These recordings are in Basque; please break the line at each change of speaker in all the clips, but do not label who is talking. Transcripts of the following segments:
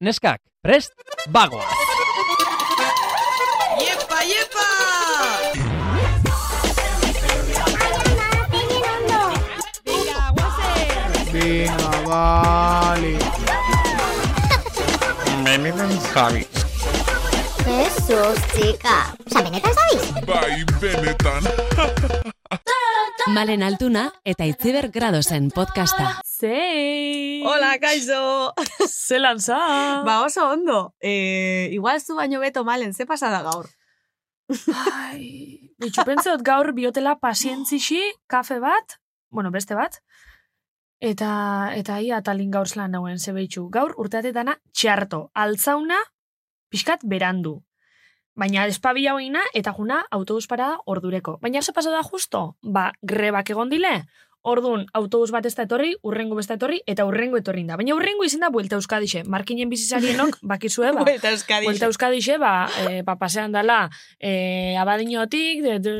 neskak, prest, bagoa!
Iepa, iepa!
Venga, vale.
Javi.
Jesús, chica. O sea, benetan zabiz?
Bai, benetan.
Malen Altuna eta Itziber Gradosen podcasta.
Zei!
Hola, kaixo!
Zelan za!
Ba oso ondo, e, igual zu baino beto malen, ze pasada gaur?
Ai, bitxu, pentsaot gaur biotela pasientzixi, kafe bat, bueno, beste bat, eta, eta ia talin gaur zelan nauen, ze behitxu. Gaur urteatetana txarto, altzauna, pixkat berandu. Baina espabila hoina eta juna autobus parada ordureko. Baina ze pasa da justo? Ba, grebak egon dile. Ordun autobus bat ez da etorri, urrengo beste etorri, eta urrengo etorri da. Baina urrengo izin da buelta euskadixe. Markinen bizizarienok bakizue ba.
Buelta Euskadi.
Buelta Euskadixe, ba, e, ba pasean dala e, abadinotik, de, de,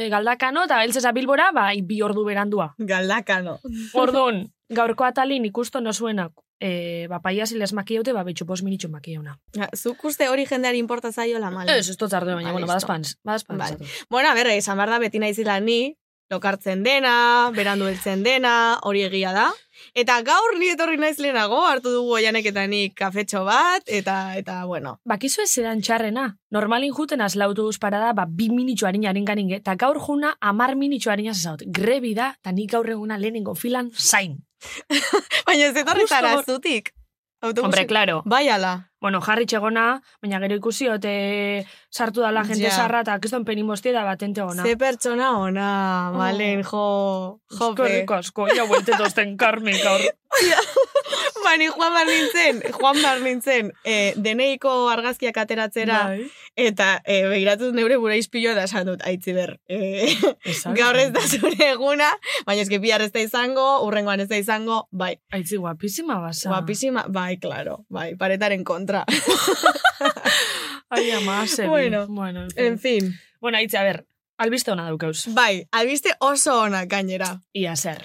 de, galdakano, eta beltzesa bilbora, ba, bi ordu berandua.
Galdakano.
Orduan, gaurko atalin ikusto nozuenak, e, ba, paia ziles makiaute, ba, betxu pos minitxu makieuna.
Ja, Zuk uste hori jendeari importa zaiola malen.
Ez, ez dut zardu, baina,
Ba,
bueno,
listo.
badazpanz, badazpanz.
Vale.
Vale.
Bueno, a ber, esan behar da beti naizila ni, lokartzen dena, berandu heltzen dena, hori egia da. Eta gaur ni etorri naiz lehenago, hartu dugu oianek eta nik kafetxo bat, eta, eta bueno.
Bakizu ez zeran txarrena. Normalin juten azlautu parada, ba, bi minitxo harin harin ganin, eta gaur juna amar minitxo harin azaut. Grebi da, eta nik gaur eguna lehenengo filan zain.
Baina ez etorri
Justo
zara
gaur.
zutik.
Hombre, claro.
Bai ala.
bueno, jarri txegona, baina gero ikusi ote sartu dala jente
Ja.
sarra eta kriston penimostia da batente ona.
Ze pertsona ona,
Oh.
malen, jo, jope.
Eskerrik asko, ia bueltetozten karmen gaur.
Bani, Juan bar nintzen, Juan bar nintzen, eh, deneiko argazkiak ateratzera,
Bai.
eta eh, begiratu neure gure izpilo da esan dut, aitzi ber. Eh,
Esan.
gaur ez da zure eguna, baina eski bihar ez da izango, urrengoan ez da izango, bai,
Aitzi, guapísima basa.
guapísima, bai, claro, bai, paretaren kontra.
Ai, ama, zebi.
Bueno,
bueno, en fin.
en fin,
Bueno, aitzi, a ber, albiste ona daukauz.
bai, albiste oso ona gainera.
Ia zer.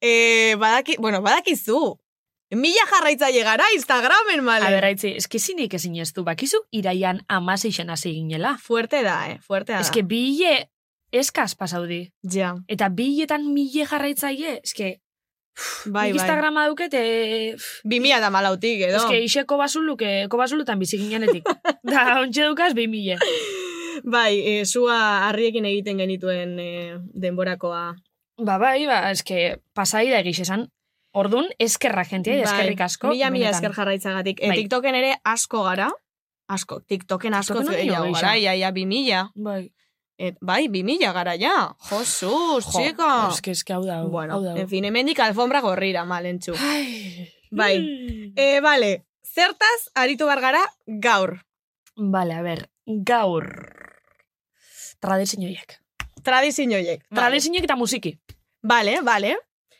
Eh, badaki, bueno, badakizu, mila jarraitzaile gara Instagramen, male.
A ber, aitzi, eskizinik ezin ez du, bakizu iraian amaseixen hasi ginela.
Fuerte da, eh, fuerte da.
Eske bile eskaz pasaudi.
ja,
Eta biletan mile jarraitzaile, eske,
bai,
nik
bai.
Instagrama dauket, e,
Bimila da malautik, edo.
Eske ixe kobazuluk, eh, kobazulutan bizi ginenetik. da, ontxe dukaz, bi mile.
Bai, e, sua harriekin egiten genituen e, denborakoa.
Ba, bai, ba, eske, pasai da egiz esan. Ordun eskerra jentia, Bai, eskerrik asko.
Bai, Mila, mila
benetan.
esker jarraitzagatik. E,
Bai.
TikToken ere asko gara. Asko, TikToken asko
TikToken hori
gehiago
hogei
gara,
izan.
ia, ia, bi mila.
Bai.
Et, bai, bi mila gara, ja. Josuz,
Jo,
txika.
Eske, eske, hau da, hau,
Bueno,
hau da. hau.
en fin, hemendik alfombra gorrira, malentxu.
Ai.
Bai.
Mm.
E, bale, zertaz aritu bar gara gaur.
Vale, a ber, gaur. Tradizinoiek.
Tradizinoiek. Vale.
Tradizinoiek eta musiki.
Vale, vale.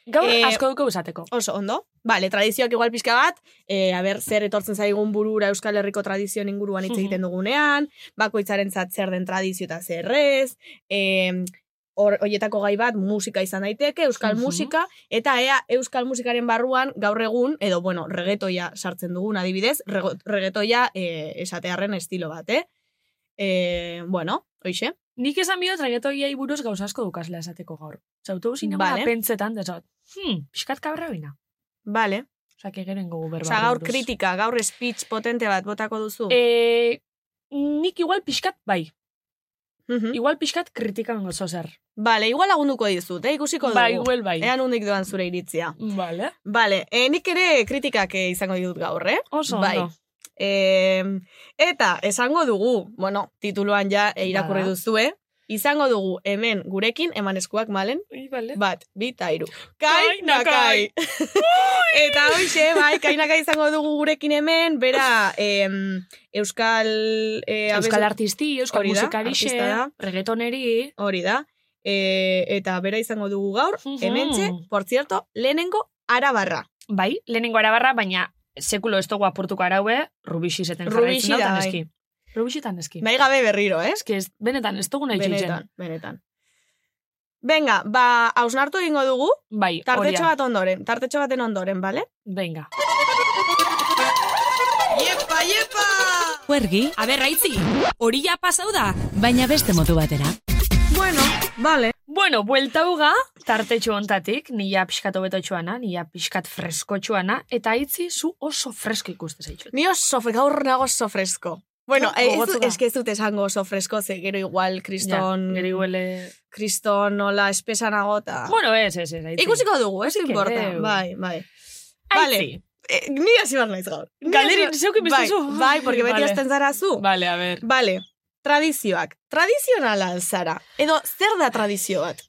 Gaur
Eh,
asko duko esateko.
Oso, ondo. Vale, tradizioak igual pixka bat, e, a ber, zer etortzen zaigun burura Euskal Herriko tradizioen inguruan hitz
Mhm.
egiten dugunean, bakoitzaren zat zer den tradizio eta zerrez, e, hor, oietako gai bat musika izan daiteke, Euskal
Mhm.
musika, eta ea Euskal musikaren barruan gaur egun, edo, bueno, regetoia sartzen dugun adibidez, rego, regetoia e, esatearren estilo bat, eh? E, bueno, hoxe.
Nik esan bio tragetoiei buruz gauza asko dukazla esateko gaur. Zautu guzin
Vale.
vale. pentsetan, desot. Hmm, pixkat kabra bina.
Vale.
Osa, kegeren gogu berba.
Osa, gaur kritika, gaur speech potente bat botako duzu.
E, nik igual pixkat, bai.
Mhm.
Igual pixkat kritikan gozo zer.
Vale, igual lagunduko dizut, eh? ikusiko dugu.
Bai, igual bai.
Ea nondik doan zure iritzia.
Vale.
Vale, e, nik ere kritikak eh, izango ditut gaur, eh?
Oso
Bai.
ondo.
E, eta esango dugu, bueno, tituluan ja eh, irakurri
Bada.
duzue, izango dugu hemen gurekin, eman eskuak malen,
Ui, vale.
bat, bi eta hiru. Kai,
Eh? Kai,
nakai! eta hoxe, bai, kai nakai izango dugu gurekin hemen, bera em, Euskal... eh,
Euskal
abestu-
artisti, euskal
Hori da,
musikarixe,
artista da.
reggaetoneri.
Hori da. E, eta bera izango dugu gaur,
Mhm.
hementxe, por cierto, lehenengo arabarra.
Bai, lehenengo arabarra, baina sekulo ez dugu apurtuko araue, rubixi zeten
Rubixi
jarraitzen
da,
dautan
bai.
eski. Rubixi tan eski.
Nahi gabe berriro, eh?
Eski ez, benetan, ez dugu nahi
Benetan,
txutzen.
benetan. Venga, ba, hausnartu egingo dugu,
Bai, hori
tartetxo
da.
bat ondoren, tartetxo baten ondoren, bale?
Venga.
Juergi,
Aber, raitzi, hori ja pasau da.
baina beste modu batera.
Bueno, vale.
Bueno, buelta uga, tartetxo ontatik, nila pixkat obetotxoana, nila pixkat freskotxoana, eta itzi zu oso fresko ikuste zaitxut.
Ni oso, fre- gaur nago oso fresko. Bueno,
Gaur
eh, ez,
gogotsu
dut-
Ah, da.
eske ez dut esango oso fresko, ze gero igual kriston,
gero iguele...
kriston nola espesanago eta...
Bueno, ez, ez, ez, aitzi.
Ah. Ikusiko dugu, ez
Nik ere,
importa.
eu.
Bai, bai. Vale.
Aitzi.
Eh, ni hasi bar naiz gaur. Ni
Galderi,
hasi
zeuk
bai,
inbestezu.
bai, porque beti
Vale.
hasten zara zu.
Vale, a ber.
Vale, tradizioak. Tradizionala alzara. Edo, zer da tradizio bat?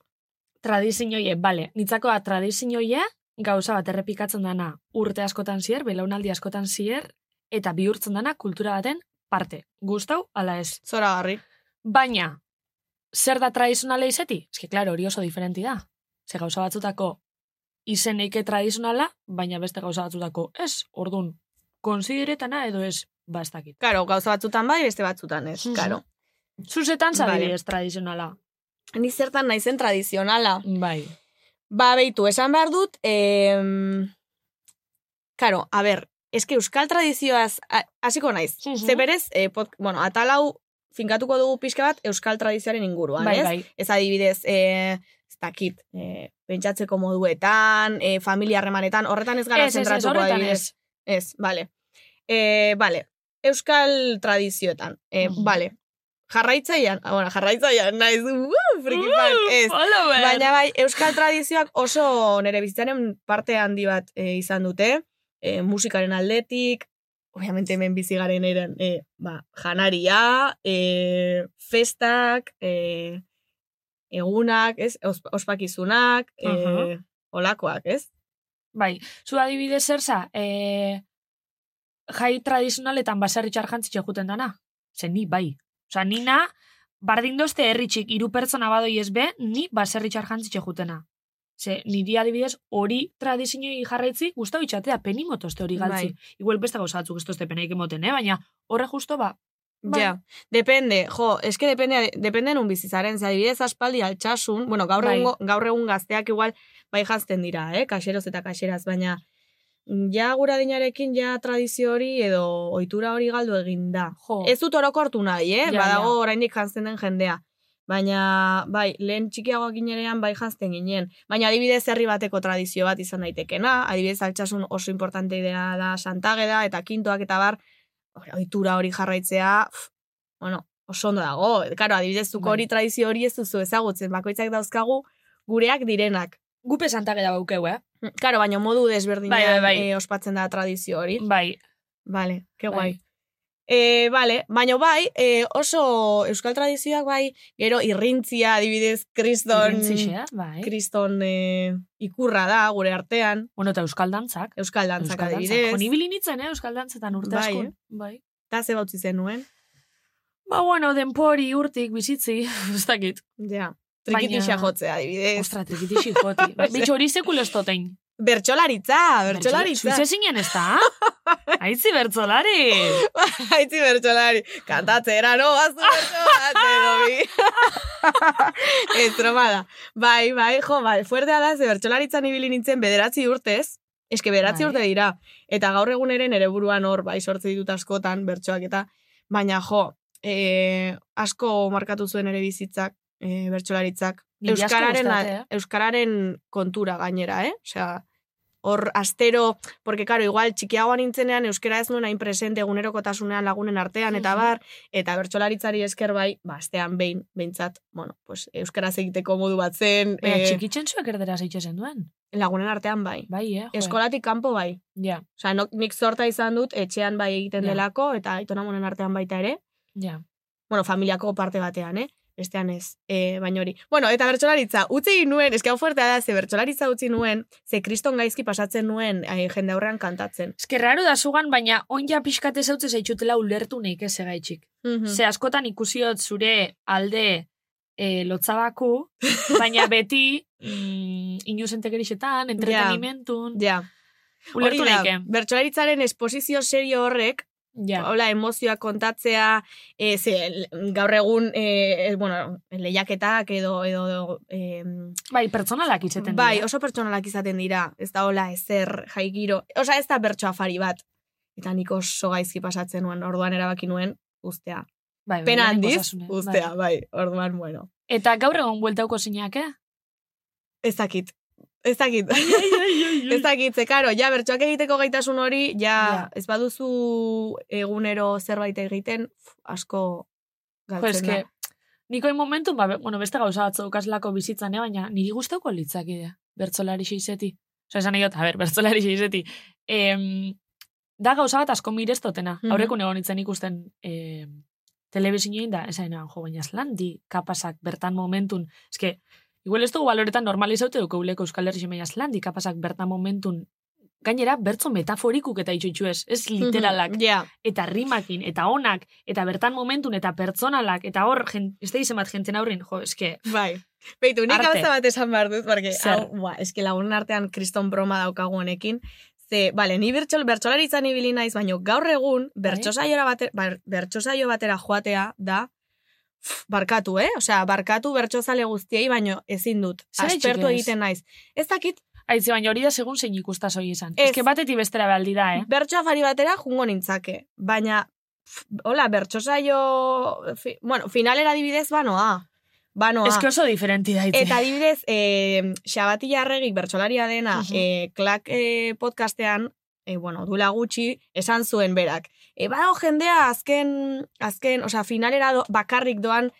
Tradizioie, bale. Nitzakoa tradizioie, gauza bat errepikatzen dana urte askotan zier, belaunaldi askotan zier, eta bihurtzen dana kultura baten parte. Gustau, ala ez.
Zora garri.
Baina, zer da tradizionala izeti? Ez que, klaro, hori oso diferenti da. Ze gauza batzutako izen eike tradizionala, baina beste gauza batzutako ez, ordun konsideretana edo ez, ba, ez dakit.
Karo, gauza batzutan bai, beste batzutan ez.
Mhm.
Karo.
Zuzetan
Vale.
zabidez tradizionala.
Ni zertan naizen tradizionala.
Bai.
Ba, beitu, esan behar dut, em... Karo, a ber, eske euskal tradizioaz, a- hasiko naiz.
Mhm.
Ze berez, eh, pod, bueno, atalau finkatuko dugu pixka bat euskal tradizioaren inguruan,
Bai,
ez?
bai.
ez adibidez, e, ez dakit, e, pentsatzeko moduetan, e, familia harremanetan, horretan ez gara
Ez, ez, ez,
zentratuko
horretan
adibidez.
ez.
Ez, bale. E, bale, euskal tradizioetan, e,
Mhm.
bale. Jarraitzaian, ah, bueno, jarraitzaian, naiz, uh, friki fan, ez.
Follower.
Baina bai, euskal tradizioak oso nere bizitzaren parte handi bat e, izan dute, e, musikaren aldetik, obviamente hemen bizi garen eran, e, ba, janaria, e, festak, e, egunak, ez, osp- ospakizunak, e,
Aha.
olakoak, ez?
Bai, zu adibidez zer za, e, jai tradizionaletan baserritxar jantzitxe juten dana. Ze ni bai. Osa, nina, bardin dozte herritxik iru pertsona badoi ez be, ni baserritxar jantzitxe jutena. Ze, niri adibidez, hori tradizioi jarraitzi, guztau itxatea, peni motozte hori
Bai.
galtzi. Igual beste gauza batzuk ez tozte penaik emoten, eh? baina horre justo ba, Bai.
Ja, depende, jo, eske depende, depende nun bizitzaren, ze adibidez aspaldi altxasun, bueno, gaur,
Bai.
egun, gaur egun gazteak igual bai jazten dira, eh, kaseroz eta kaseraz, baina mm, ja gura dinarekin ja tradizio hori edo ohitura hori galdu egin da.
jo,
Ez dut orokortu nahi, eh?
Oh. Ja,
Badago
ja.
oraindik jantzen den jendea. Baina, bai, lehen txikiagoak ginerean bai jantzen ginen. Baina adibidez herri bateko tradizio bat izan daitekena, adibidez altsasun oso importante dena da santageda eta kintoak eta bar, hori- ohitura hori jarraitzea, pf, bueno, oso ondo dago. Karo, adibidez zuko
Bai.
hori tradizio hori ez duzu ezagutzen, bakoitzak dauzkagu gureak direnak.
gupe santageda baukeu, eh?
Karo, baina modu desberdinean
Bai, bai, bai.
eh, ospatzen da tradizio hori.
Bai,
Vale, ke
Bai.
guai. Eh, vale, baina bai, eh, oso euskal tradizioak bai, gero irrintzia, adibidez, kriston,
irrintzixe, bai.
kriston eh, ikurra da gure artean,
Bueno, eta euskal dantzak.
euskal dantzak
Euskal dantzak.
adibidez.
Honibili nintzen, eh, euskal dantzetan urte
Bai,
askon.
eh?
Bai.
Ta ze bautzi zenuen?
Ba, bueno, denpori urtik bizitzi, ez dakit.
Ja. Trikitixa
Baina-
jotzea, adibidez.
Ostra, trikitixi joti. Bai, Bitxo hori sekulo ez totein.
Bertxolaritza, bertxolaritza.
Zuze zinen ez da? Aitzi bertxolari!
Aitzi bertxolari. Kantatzera, no, bazu bertxolari. Ez, broma da. Bai, bai, jo, bai, fuertea da, ze bertxolaritzan ibili nintzen bederatzi urtez, eske bederatzi
Bai.
urte dira, eta gaur egun ere nere buruan hor, bai, sortze ditut askotan, bertxoak eta, baina jo, e, asko markatu zuen ere bizitzak, e, bertxolaritzak,
Niri asko
Euskararen,
gustate, eh?
Euskararen kontura gainera, eh? Osea, hor astero, porque claro, igual txikiagoa nintzenean euskara ez nuen hain presente egunerokotasunean lagunen artean eta
Mhm.
bar, eta bertsolaritzari esker bai, ba astean behin, beintzat, bueno, pues euskaraz egiteko modu bat zen,
Baina
eh,
txikitzen zuek erdera zeitxe duen.
lagunen artean bai.
Bai, eh? jo.
Eskolatik kanpo bai.
Ja,
Osea, no, nik zorta izan dut etxean bai egiten
Ja.
delako eta aitonamonen artean baita ere.
ja.
Bueno, familiako parte batean, eh? bestean ez, e, baina hori. Bueno, eta bertsolaritza, utzi egin nuen, eske hau fuertea da, ze bertsolaritza utzi nuen, ze kriston gaizki pasatzen nuen eh, jende aurrean kantatzen.
Ez que raro da zugan, baina onja pixkate zautze zaitxutela ulertu neik ez egaitxik.
Mhm.
Ze askotan ikusiot zure alde e, lotzabaku, baina beti mm, inuzentekerixetan, entretenimentun,
Ja,
ulertu
hori da,
neike.
bertsolaritzaren esposizio serio horrek,
Ja.
hola, emozioak kontatzea, e, ze, l- gaur egun, e, e, bueno, lehiaketak edo, edo, edo em,
Bai, pertsonalak itzeten
bai,
dira.
oso pertsonalak izaten dira, ez da hola ezer jaigiro, osa ez da bertsoafari bat. Eta nik oso gaizki pasatzen nuen, orduan erabaki nuen uztea.
Bai, bai,
Pena
lehenengo
handiz,
osasune,
uztea,
bai.
bai. orduan, bueno.
Eta gaur egon bueltauko zinak, eh?
Ez dakit. Ez dakit. ez dakit, ze karo, ja, bertsoak egiteko gaitasun hori, ja,
Ja.
ez baduzu egunero zerbait egiten, pf, asko
Jo,
galtzen da.
eske, niko hain momentu, ba, be- bueno, beste gauza batzu daukazelako bizitzan, eh? baina niri guztauko litzakidea, bertzolari seizeti. Osa, esan egot, a ber, bertzolari seizeti. Em, da gauza bat asko mirestotena,
Mhm.
aurreko egon nintzen ikusten em, telebizinoin da, esan egon, jo, baina eslandi, kapasak, bertan momentun, eske, igual ez dugu baloretan normalizaute dugu uleko Euskal Herri baina eslandi, kapasak, bertan momentun, gainera, bertzo metaforikuk eta itxutxu ez, ez
Mhm,
literalak
Ja,
eta rimakin, eta onak, eta bertan momentun, eta pertsonalak, eta hor, jen, ez da izen bat jenten aurrin, jo, eske,
bai. Beitu, nik
Arte.
gauza bat esan behar dut, porque,
Zer?
hau, ba, eske lagunen artean kriston broma daukagu honekin, ze, bale, ni bertxol, bertxolaritzan ibili naiz, baino gaur egun,
Bai.
bertxosaiora batera, bar, bertxosaio batera joatea da, pff, barkatu, eh? Osea, barkatu bertxozale guztiei, baino ezin dut.
Zergatik
Aspertu
ez?
egiten naiz. Ez dakit,
haitze baina hori da segun zein ikustaz hori izan.
Ez.
Eske batetik bestera behaldi da, eh?
bertxo afari batera jungo nintzake, baina, pff, hola, bertxosaio, fi, bueno, finalera adibidez, banoa. Banoa.
Eske oso diferenti da,
Eta adibidez, eh, Xabati Jarregik bertsolaria dena
Mhm.
eh, klak eh, podcastean, eh, bueno, dula gutxi, esan zuen berak. E, badago jendea azken, azken, osea, finalera do, bakarrik doan,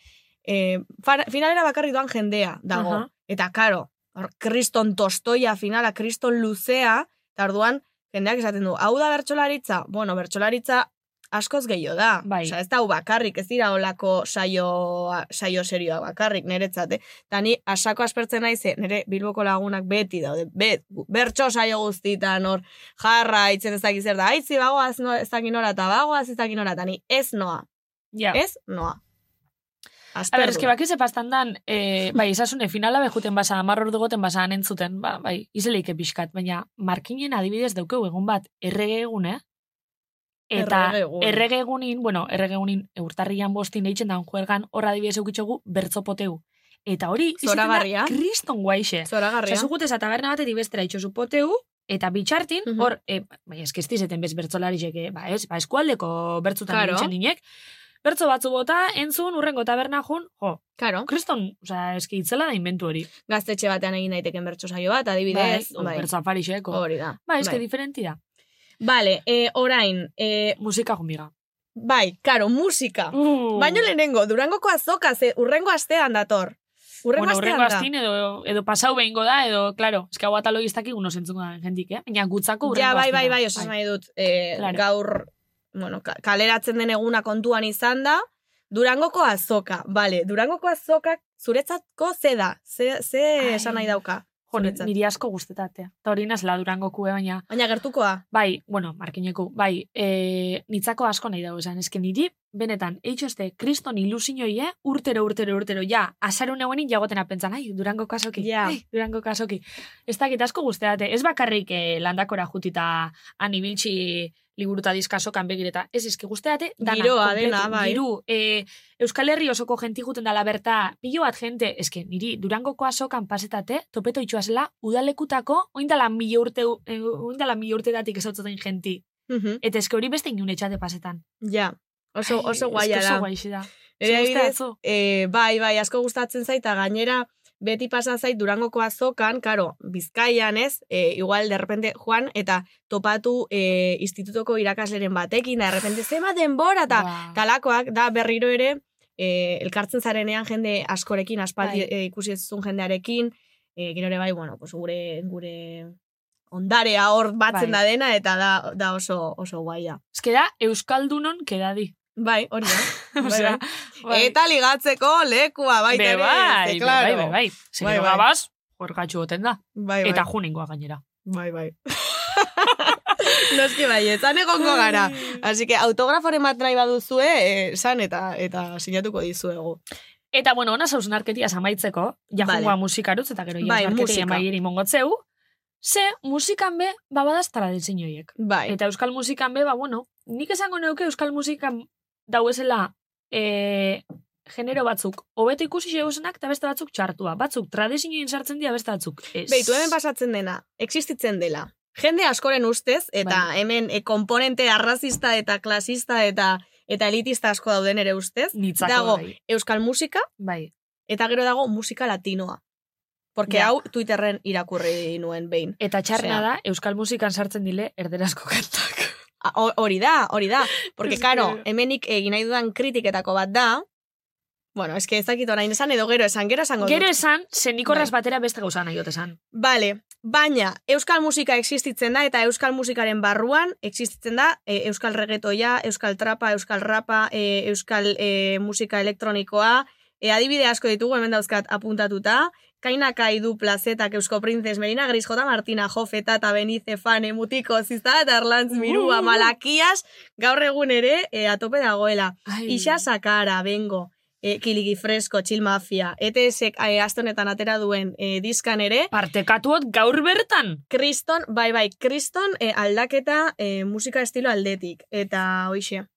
eh, fara- finalera bakarrik doan jendea dago.
Aha.
Eta karo, hor, kriston tostoia finala, kriston luzea, eta orduan, jendeak esaten du, hau da bertsolaritza? Bueno, bertsolaritza askoz gehiago da.
Bai.
Osea, ez da hau bakarrik, ez dira olako saio, saio serioa bakarrik, niretzat, eh? Eta ni asako aspertzen naiz, ze nire Bilboko lagunak beti daude, bet, bertso saio guztitan, hor, jarra, itzen ez dakit zer da, aitzi bagoaz no, ez dakit nora, eta bagoaz ez dakit nora, eta ni ez noa,
ja.
ez noa.
A
Aspertu.
ber, eske bakiz epaztan dan, eh, bai, esasune finala behuten basa, amarr ordu goten basa entzuten, ba, bai, izeleike pixkat, baina markinen adibidez daukeu egun bat, errege egun, eh? Eta
Errege egun.
errege egunin, bueno, errege egunin urtarrian bostin eitzen daun juergan, horra adibidez eukitxogu bertzopoteu. Eta hori, izaten da,
Zoragarria.
kriston guaixe.
Zoragarria.
Osa, zugutez, ataberna batetik bestera itxosu poteu, eta bitxartin,
Mhm.
hor, e, bai, eskestizeten bez bertzolarizek, eh, ba, ez, ba, eskualdeko bertzutan
Claro.
claro. dinek, bertzo batzu bota, entzun, urrengo taberna jun, jo,
Karo,
kriston, oza, eski itzela da inventu hori.
gaztetxe batean egin daiteken bertso saio bat, adibidez.
bai, bertzo afarixeko.
Hori bai. da.
Ba, eski diferenti da.
Vale, eh, orain, eh,
Musika gumiga.
bai, karo, musika.
Uh.
Baino lehenengo, durangoko azoka, ze urrengo astean dator. Urrengo
Bueno,
astean
urrengo
da.
astin edo, edo pasau behingo da, edo, claro, eski hau atalo iztakik unos entzuko da jentik, eh? Baina gutzako urrengo
Ja, bai, bai,
astina.
bai, osas nahi dut. eh,
Claro.
Gaur, bueno, ka- kaleratzen den eguna kontuan izan da, Durangoko azoka, bale, Durangoko azokak zuretzatko ze da, ze, ze
Ai.
esan nahi dauka.
Jo, ni-
zuretzat.
niri asko guztetatea. Eta hori nazela durango kue, eh, baina
Baina gertukoa,
Bai, bueno, markineko, bai, e, nitzako asko nahi dago esan, eske niri, benetan, eitxoste, kriston ilusinioie, urtero, urtero, urtero, ja, azarun eguenin jagoten apentzan, ai, durango kasoki,
Ja.
ai, durango kasoki. Ez dakit asko guzteate, ez bakarrik eh, landakora jutita animiltxi liburuta diskasokan begireta. Ez, eske guzteate, dana,
Giroa,
kompletu,
dena, bai.
Giru, e, Euskal Herri osoko jenti guten dala berta, pilo bat jente, eske niri Durangoko azokan pasetate, topeto itxua zela, udalekutako, oindala mila urte, eh, oindala mila urtetatik ezautzaten jenti.
Mhm,
Eta eske hori beste inun etxate pasetan.
ja,
Ai,
oso,
eske
oso guaia
Oso
da.
guaixe da.
Nire
Zu gustatzen
adibidez,
zu?
eh, bai, bai, asko gustatzen zait, eta gainera, beti pasa zait Durangoko azokan, karo, Bizkaian ez, eh, igual derrepente joan, eta topatu eh, institutoko irakasleren batekin, da, derrepente zema denbora, eta
Ba.
talakoak da berriro ere eh, elkartzen zarenean jende askorekin aspaldi
Bai.
eh, ikusi ez zuen jendearekin eh, gero ere bai bueno pues gure gure ondarea hor batzen
Bai.
da dena eta da, da oso oso guaia
Eske da, Euskaldunon kedadi.
bai hori da Bai,
Osea, bai.
eta ligatzeko lekua
Be,
baita ere
bai,
ze,
be,
claro.
bai, bai, bai. Zer
Bai,
bai,
bai.
gabaz, hor gatxu goten da.
bai bai
Eta juningoa gainera.
bai bai Noski bai, etzan egongo gara. Así que autograforen bat nahi baduzue, eh, esan eta eta sinatuko dizuegu.
Eta, bueno, ona zauz narketia zamaitzeko, jajungoa
Vale.
musikarutz, eta gero
Bai,
bai, narketia
musika.
maieri mongotzeu, ze musikan be, ba, babadaz tradizin joiek.
Bai,
Eta euskal musikan be, ba, bueno, nik esango neuke euskal musikan dauezela e, genero batzuk, hobeto ikusi zeusenak eta beste batzuk txartua. Batzuk tradizin sartzen dira, beste batzuk ez.
Beitu, hemen pasatzen dena, existitzen dela. jende askoren ustez, eta
Bai.
hemen e, komponente arrazista eta klasista eta eta elitista asko dauden ere ustez,
Nitzako
dago
bai.
euskal musika
Bai.
eta gero dago musika latinoa. Porque
Ja.
hau Twitterren irakurri nuen behin.
Eta txarna
Osea.
da, euskal musikan sartzen dile erderazko kantak.
A- ho- Hori da, hori da. Porque,
Eske-
karo, hemenik egin nahi dudan kritiketako bat da, bueno, eske ez dakit orain esan edo gero esan, gero esango
Gero
dut.
esan, zenikorraz
Bai.
batera beste gauza nahi dut esan.
Bale, baina euskal musika existitzen da eta euskal musikaren barruan existitzen da e, euskal regetoia, euskal trapa, euskal rapa, e, euskal e, musika elektronikoa, e, adibide asko ditugu hemen dauzkat apuntatuta, Kainaka idu plazetak Eusko Princes, Merina Gris, J. Martina, Jofeta, eta Benize, Fane, Mutiko, Zizta, eta Erlantz, Mirua,
Uh.
Malakias, gaur egun ere e, atope dagoela.
Ai.
Isa Sakara, Bengo, e, Kiligi Fresko, Chill Mafia, ETSek e, aste honetan atera duen e, diskan ere,
Partekatuot gaur bertan.
kriston, bai, bai, kriston e, aldaketa e, musika estilo aldetik. Eta, hoxe.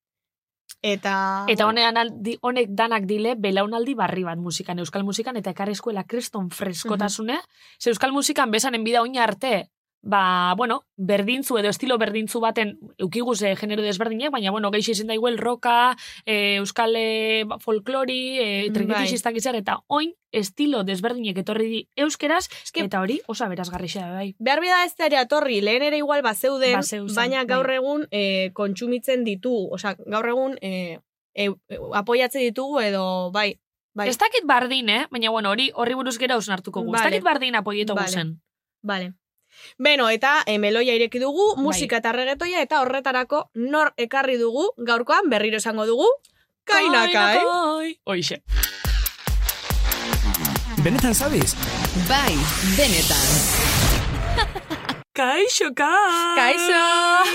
Eta...
Eta honean aldi- honek danak dile belaunaldi barri bat musikan, euskal musikan, eta ekarri eskuela kriston freskotasune.
Mhm.
Ze euskal musikan besanen bida oina arte, ba, bueno, berdintzu edo estilo berdintzu baten eukiguz eh, genero desberdinak, baina, bueno, geixi izan daiguel roka, eh, euskal eh, ba, folklori, eh,
Bai.
trinketixistak izar, eta oin estilo desberdinek etorri di euskeraz,
Eske-
eta hori osa berazgarrixa da, bai.
Behar bida ez dara torri, lehen ere igual bazeuden,
Bazeuzen,
baina
bai.
gaur egun e, kontsumitzen ditu, osea, gaur egun e, e, e, apoiatze ditugu edo, bai, bai,
Ez dakit bardin, eh? Baina, bueno, hori horri buruz gero ausnartuko gu. Ez
Vale.
dakit bardin apoieto
Vale.
guzen.
bale. Beno, eta e, meloia ireki dugu,
Bai.
musika eta regetoia, eta horretarako nor ekarri dugu, gaurkoan berriro esango dugu, kainaka, eh?
Kainakai. Oixe.
Benetan zabiz?
Bai, benetan.
Kaixo, ka!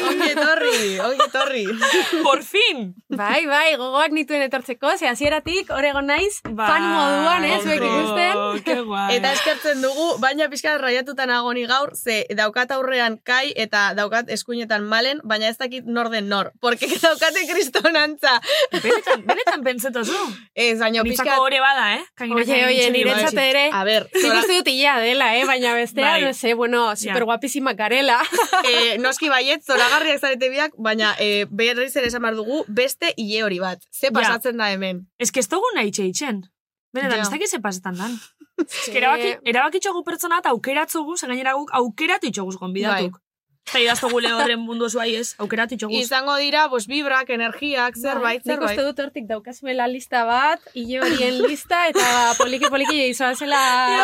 Ongi etorri, ongi etorri.
Por fin!
Bai, bai, gogoak nituen etortzeko, ze hasieratik orego naiz,
Bai,
fan moduan, ez, zuek
hombre.
ikusten.
Ke guai.
Eta eskertzen dugu, baina pixka raiatuta nago ni gaur, ze daukat aurrean kai eta daukat eskuinetan malen, baina ez dakit nor den nor. Porque daukate kristonantza.
benetan, benetan pentsetozu.
Ez, baina pixka...
Nitzako hore bada, eh? Kainakai
Oie, oie,
nintxeri
niretzat
bai.
ere,
A ber,
nik
zora-
uste dut hilea dela, eh, baina bestea,
Bai.
no sé, bueno, superguapizimak garela.
eh, noski baiet, zoragarriak zarete biak, baina eh, berriz ere esan behar dugu beste hile hori bat. Ze pasatzen da hemen.
Ez que ez dugu nahi txeitzen. Benetan,
Ja.
ez dakit ze pasetan dan.
Eh.
Ez que erabaki, erabakitxogu pertsona eta aukeratzugu, ze gainera guk aukeratu itxoguz
Bai.
gonbidatuk. Eta idaztogu lehorren horren mundu zuai ez, aukeratu itxoguz.
Izango dira, bos, vibrak, energiak, zerbait,
Bai, Nik uste
zerbait.
dut hortik daukazuela lista bat, hile horien lista, eta poliki-poliki izoan zela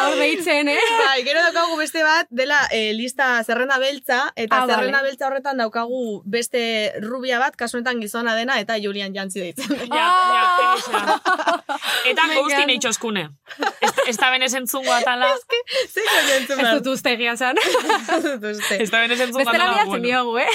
hor behitzen, eh?
Bai, gero daukagu beste bat, dela eh, lista zerrenda beltza, eta
Ah,
zerrenda
vale.
beltza horretan daukagu beste rubia bat, kasu honetan gizona dena, eta Julian Jantzi deitzen.
Ah!
Ja, ja, ja. Eta
Me
gauzti
encanta.
nahi txoskune. Ez, ez da benez entzungo atala.
Zeko jentzen
Ez dut uste egia zan.
dut uste.
Ez da benez entzungo
Bestela
atala.
bidatzen diogu, Ah. eh?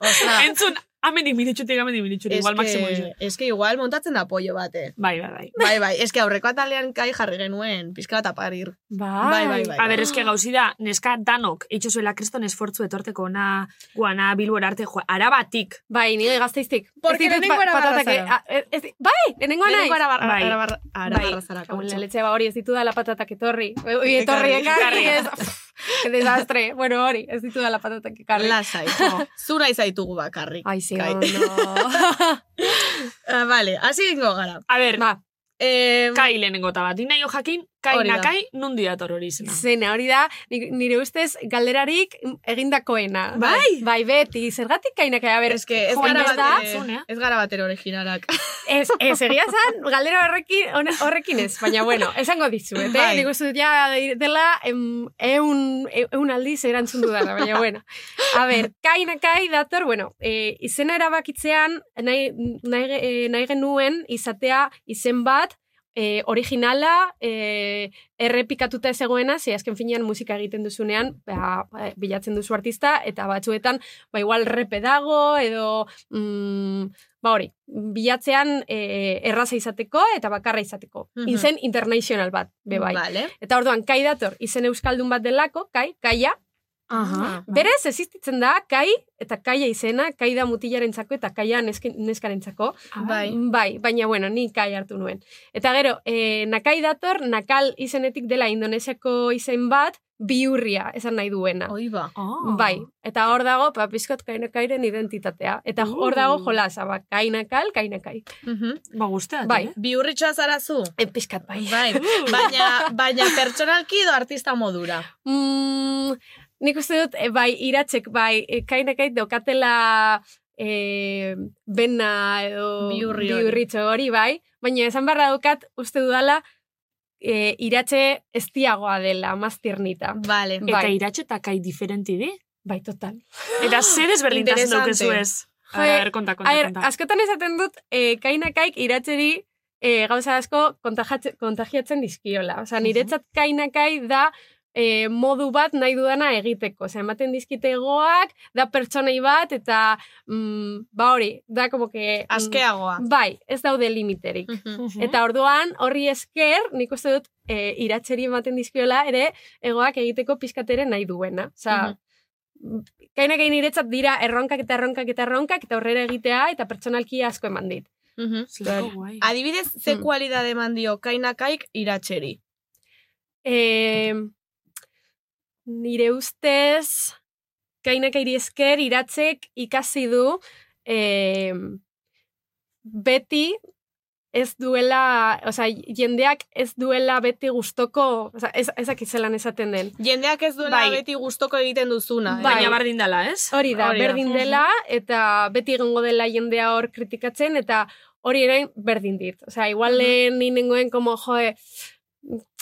Ostra,
Entzun, ah, amendik minitxutik, amendik minitxutik, igual maksimo izu.
eske igual montatzen da pollo bat, eh.
Bai, bai, bai.
Bai, bai, eske aurreko atalean kai jarri genuen, pizka bat aparir. Bai, bai, bai.
A ber, eske gauzi da, neska danok, itxozuela kriston esfortzu etorteko ona, guana, bilbora arte, joa, arabatik.
Bai, nire gazteiztik.
Porque
Ez ditut
lehenengoa
pa-
arabarra
patatak-
zara.
a- ez dit- Bai, lehenengoa naiz.
Lehenengo arabarra,
Bai.
arabarra, arabarra
Bai,
zara,
Kaun,
kautxo.
la leche ba hori ez ditudala patatak etorri. Oi, etorri
Ekarri.
ekarri, ez. pff, Qué desastre. Bueno, hori, ez ditudala patatak ekarri.
Lasai, jo. Zura izaitugu bakarrik.
Ai, ze
Kai.
ondo.
Ah, Vale, hasi gingo gara.
A ber,
Ba,
Eh,
kai lehenengo eta bat, inaio jakin, kai
Hori da.
nakai, nundi dator hori izena.
zena, hori da, ni- nire ustez galderarik egindakoena.
Bai?
Bai, beti, zergatik kainak, a ber,
eske ez
joan
gara
ez da,
bat,
entzun, eh?
ez gara batera originalak.
Ez, ez, egia zan, galdera horrekin, hone- horrekin ez, baina bueno, esango dizuet, eh?
Bai.
Nik uste dut ja dela em, eun, e, eun aldiz erantzun dudala, baina bueno. A ber, kai nakai dator, bueno, eh, izena erabakitzean, nahi, nahi, ge- eh, nahi genuen izatea izen bat, eh, originala, eh, errepikatuta ez egoena, ze azken finean musika egiten duzunean, ba, bilatzen duzu artista, eta batzuetan, ba igual repe dago, edo mm, ba hori, bilatzean e, erraza izateko eta bakarra izateko.
Mhm.
Izen international bat, be bai.
Vale.
Eta orduan, kai dator, izen euskaldun bat delako, kai, kaia.
Ah,
Aha.
ba,
Berez, existitzen da, kai, eta kaia izena, kai da mutilarentzako eta kaia neske- neskarentzako.
Bai.
Bai, baina bueno, ni kai hartu Eh, nuen. Eta gero, e, nakai dator, nakal izenetik dela indonesiako izen bat, biurria esan nahi duena.
Oiba.
Ah,
Oh.
Bai, eta hor dago, pa, pizkot kainakairen identitatea. Eta hor dago
Uh.
jolasa, ba, kainakal, kainakai.
Mhm.
Ba, guzteat,
Bai.
eh?
Biurritxoa zara zu?
E, pizkat bai.
Bai, baina, baina pertsonalki edo artista modura.
Mm, nik uste dut, e, bai, iratzek, bai, e, kainakai dokatela e, bena edo
Bihurri hori.
bihurritxo hori, bai. Baina esan barra dukat, uste dudala, e, iratxe eztiagoa dela, maztiernita.
Vale.
Bai.
Eta iratxe eta kai diferenti di.
Bai, total.
Eta zer desberdintasun
Interesante.
daukezu ez? A
Jo,
ver, konta, konta,
Aher,
konta.
askotan esaten dut, e, kainakaik iratzeri e, gauza asko kontajatze- kontagiatzen dizkiola. Osa, niretzat kainakai da e, modu bat nahi dudana egiteko. Osea, ematen dizkitegoak, da pertsonei bat, eta mm, ba hori, da como que... mm,
Askeagoa.
Bai, ez daude limiterik.
Mhm.
Mhm.
Eta orduan, horri esker, nik uste dut, e, iratzeri ematen dizkiola, ere, egoak egiteko pizkatere nahi duena. Osa,
Mhm.
kainak egin niretzat dira erronkak eta erronkak eta erronkak, eta horrera egitea, eta pertsonalki asko eman dit.
Mhm.
Zelako guai.
Adibidez, ze
Mm.
kualidade eman dio kainakaik iratxeri.
E, nire ustez, kainak iri esker, iratzek ikasi du, e, beti ez duela, oza, jendeak ez duela beti gustoko, oza, ez, ezakitzelan esaten den.
Jendeak ez duela
Bai.
beti gustoko egiten duzuna. eh?
Bai.
Baina bardin dala, ez?
Hori da,
Hori da.
berdin dela, eta beti egongo dela jendea hor kritikatzen, eta hori ere berdin dit. Osea, igual lehen ni nengoen, como, joe,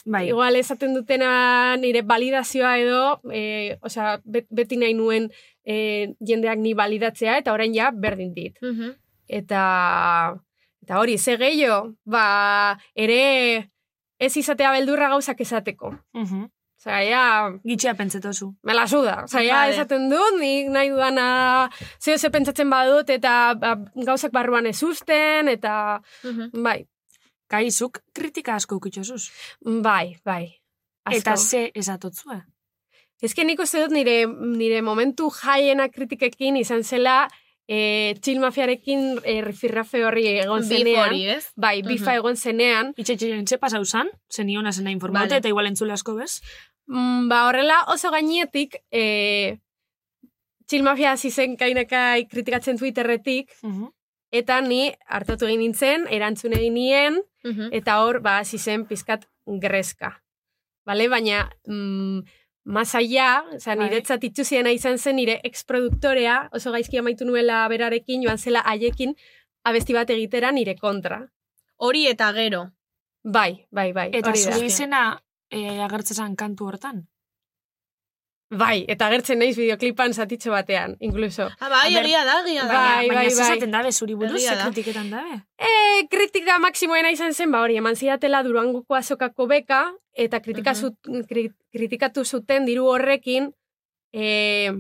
Bai.
igual esaten dutena nire balidazioa edo, e, osea, bet- beti nahi nuen e, jendeak ni balidatzea, eta orain ja berdin dit.
Mhm.
Eta, eta hori, ze gehiago, ba, ere ez izatea beldurra gauzak esateko.
Mhm.
Osea, ja,
Gitxea pentsetozu.
Me la suda. Osea, ja,
Vale.
esaten dut, nik nahi dudana zeo ze pentsatzen badut eta ba, gauzak barruan ez usten, eta
Mhm.
bai,
Kai, zuk kritika asko ukitzozuz.
bai, bai. Asko.
Eta ze esatotzua.
Ez que nik uste dut nire, nire momentu jaiena kritikekin izan zela e, txilmafiarekin e, rifirrafe horri egon
Beef
zenean.
hori, ez?
Bai, bifa
Mhm.
egon zenean.
Itxetxean ze pasau zan, zenion azena informaute,
Vale.
eta igual entzule asko bez.
Mm, ba, horrela oso gainetik, e, txilmafia hasi zen kainakai kritikatzen Twitterretik, Eta ni hartatu egin nintzen, erantzun egin nien,
Mhm.
eta hor, ba, hasi zen pizkat greska. Bale? Baina, mm, masaia, oza,
Bai.
niretzat itxusiena izan zen, nire ex-produktorea, oso gaizki amaitu nuela berarekin, joan zela haiekin, abesti bat egitera nire kontra.
Hori eta gero.
Bai, bai, bai.
Eta
hori da.
zure izena e, agertzezan kantu hortan.
Bai, eta gertzen naiz bideoklipan zatitxo batean, inkluso.
Ah, bai,
A ber,
egia da, egia da.
bai.
Baina ze esaten dabe zuri buruz,
Egia
ze
da.
kritiketan dabe.
E, kritika maksimoena izan zen, ba hori, eman zidatela duranguko azokako beka, eta kritika
Mhm.
zut, kri- kritikatu zuten diru horrekin, e,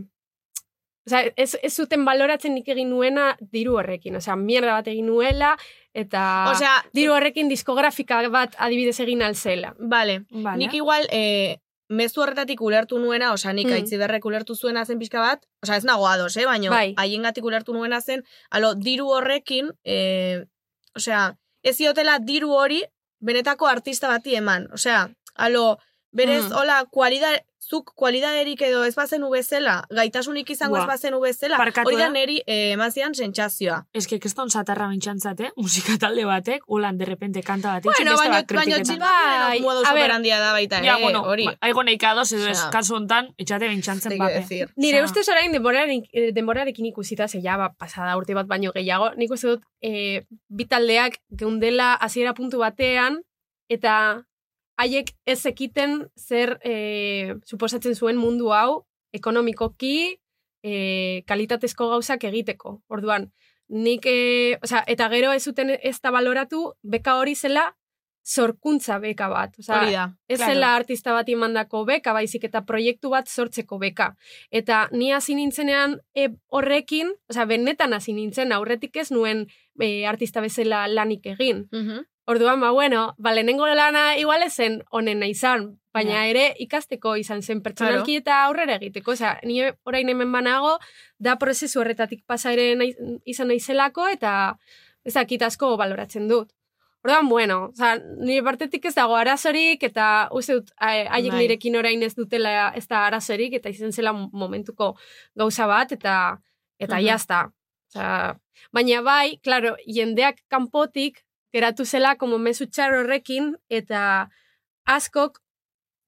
oza, ez, ez zuten baloratzen nik egin nuena diru horrekin, osea, mierda bat egin nuela, eta
Osea,
diru horrekin diskografika bat adibidez egin alzela.
Vale.
Vale.
Nik igual, eh, mezu horretatik ulertu nuena, osa nik
Mm.
aitziberrek ulertu zuena zen pixka bat, osa ez nago ados, eh, baina
Bai.
haiengatik ulertu nuena zen, alo, diru horrekin, eh, osea, ez ziotela diru hori benetako artista bati eman, osea, alo, berez,
Mm.
hola, kualida, zuk kualidaderik edo ez bazenu bezala, gaitasunik izango
Buah.
ez bazenu bezala,
Barkatu,
hori da
eh?
neri eh, eman zidan sentsazioa.
Ez que keston satarra bintxantzate, eh? musika talde batek, holan derrepente kanta bat itxen
Bueno,
beste
baina,
bat
baina
kritiketan.
txilba
Bai,
modu
a ber,
superhandia da baita,
Ja,
eh,
bueno,
hori.
ba- aigo neika ados edo ez,
Osea.
kasu hontan, etxate bintxantzen
Te
bape.
quiero decir.
Nire
Osea.
ustez orain denborarekin, eh, denborarekin ikusita, ze ja, ba, pasada urte bat baino gehiago, nik uste dut e, bitaldeak geundela hasiera puntu batean, eta haiek ez ekiten zer e, suposatzen zuen mundu hau ekonomikoki e, kalitatezko gauzak egiteko. Orduan, nik, e, osea, eta gero ez zuten ez da baloratu, beka hori zela sorkuntza beka bat. Osea,
Hori da.
Ez
Claro.
zela artista bati mandako beka, baizik eta proiektu bat sortzeko beka. Eta ni hasi nintzenean e, horrekin, osea, benetan hasi nintzen, aurretik ez nuen e, artista bezala lanik egin.
Mhm.
Orduan, ba, bueno, ba, lehenengo lana igual ez zen onena izan, baina ere ikasteko izan zen pertsonalki eta aurrera egiteko. Osea, ni orain hemen banago, da prozesu horretatik pasa ere naiz- izan naizelako eta ez dakit asko baloratzen dut. Orduan, bueno, oza, nire partetik ez dago arazorik, eta uste dut, a- haiek
Bai.
nirekin orain ez dutela ez da arazorik, eta izen zela momentuko gauza bat, eta eta
Mhm.
jazta. Oza, baina bai, claro, jendeak kanpotik geratu zela como mezu txar horrekin, eta askok,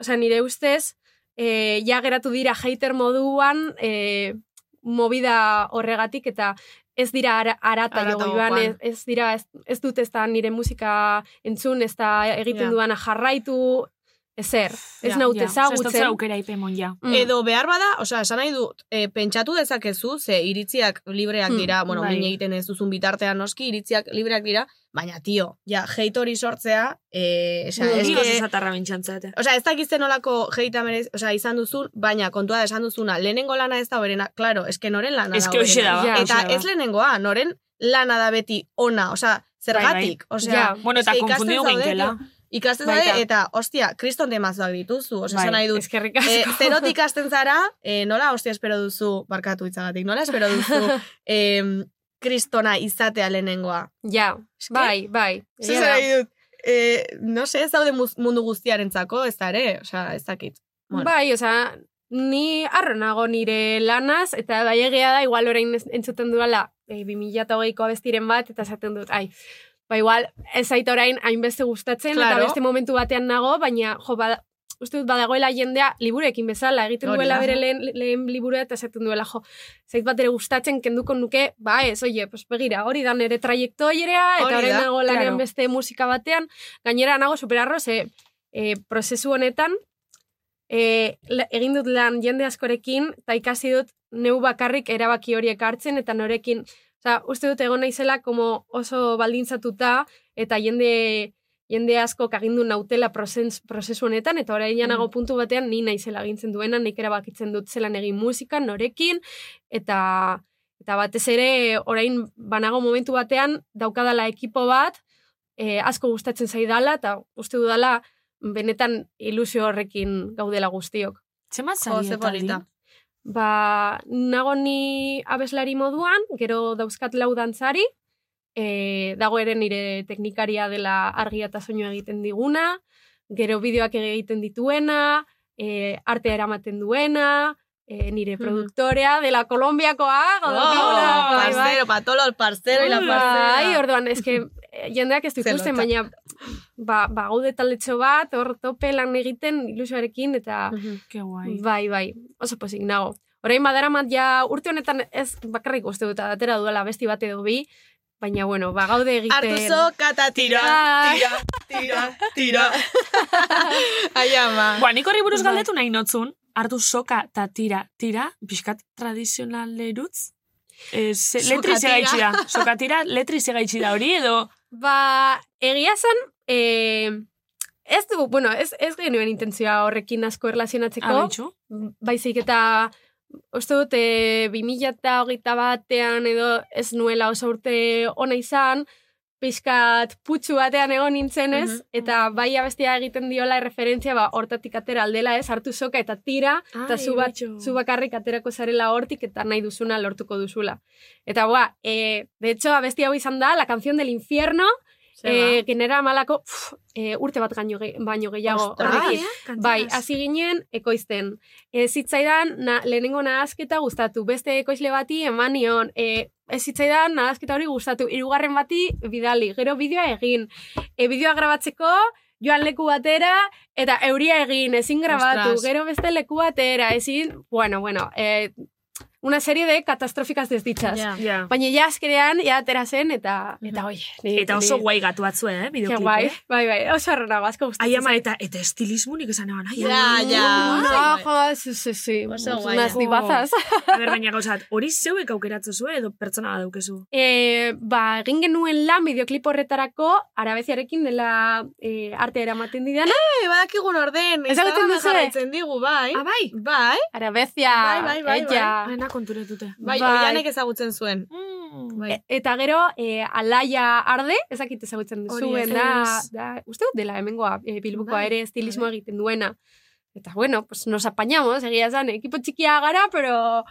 oza, nire ustez, e, ja geratu dira hater moduan, e, movida horregatik, eta ez dira ara, arata
Haratago
jogo joan,
joan.
ez, ez dira, ez, ez dut ez da nire musika entzun, ez da egiten
Ja.
duana jarraitu, ezer, ez
Ja,
naut
Ja, osea, ez dut
ezagutzen.
aukera ipemon, ja.
Mm.
Edo behar bada, osea, esan nahi dut, e, pentsatu dezakezu, ze iritziak libreak
Hmm,
dira, bueno,
bai.
min egiten ez duzun bitartean noski, iritziak libreak dira, baina tio, ja, hate hori sortzea, e, osea,
Ni
eske-
goz ezatarra bintxantzat.
Osea, ez dakizte nolako jeita merez, osea, izan duzun, baina kontua da esan duzuna, lehenengo lana ez da berena, claro, eske noren lana
Ez
da
que hoxe
berena.
da, ba,
Ja,
hoxe
Eta
da, ba.
ez lehenengoa, noren lana da beti ona, osea,
bai.
zergatik,
bai.
osea,
Ja.
Bueno, eta
eske ikasten
konfundido
zaudete,
gainkela.
ikasten
Baita.
zaude, eta, ostia, kriston temazoak dituzu, osea,
Bai,
esan nahi dut,
eskerrik asko.
E, zerotik hasten zara, e, nola ostia espero duzu, barkatu itzagatik, nola espero duzu em, kristona izatea lehenengoa.
Ja, bai, bai.
Zer
egia
zer
da.
nahi dut, e, no se, ez daude muz- mundu guztiarentzako, ez da ere, osea, ez dakit. Bueno.
Bai, osea, ni arro nago nire lanaz, eta bai egia da, igual orain ez- entzuten dudala, e, 2008ko abestiren bat, eta esaten dut, ai, ba igual, ez zait orain hainbeste gustatzen,
Claro.
eta beste momentu batean nago, baina, jo, bada, uste dut badagoela jendea liburekin bezala, egiten
Hori
duela
da.
bere lehen, lehen liburua eta esaten duela, jo, zait bat ere gustatzen kenduko nuke, ba ez, oie, pues begira, hori da nere trajektoierea,
Hori
eta orain
da,
nago lanean
claro.
beste musika batean, gainera nago superarro, ze e, prozesu honetan, e, la- egin dut lan jende askorekin, eta ikasi dut neu bakarrik erabaki horiek hartzen, eta norekin, oza, uste dut egon naizela como oso baldintzatuta, eta jende jende asko kagindu nautela prozes, prozesu honetan, eta orain ja nago puntu batean ni naizela agintzen duena, nik erabakitzen dut zelan egin musika, norekin, eta eta batez ere orain banago momentu batean daukadala ekipo bat, e, asko gustatzen zaidala, eta uste dudala benetan ilusio horrekin gaudela guztiok.
Zema
Jo, ze polita.
Ba, nago ni abeslari moduan, gero dauzkat lau dantzari, e, dago ere nire teknikaria dela argia eta soinua egiten diguna, gero bideoak egiten dituena, e, artea eramaten duena, e, nire
Mhm.
produktorea dela Kolombiakoa,
Oh,
badaukagula, bai, bai.
parcero, patolo, el parcero y la parcera.
Bai, orduan, eske eh, jendeak ez du ikusten,
Zelota.
baina ba, ba gaude taldetxo bat, hor tope lan egiten ilusioarekin, eta
Mhm.
Ke guai.
bai, bai, oso pozik nago. Orain badaramat ja urte honetan ez bakarrik uste dut atera duela besti bat edo bi, baina bueno, ba gaude egiten.
Hartu zokata tira,
Bai.
tira, tira, tira. Ai, ama.
Ba, nik horri buruz
Bai.
galdetu nahi notzun, hartu soka ta tira, tira, pixkat tradizionalerutz, eh, ze-
Soka
letri
tira.
segaitxi da. Soka tira, letri segaitxi da hori, edo
Ba, egia zan, eh, ez du, bueno, ez, ez genuen intentzioa horrekin asko erlazionatzeko.
abitxu.
baizik eta uste dut e, 2008 batean edo ez nuela oso urte ona izan, pixkat putxu batean egon nintzenez,
Mhm.
eta bai abestia egiten diola referentzia ba, hortatik atera aldela ez, hartu soka eta tira, eta zu, bat,
bitxu.
zu bakarrik aterako zarela hortik eta nahi duzuna lortuko duzula. Eta boa, e, de hecho, abesti hau izan da, la canción del infierno,
Eh,
e, genera malako pf, eh, urte bat gaino, ge- baino gehiago.
Ostras.
horrekin.
Bai,
Bai, hasi ginen ekoizten. Ez zitzaidan na, lehenengo nahasketa gustatu, beste ekoizle bati eman nion. E, ez zitzaidan nahasketa hori gustatu, hirugarren bati bidali, gero bideoa egin. E, bideoa grabatzeko joan leku batera eta euria egin, ezin grabatu,
Ostras.
gero beste leku batera, ezin, bueno, bueno, e, una serie de catastróficas desdichas.
Ja.
Ja.
Baina ja azkerean, ja atera zen, eta, eta oie. niri-
Eta oso
niri-
guai gatu batzu, eh,
Ke
bideoklipe.
guai, bai, bai, oso arronago, asko gustatzen
Ai ama, eta, eta estilismunik esan eban, ai ama.
Ja, ja.
No, jo, sí, sí, sí.
Oso guai.
Unas divazas.
A ber, baina gauzat, hori zeuek aukeratzu zu, edo pertsona bat daukezu.
Eh, ba, egin genuen lan bideoklip horretarako arabeziarekin dela eh, arte eramaten didana.
Bai, badakigun orden.
Ezagutzen
Instagrama
duzue?
jarraitzen digu, bai.
Ah, bai?
Bai,
Arabezia.
Bai, bai, bai,
Ah,
ella.
Baina konturetute.
bai,
Bai.
oianek ezagutzen zuen.
Mm.
Bai.
E- Eta gero, eh, alaia arde, ezakit ezagutzen
Hori ez.
duzuen, da, da, uste dut dela hemengoa, eh, bilbukoa
Bai.
ere estilismo egiten duena. Eta bueno, pues nos apañamos, egia esan, ekipo txikia gara, pero,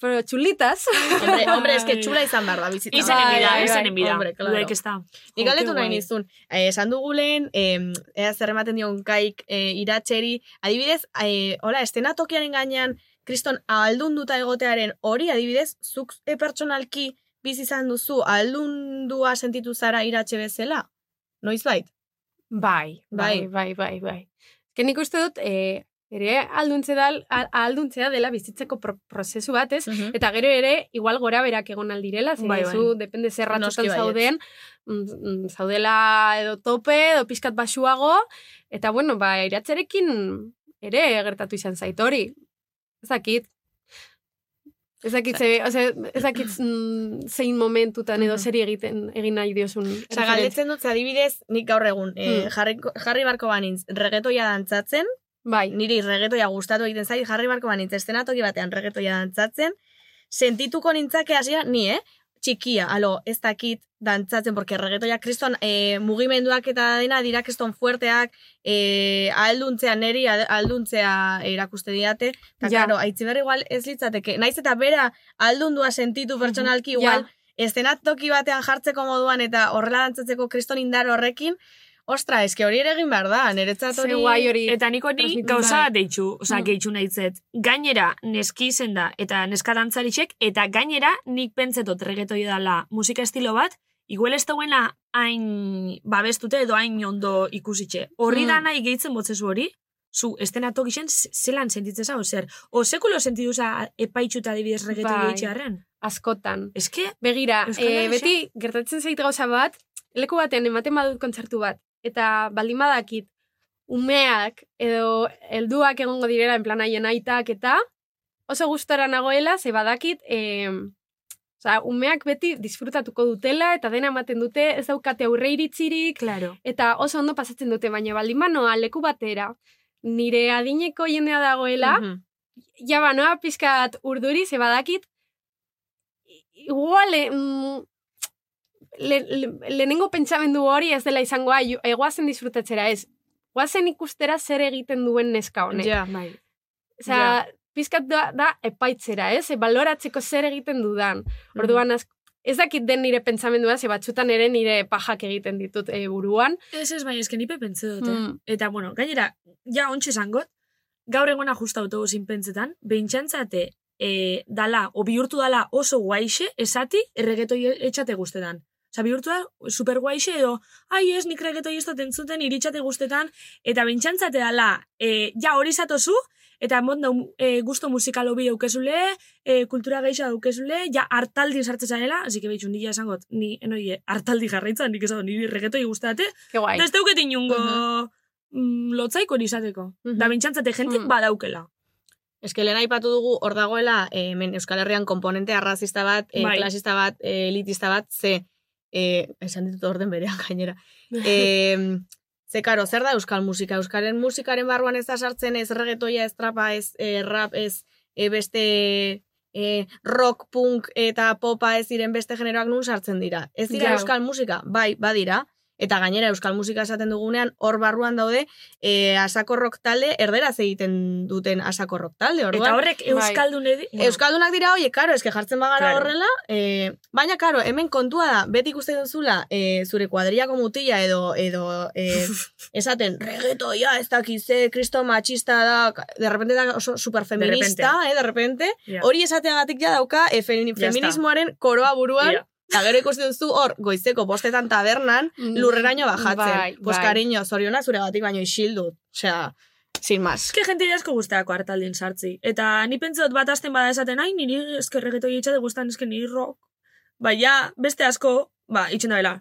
pero chulitas.
Hombre, hombre, es que txula Bai. izan behar da bizitza.
Izanen
Bai,
bida,
bai,
izanen bida.
Hombre, claro.
Dudarik ez da.
Nik galdetu
Jo,
nahi
guai.
nizun, eh, esan dugu lehen, eh, ea zer ematen dion kaik eh, iratxeri, adibidez, eh, hola, estenatokiaren gainean, kriston ahaldunduta egotearen hori, adibidez, zuk eh, pertsonalki bizi izan duzu, ahaldundua sentitu zara iratxe bezala? Noizbait?
Bai, bai, bai, bai, bai. Que nik uste dut, eh, ere alduntze da, a- ahalduntzea dela bizitzeko pro- prozesu bat, ez? Eta gero ere, igual gora berak egon aldirela, zen
Bai, bai.
zu, depende zer ratzotan
Noski baietz.
zauden, mm, mm, zaudela edo tope, edo pixkat basuago, eta bueno, ba, iratzerekin ere gertatu izan zait hori. Ez dakit. Ez dakit, ze, ose, ez dakit mm, zein momentutan edo
Mhm.
zer egiten egin nahi diozun.
Osa, galdetzen dut, ze adibidez, nik gaur egun, eh,
Hmm.
jarri, jarri barko banintz, regetoia dantzatzen,
Bai.
niri regetoia gustatu egiten zait, jarri barko banintz, estenatoki batean regetoia dantzatzen, sentituko nintzake hasia ni, eh? Txikia, alo, ez dakit dantzatzen, porque regetoia kriston eh, mugimenduak eta dena dira kriston fuerteak, eh, alduntzea neri, alduntzea erakuste didate, eta
Ja.
claro, aitziber igual ez litzateke, naiz eta bera aldundua sentitu pertsonalki
Mhm. Ja.
igual, estenat toki batean jartzeko moduan eta horrela dantzatzeko kriston indar horrekin, ostra, eske hori ere egin behar da, niretzat
Ze
hori...
guai hori.
Eta niko ni
Transmititu
gauza
bai.
deitxu, oza,
Mm.
gehitxu nahi zet. Gainera, neski izen da, eta neska dantzarixek, eta gainera, nik pentsetot regetoi dala musika estilo bat, igual ez dauena hain babestute edo hain ondo ikusitxe. Horri
Mm.
da nahi gehitzen botzezu hori, zu estenatu gixen ze- zelan sentitzen zau, zer. O sekulo sentiduza epaitxuta adibidez regetoi
Bai.
bai. gehitxearen.
askotan.
Eske,
Begira,
Euskal
e,
Herrian-
beti gertatzen zait gauza bat, leku batean ematen badut kontzertu bat, eta baldin badakit umeak edo helduak egongo direla en plan haien aitak eta oso gustora nagoela, ze badakit e, oza, umeak beti disfrutatuko dutela eta dena ematen dute, ez daukate aurre iritzirik,
claro.
eta oso ondo pasatzen dute, baina baldin banoa leku batera, nire adineko jendea dagoela,
Mhm.
ja ba, noa pizkat urduri, ze badakit, i- igual, eh, mm, le, le, lehenengo pentsamendu hori ez dela izango, ai, egoazen disfrutatzera ez, guazen ikustera zer egiten duen neska honek.
Ja.
Bai.
Osea, pizkat da, da epaitzera, ez? E, baloratzeko zer egiten dudan.
Mm-hmm.
Orduan, az, ez dakit den nire pentsamendua, ze batzutan ere nire pajak egiten ditut eh, buruan.
Ez ez, baina eske nipe pentsetot, eh?
Mm.
Eta, bueno, gainera, ja ontsi esangot, gaur egona justa autobusin pentsetan, behintxantzate, e, dala, o bihurtu dala oso guaixe, esati, erregetoi etxate guztetan. Osa, bihurtu da, super guaixe edo, ai ez, nik regetoi ez dut entzuten, iritxate guztetan, eta behintxantzate dala, e, ja hori zatozu, eta monda e, gusto musikal hobi daukezule, e, kultura geixa daukezule, ja hartaldi sartzen zarela, hasi que behitxun, nila esangot, ni, enoi, hartaldi jarraitzen, nik esan, niri regetoi guztate,
Ke guai.
Eta ez dauket inungo mm, lotzaiko hori izateko.
Mhm.
Da bintxantzate jentik
Mhm.
badaukela.
Eske lehen aipatu dugu hor dagoela eh, hemen Euskal Herrian komponente arrazista bat, eh,
Bai.
klasista bat, eh, elitista bat, ze eh, esan ditut orden berean gainera. Eh, ze karo, zer da euskal musika? Euskaren musikaren barruan ez da sartzen ez regetoia, ez trapa, ez eh, rap, ez eh, beste eh, rock, punk eta popa ez diren beste generoak nun sartzen dira. Ez dira
Ja.
euskal musika? Bai, badira. Eta gainera euskal musika esaten dugunean hor barruan daude e, asakorrok talde erderaz egiten duten asakorrok talde. Orduan,
Eta horrek
bai.
euskaldun edi...
Bueno. Euskaldunak dira hoi, karo, eske jartzen bagara
Claro.
horrela, eh, baina karo, hemen kontua da, beti ikusten duzula, eh, zure kuadriako mutila edo, edo eh, esaten, regeto, ja, ez dakize, kristo machista da, ka- de repente da oso superfeminista, de eh, de repente,
Ja.
hori esateagatik ja dauka eh, femi-
está.
feminismoaren koroa buruan,
Ja.
Eta gero ikusten duzu hor, goizeko bostetan tabernan,
Mm.
lurreraino bajatzen.
Bai,
pues
bai.
cariño, zoriona zuregatik baino isildut. Osea, sin más.
Eske jente asko guztako hartaldin sartzi. Eta ni pentsatot bat hasten bada esaten, ai, niri eske regeto itxate gustan eske niri rock. Ba, ja, beste asko, ba, itxen da bela.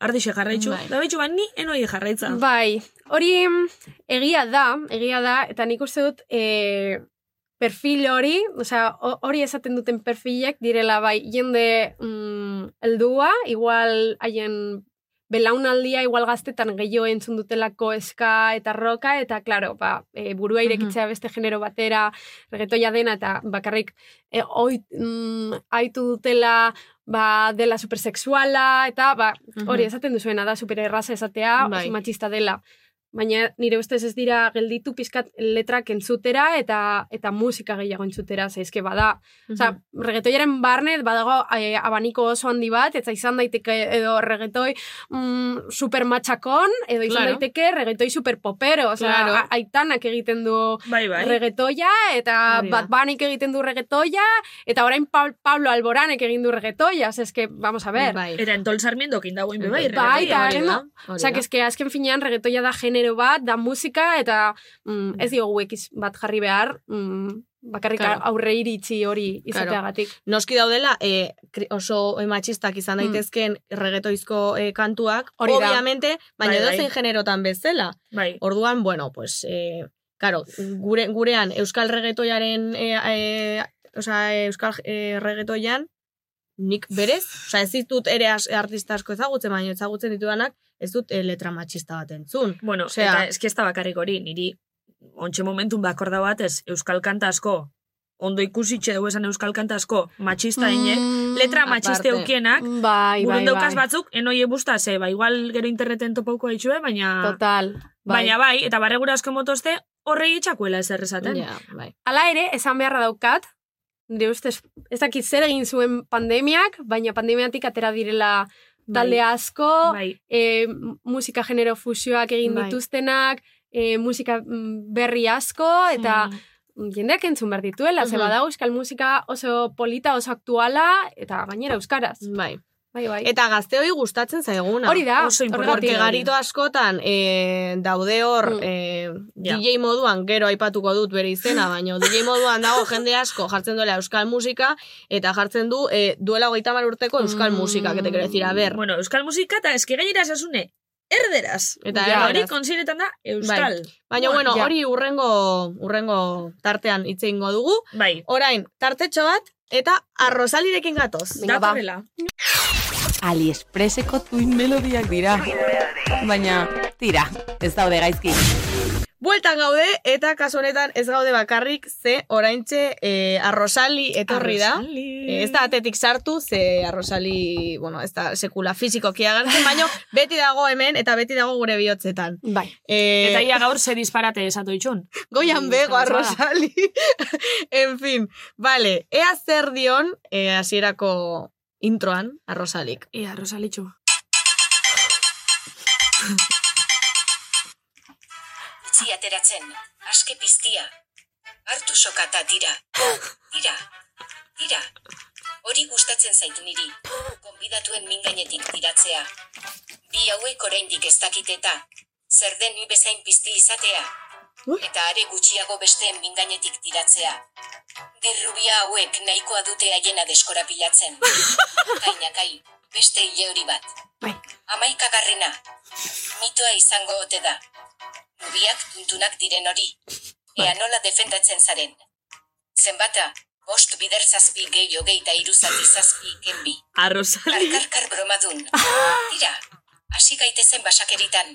Ardixe jarraitxu.
Bai.
Da behitxu, ba, ni enoi jarraitza.
Mm,
Bai, hori mm, egia da, egia da, eta nik uste dut e, perfil hori, osea, ho- hori esaten duten perfilek direla bai jende mm, heldua, igual haien belaunaldia igual gaztetan gehiago entzun dutelako eska eta roka, eta claro, ba, e, burua irekitzea beste genero batera, regetoia dena, eta bakarrik e, oit, mm, aitu dutela ba, dela supersexuala, eta ba, hori esaten duzuena da supererraza esatea,
Mhm. Bai.
oso matxista dela. baina nire ustez ez dira gelditu pizkat letrak entzutera eta eta musika gehiago entzutera, ze eske bada, Osa,
Mhm.
regetoiaren barne badago eh, abaniko oso handi bat, eta izan daiteke edo regetoi mm, super matxakon, edo izan
Claro.
daiteke regetoi super popero. Osa,
Claro.
a- aitanak egiten du
Bai, bai.
regetoia, eta
Hori da.
bat banik egiten du regetoia, eta orain Pau- Pablo Alboranek egin du regetoia. Osa, eske, vamos a ver.
Bai.
Eta entol sarmientokin dagoen be bai,
Bai,
reggaetoia.
eta
Hori da,
no?
hori
Osa,
da.
eske azken finean regetoia da genero bat, da musika, eta mm, ez diogu ekiz bat jarri behar, mm, bakarrik
Claro.
aurre iritzi hori izateagatik.
Noski daudela eh, kri- oso eh, matxistak
Mm.
izan daitezken reggaetoizko eh, kantuak,
Hori da.
obviamente, baina
Bai, bai.
edozein generotan bezala.
Bai.
Orduan, bueno, pues, eh, claro, gure, gurean euskal reggaetoiaren, eh, eh, osea, euskal eh, reggaetoian, nik berez, osea, ez ditut ere as- artista asko ezagutzen, baina ezagutzen ditudanak, ez dut eh, letra matxista bat entzun.
Bueno,
Osea-
eta eski ez da bakarrik hori, niri ontxe momentun bakorda batez euskal kanta asko, ondo ikusitxe dugu esan euskal kanta asko, matxista inek, letra matxiste
aparte.
eukienak,
Mm, Bai, bai,
burun daukaz
bai.
batzuk, enoi ebusta ze, ba, igual gero interneten topauko ditxue, baina...
Total. Bai.
Baina bai, eta barregura asko motozte, horre itxakuela ez errezaten.
Ja, bai.
Hala ere, esan beharra daukat, nire ustez, ez dakit zer egin zuen pandemiak, baina pandemiatik atera direla talde asko,
Bai,
eh, musika genero fusioak egin
Bai.
dituztenak, eh, musika mm, berri asko, eta jendeak entzun behar dituela, ze
Mhm.
badago euskal musika oso polita, oso aktuala, eta gainera euskaraz.
Bai.
Bai, bai.
Eta gazteoi gustatzen zaiguna.
Hori da,
oso importante.
horregatik.
Porque garito askotan eh, daude hor
Mm.
eh,
Ja.
DJ moduan, gero aipatuko dut bere izena, baina DJ moduan dago jende asko jartzen duela euskal musika eta jartzen du eh, duela hogeita hamar urteko euskal
Mm.
musika, que te quiero decir, a ber.
bueno, euskal musika eta eski gainera esasune, erderaz.
Eta
Ja, hori
erderaz.
konsideretan da euskal.
Baina, bueno,
ja.
hori urrengo, urrengo tartean hitz egingo dugu.
Bai,
Orain, tartetxo bat eta arrozalirekin gatoz.
Venga, ba.
datorrela.
Aliexpreseko tuin melodiak dira. Baina, tira, ez daude gaizki.
Bueltan gaude eta kasu honetan ez gaude bakarrik ze oraintxe eh, arrozali etorri da. Eh, Ez da atetik sartu, ze arrozali, bueno, ez da sekula fizikoki agertzen, baino beti dago hemen eta beti dago gure bihotzetan.
Bai.
Eh,
Eta mm, ia gaur ze disparate esatu itxun.
goian bego
Zalantza da.
arrozali. en fin, vale, ea zer dion eh, hasierako introan arrozalik.
Ia, Rosalitxu.
Utzi ateratzen, aske piztia. Hartu sokata tira. Tira. Tira. Hori gustatzen zait niri. Konbidatuen mingainetik tiratzea. Bi hauek oraindik ez dakiteta. Zer den ni bezain pizti izatea. Eta are gutxiago besteen mingainetik tiratzea. Dirrubia hauek nahikoa dute haiena deskorapilatzen. Kainakai, beste hile hori bat.
Bai.
Amaikagarrena. Mitoa izango ote da. Biak tuntunak diren hori. Ea nola defendatzen zaren. Zenbata, bost bider zazpi gehi hogeita iruzati zazpi kenbi.
Arrozali.
Karkarkar bromadun. Tira, hasi gaitezen basakeritan.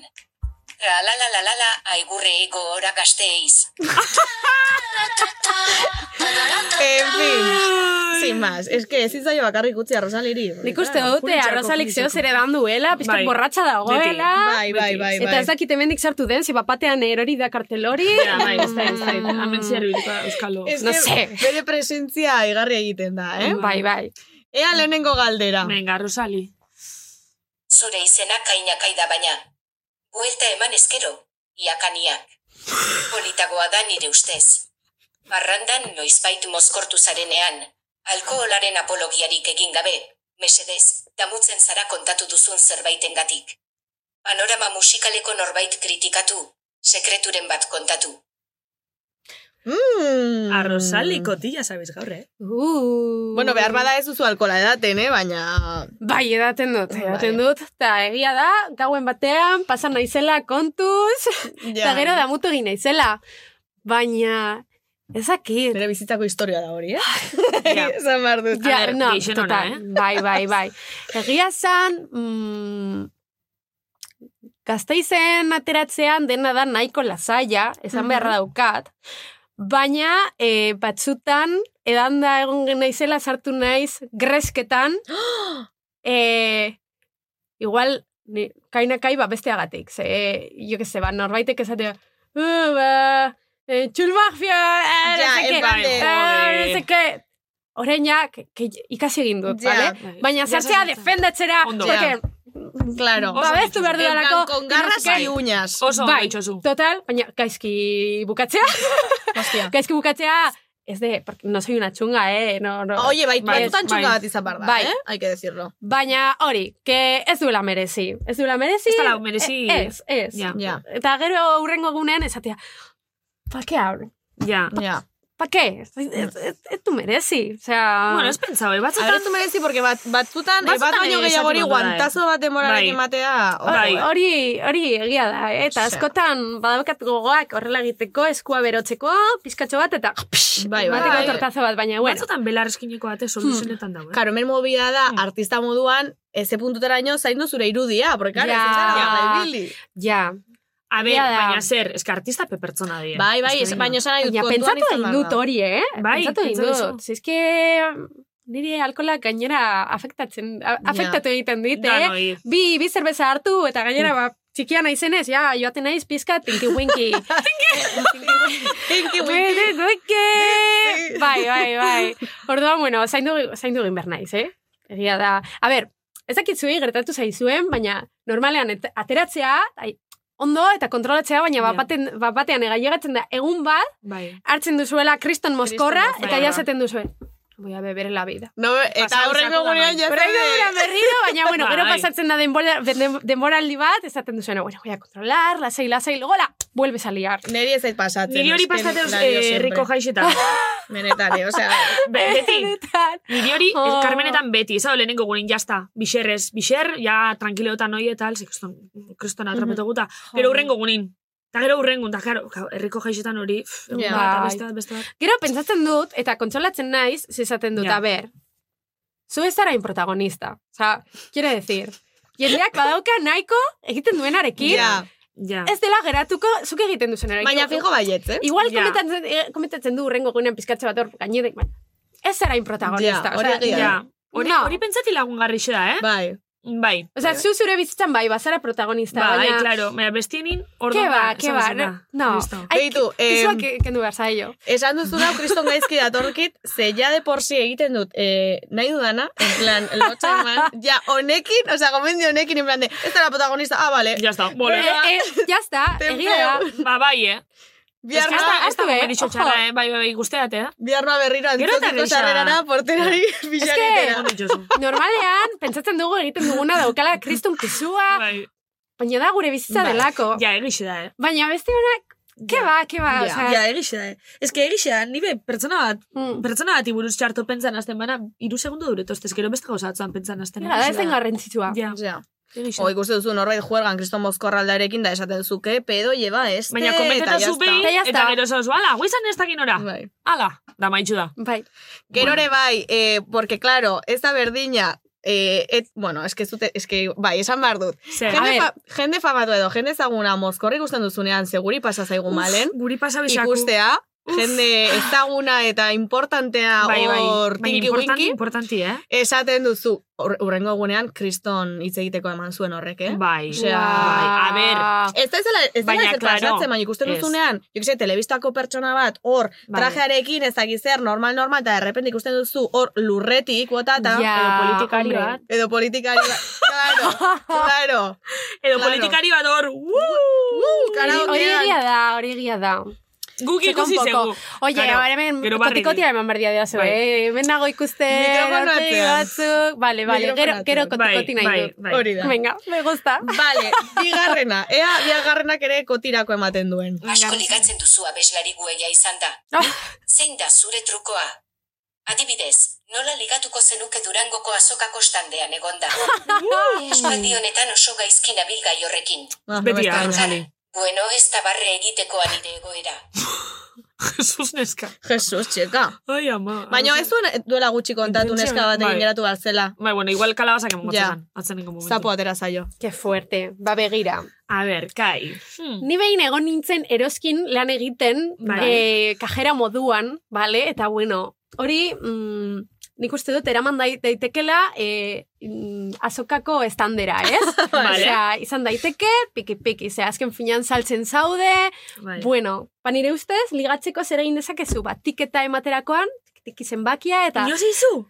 Ra la la la la la aigurre ego ora gazteiz.
En fin, sin más, es que ez zaio bakarrik utzi arrosaliri.
Nik uste eh, dute,
puritxako,
arrozalik zeo
puritxako.
zer edan duela, pizkat
Bai.
borratxa dagoela.
Bai, bai, bai, bai.
ah. Eta ez dakit hemendik sartu den, ze bapatean erori da Mm. kartelori.
Ja, bai, ez da, ez da.
Mm.
Hemen zer euskalo.
Es
No
que
sé.
Bere presentzia igarri egiten da, eh?
Bai, bai.
Ea lehenengo galdera.
Venga, Rosali.
Zure izena kainakai da baina. Buelta eman ezkero, iakaniak. Politagoa da nire ustez. Barrandan noizbait mozkortu zarenean, alkoholaren apologiarik egin gabe, mesedez, damutzen zara kontatu duzun zerbaitengatik. Panorama musikaleko norbait kritikatu, sekreturen bat kontatu.
Mm.
Arrozali kotilla, sabes, gaur, eh?
Uh.
Bueno, behar bada ez duzu alkola edaten, eh? Baina...
Bai, edaten dut, edaten
Bai.
dut. Eta egia da, gauen batean, pasan naizela kontuz, eta
Ja.
gero damutu egin naizela. Baina, ezakit.
Bere bizitzako historia da hori, eh?
Ja.
Esan behar dut.
Ja,
A ber,
no,
gehixen ona,
total.
eh?
Bai, bai, bai. Egia zan, mm, gazteizen ateratzean dena da nahiko lasaia, esan beharra daukat. Baina, eh, batzutan, edan da egon naizela sartu naiz gresketan. eh, igual, ni, kainakai ba besteagatik. Ze, jo que ze, ba, norbaitek esatea, uh, ba, eh, txulmafia, eh,
Ja,
no sé
en
qué,
plan de,
eh, no
joder.
sé qué. Orain ja, ke- ke- ikasi egin dut,
Ja.
bale? Baina
Bai, Ja,
sartzea
sartzen.
defendatzera,
Ondo.
porque
Claro.
Babestu behar
En plan,
dudalako.
con garras
Bai.
y uñas.
Oso ondo itxozu. Total, baina gaizki bukatzea. gaizki bukatzea, ez de, porque no soy una chunga, eh? No, no.
Oye, bai,
Bai,
batzutan
bai.
txunga bat izan behar da,
Bai.
eh? Hay que decirlo.
Baina hori, que ez duela merezi. Ez duela merezi.
Ez dela merezi.
e- Ez, ez.
Ja. Ja.
Eta gero hurrengo egunean esatea, pa ke hablo?
Ja.
Ja.
Pa ke? Ez, ez, ez, ez du merezi. Osea...
Bueno, ez pentsau, eh, batzutan-
A ver, ez du merezi, porque bat, batzutan, eh, bat
Batzutan
baino
ere
gehiagori
esatu ondo da, eh.
guantazo bat demorarekin
Bai.
matea. ojo,
Hori,
eh.
hori, hori egia da, eh? eta
Zer.
askotan badaukat gogoak horrela egiteko, eskua berotzeko, pizkatxo bat, eta psh,
Bai, bai.
mateko
Bai.
tortazo bat, baina, bueno.
Batzutan belar eskineko ate soluzenetan dago, eh?
Karo, men movida da, artista moduan, eze puntuteraino zaindu zure irudia, porque karo,
Ja.
ez zara
Ja.
bat ibili.
Ja.
A ber,
Egia da.
baina zer, eska artista pe pertsona die.
Bai, bai,
Eske,
ez- baina esan nahi dut,
Baina,
kontuan
pentsatu
izan
egin
behar
dut
da.
hori, eh?
Bai,
pentsatu egin
pentsatu
dut. Zizke, nire alkolak gainera afektatzen, a- afektatu egiten dit,
Danoi.
eh? Bi, bi zerbeza hartu, eta gainera,
Hmm.
ba, txikia naizenez, ja, joaten naiz pizka tinki-winki.
Tinki-winki.
Tinki-winki. Bai, bai, bai. Orduan, bueno, zaindu, zaindu egin behar naiz, eh? Egia da. A ber, ez dakit zuei gertatu zaizuen, baina normalean et- ateratzea, ai, ondo eta kontrolatzea, baina bat baten- bat batean ega llegatzen da egun bat,
Bai.
hartzen duzuela kriston mozkorra,
Kriston mozkorra.
eta ja zaten duzuen. Voy a beber en la vida.
No, eta horrengo gunean jazte.
Horrengo gunean berriro, baina, bueno, gero
Bai.
pasatzen da denbora, den- denboraldi bat, ezaten duzuen, bueno, voy a controlar, lasai, lasai, luego la, vuelves a liar.
Neri ez zait pasatzen.
Niri hori
es que
pasatzen,
la dio
eh,
siempre.
herriko
jaixetan.
Benetan, eh, osea,
Beti. Niri hori,
Oh.
Carmenetan beti, ez lehenengo gurein jazta, bixerrez, bixer, ja, tranquileotan noi eta, ze kriston, kriston atrapeto guta, gero urrengo gunin. Eta gero urrengo, eta karo, ka- herriko jaixetan hori, pff, egun
Ja.
bat, eta
Bai.
beste bat, beste bat.
Gero pentsatzen dut, eta kontsolatzen naiz, zezaten dut,
Ja.
a ber, zu ez zara protagonista. Osa, quiere decir, jendeak badauka nahiko egiten duenarekin,
Ja.
Ja.
ez dela geratuko, zuk egiten duzenarekin.
Baina fijo baietz, eh?
Igual
Ja.
komentatzen, eh, komentatzen du urrengo gunean pizkatxe bat hor gainerek, baina ez zara
Ja,
protagonista.
hori egia da. Ja. Hori- hori
pentsati
lagungarri da, eh?
Bai.
Bai.
Osa, zu zure bizitzan bai, bazara protagonista.
Bai,
baina...
claro, baina bestienin,
Ke
orduan
ba,
da,
ke
esan
ba,
bezala.
no.
Listo.
Ai,
Beitu,
ke- kizua
em,
ke- kendu behar zaio.
Esan duzun hau, kriston gaizki datorkit, ze ja de por si egiten dut eh, nahi dudana, en plan, lotxa eman, ja honekin, osea, gomendio honekin, en plan de, ez da la protagonista, ah, vale.
Ya está, bole.
Eh, eh, ya está, egia da.
Ba, bai, eh? Ba,
Bihar
Eske
noa-
hasta- hasta
Astu, eh,
gomendixo
ojo.
txarra, eh? Bai, bai, bai, guzteat, eh?
Bihar noa berriro
Gero eta
antzokiko
gisa.
sarrerara, porterari,
Es
bilaketera.
que, normalean, pentsatzen dugu egiten duguna daukala kriston kisua, baina da gure bizitza
Bai.
delako.
Ja, egixe da, eh?
Baina beste honak, ke ba, ke ba,
Ja,
osea,
ja egixe da. eh. Ez que egixe da, nire pertsona bat,
mm.
pertsona bati buruz txarto pentsan azten bana, iru segundu dure tostez, gero beste gauzatzen pentsan azten.
Ja, da, ez den garrantzitsua.
Ja.
Ja.
Egixe.
O ikusi duzu norbait juergan kriston mozkorraldarekin da esaten zuke, pedo lleva este,
Baina komenteta zu behin, eta gero zauz, ala, guizan ez dakin ora.
Ba.
Bai.
Ala, da maitxu da.
Bai.
Gero ere bai, eh, porque claro, ez da berdina, eh, et, bueno, eske zute, eske, bai, esan behar dut.
Zer? Eh, A
jende,
ver.
fa, jende famatu edo, jende ezaguna mozkorri ikusten duzunean, seguri pasa zaigu
Uf,
malen.
Guri pasa bisaku.
Ikustea, jende ezaguna eta importantea
Bai, bai.
hor
Baina importante, importanti, eh?
Esaten duzu, hor- hurrengo gunean, kriston hitz egiteko eman zuen horrek, eh?
Bai,
Osea,
bai, a ber.
Ez da ezela, ez da
Baina,
ezer
claro,
pasatzen, baina ikusten
ez.
duzunean, jo que se, telebistako pertsona bat, hor,
Bai.
trajearekin ezagiz zer, normal, normal, eta derrepente ikusten duzu, hor, lurretik, botata,
Ja,
edo politikari
hombre.
bat. Edo politikari bat, claro, claro.
Edo
Claro.
politikari bat hor, wuuu!
Hori- hori
karaokean.
egia da, hori egia da.
Guk
Seko
ikusi
un poco.
zegu.
Oie,
Claro,
claro, hemen
gero barregi.
kotikotia eman berdia dira zu,
Bai.
eh? Hemen nago ikuste,
Mikrofono atzean.
batzuk, vale, vale, gero,
Mikrofono
gero
atzean.
kotikoti nahi
Bai,
dut.
bai, bai. Hori da.
Venga, me gusta.
Vale, bigarrena, ea bigarrenak ere kotirako ematen duen.
Asko ligatzen duzu abeslari gueia izan da. Zein da zure trukoa? Adibidez, nola ligatuko zenuke durangoko azokako standean egonda. Espaldi honetan oso gaizkin abil gai horrekin.
Beti
beste
da,
hau.
Rosali.
Bueno, ez da barre egitekoa nire egoera.
Jesus neska.
Jesus, txeka.
Ai, ama.
Baina ez duen, duela gutxi kontatu
Intentzio-
neska bat
bai.
egin geratu barzela.
Bai, bueno, igual kalabazak emongo
Ja.
zezan, atzeneko momentu.
Zapo atera zaio.
Ke fuerte, ba begira.
A ber, kai.
Ni behin egon nintzen eroskin lan egiten,
Bai.
eh, kajera moduan, bale? Eta bueno, hori mm, nik uste dut eraman dai- daitekela e, mm, azokako estandera, ez?
Vale.
Osea, izan daiteke, piki-piki, ze azken finean saltzen zaude,
Bai.
bueno, ba nire ustez, ligatzeko zer egin dezakezu, ba, tiketa ematerakoan, tiki zenbakia, eta...
Inoz izu?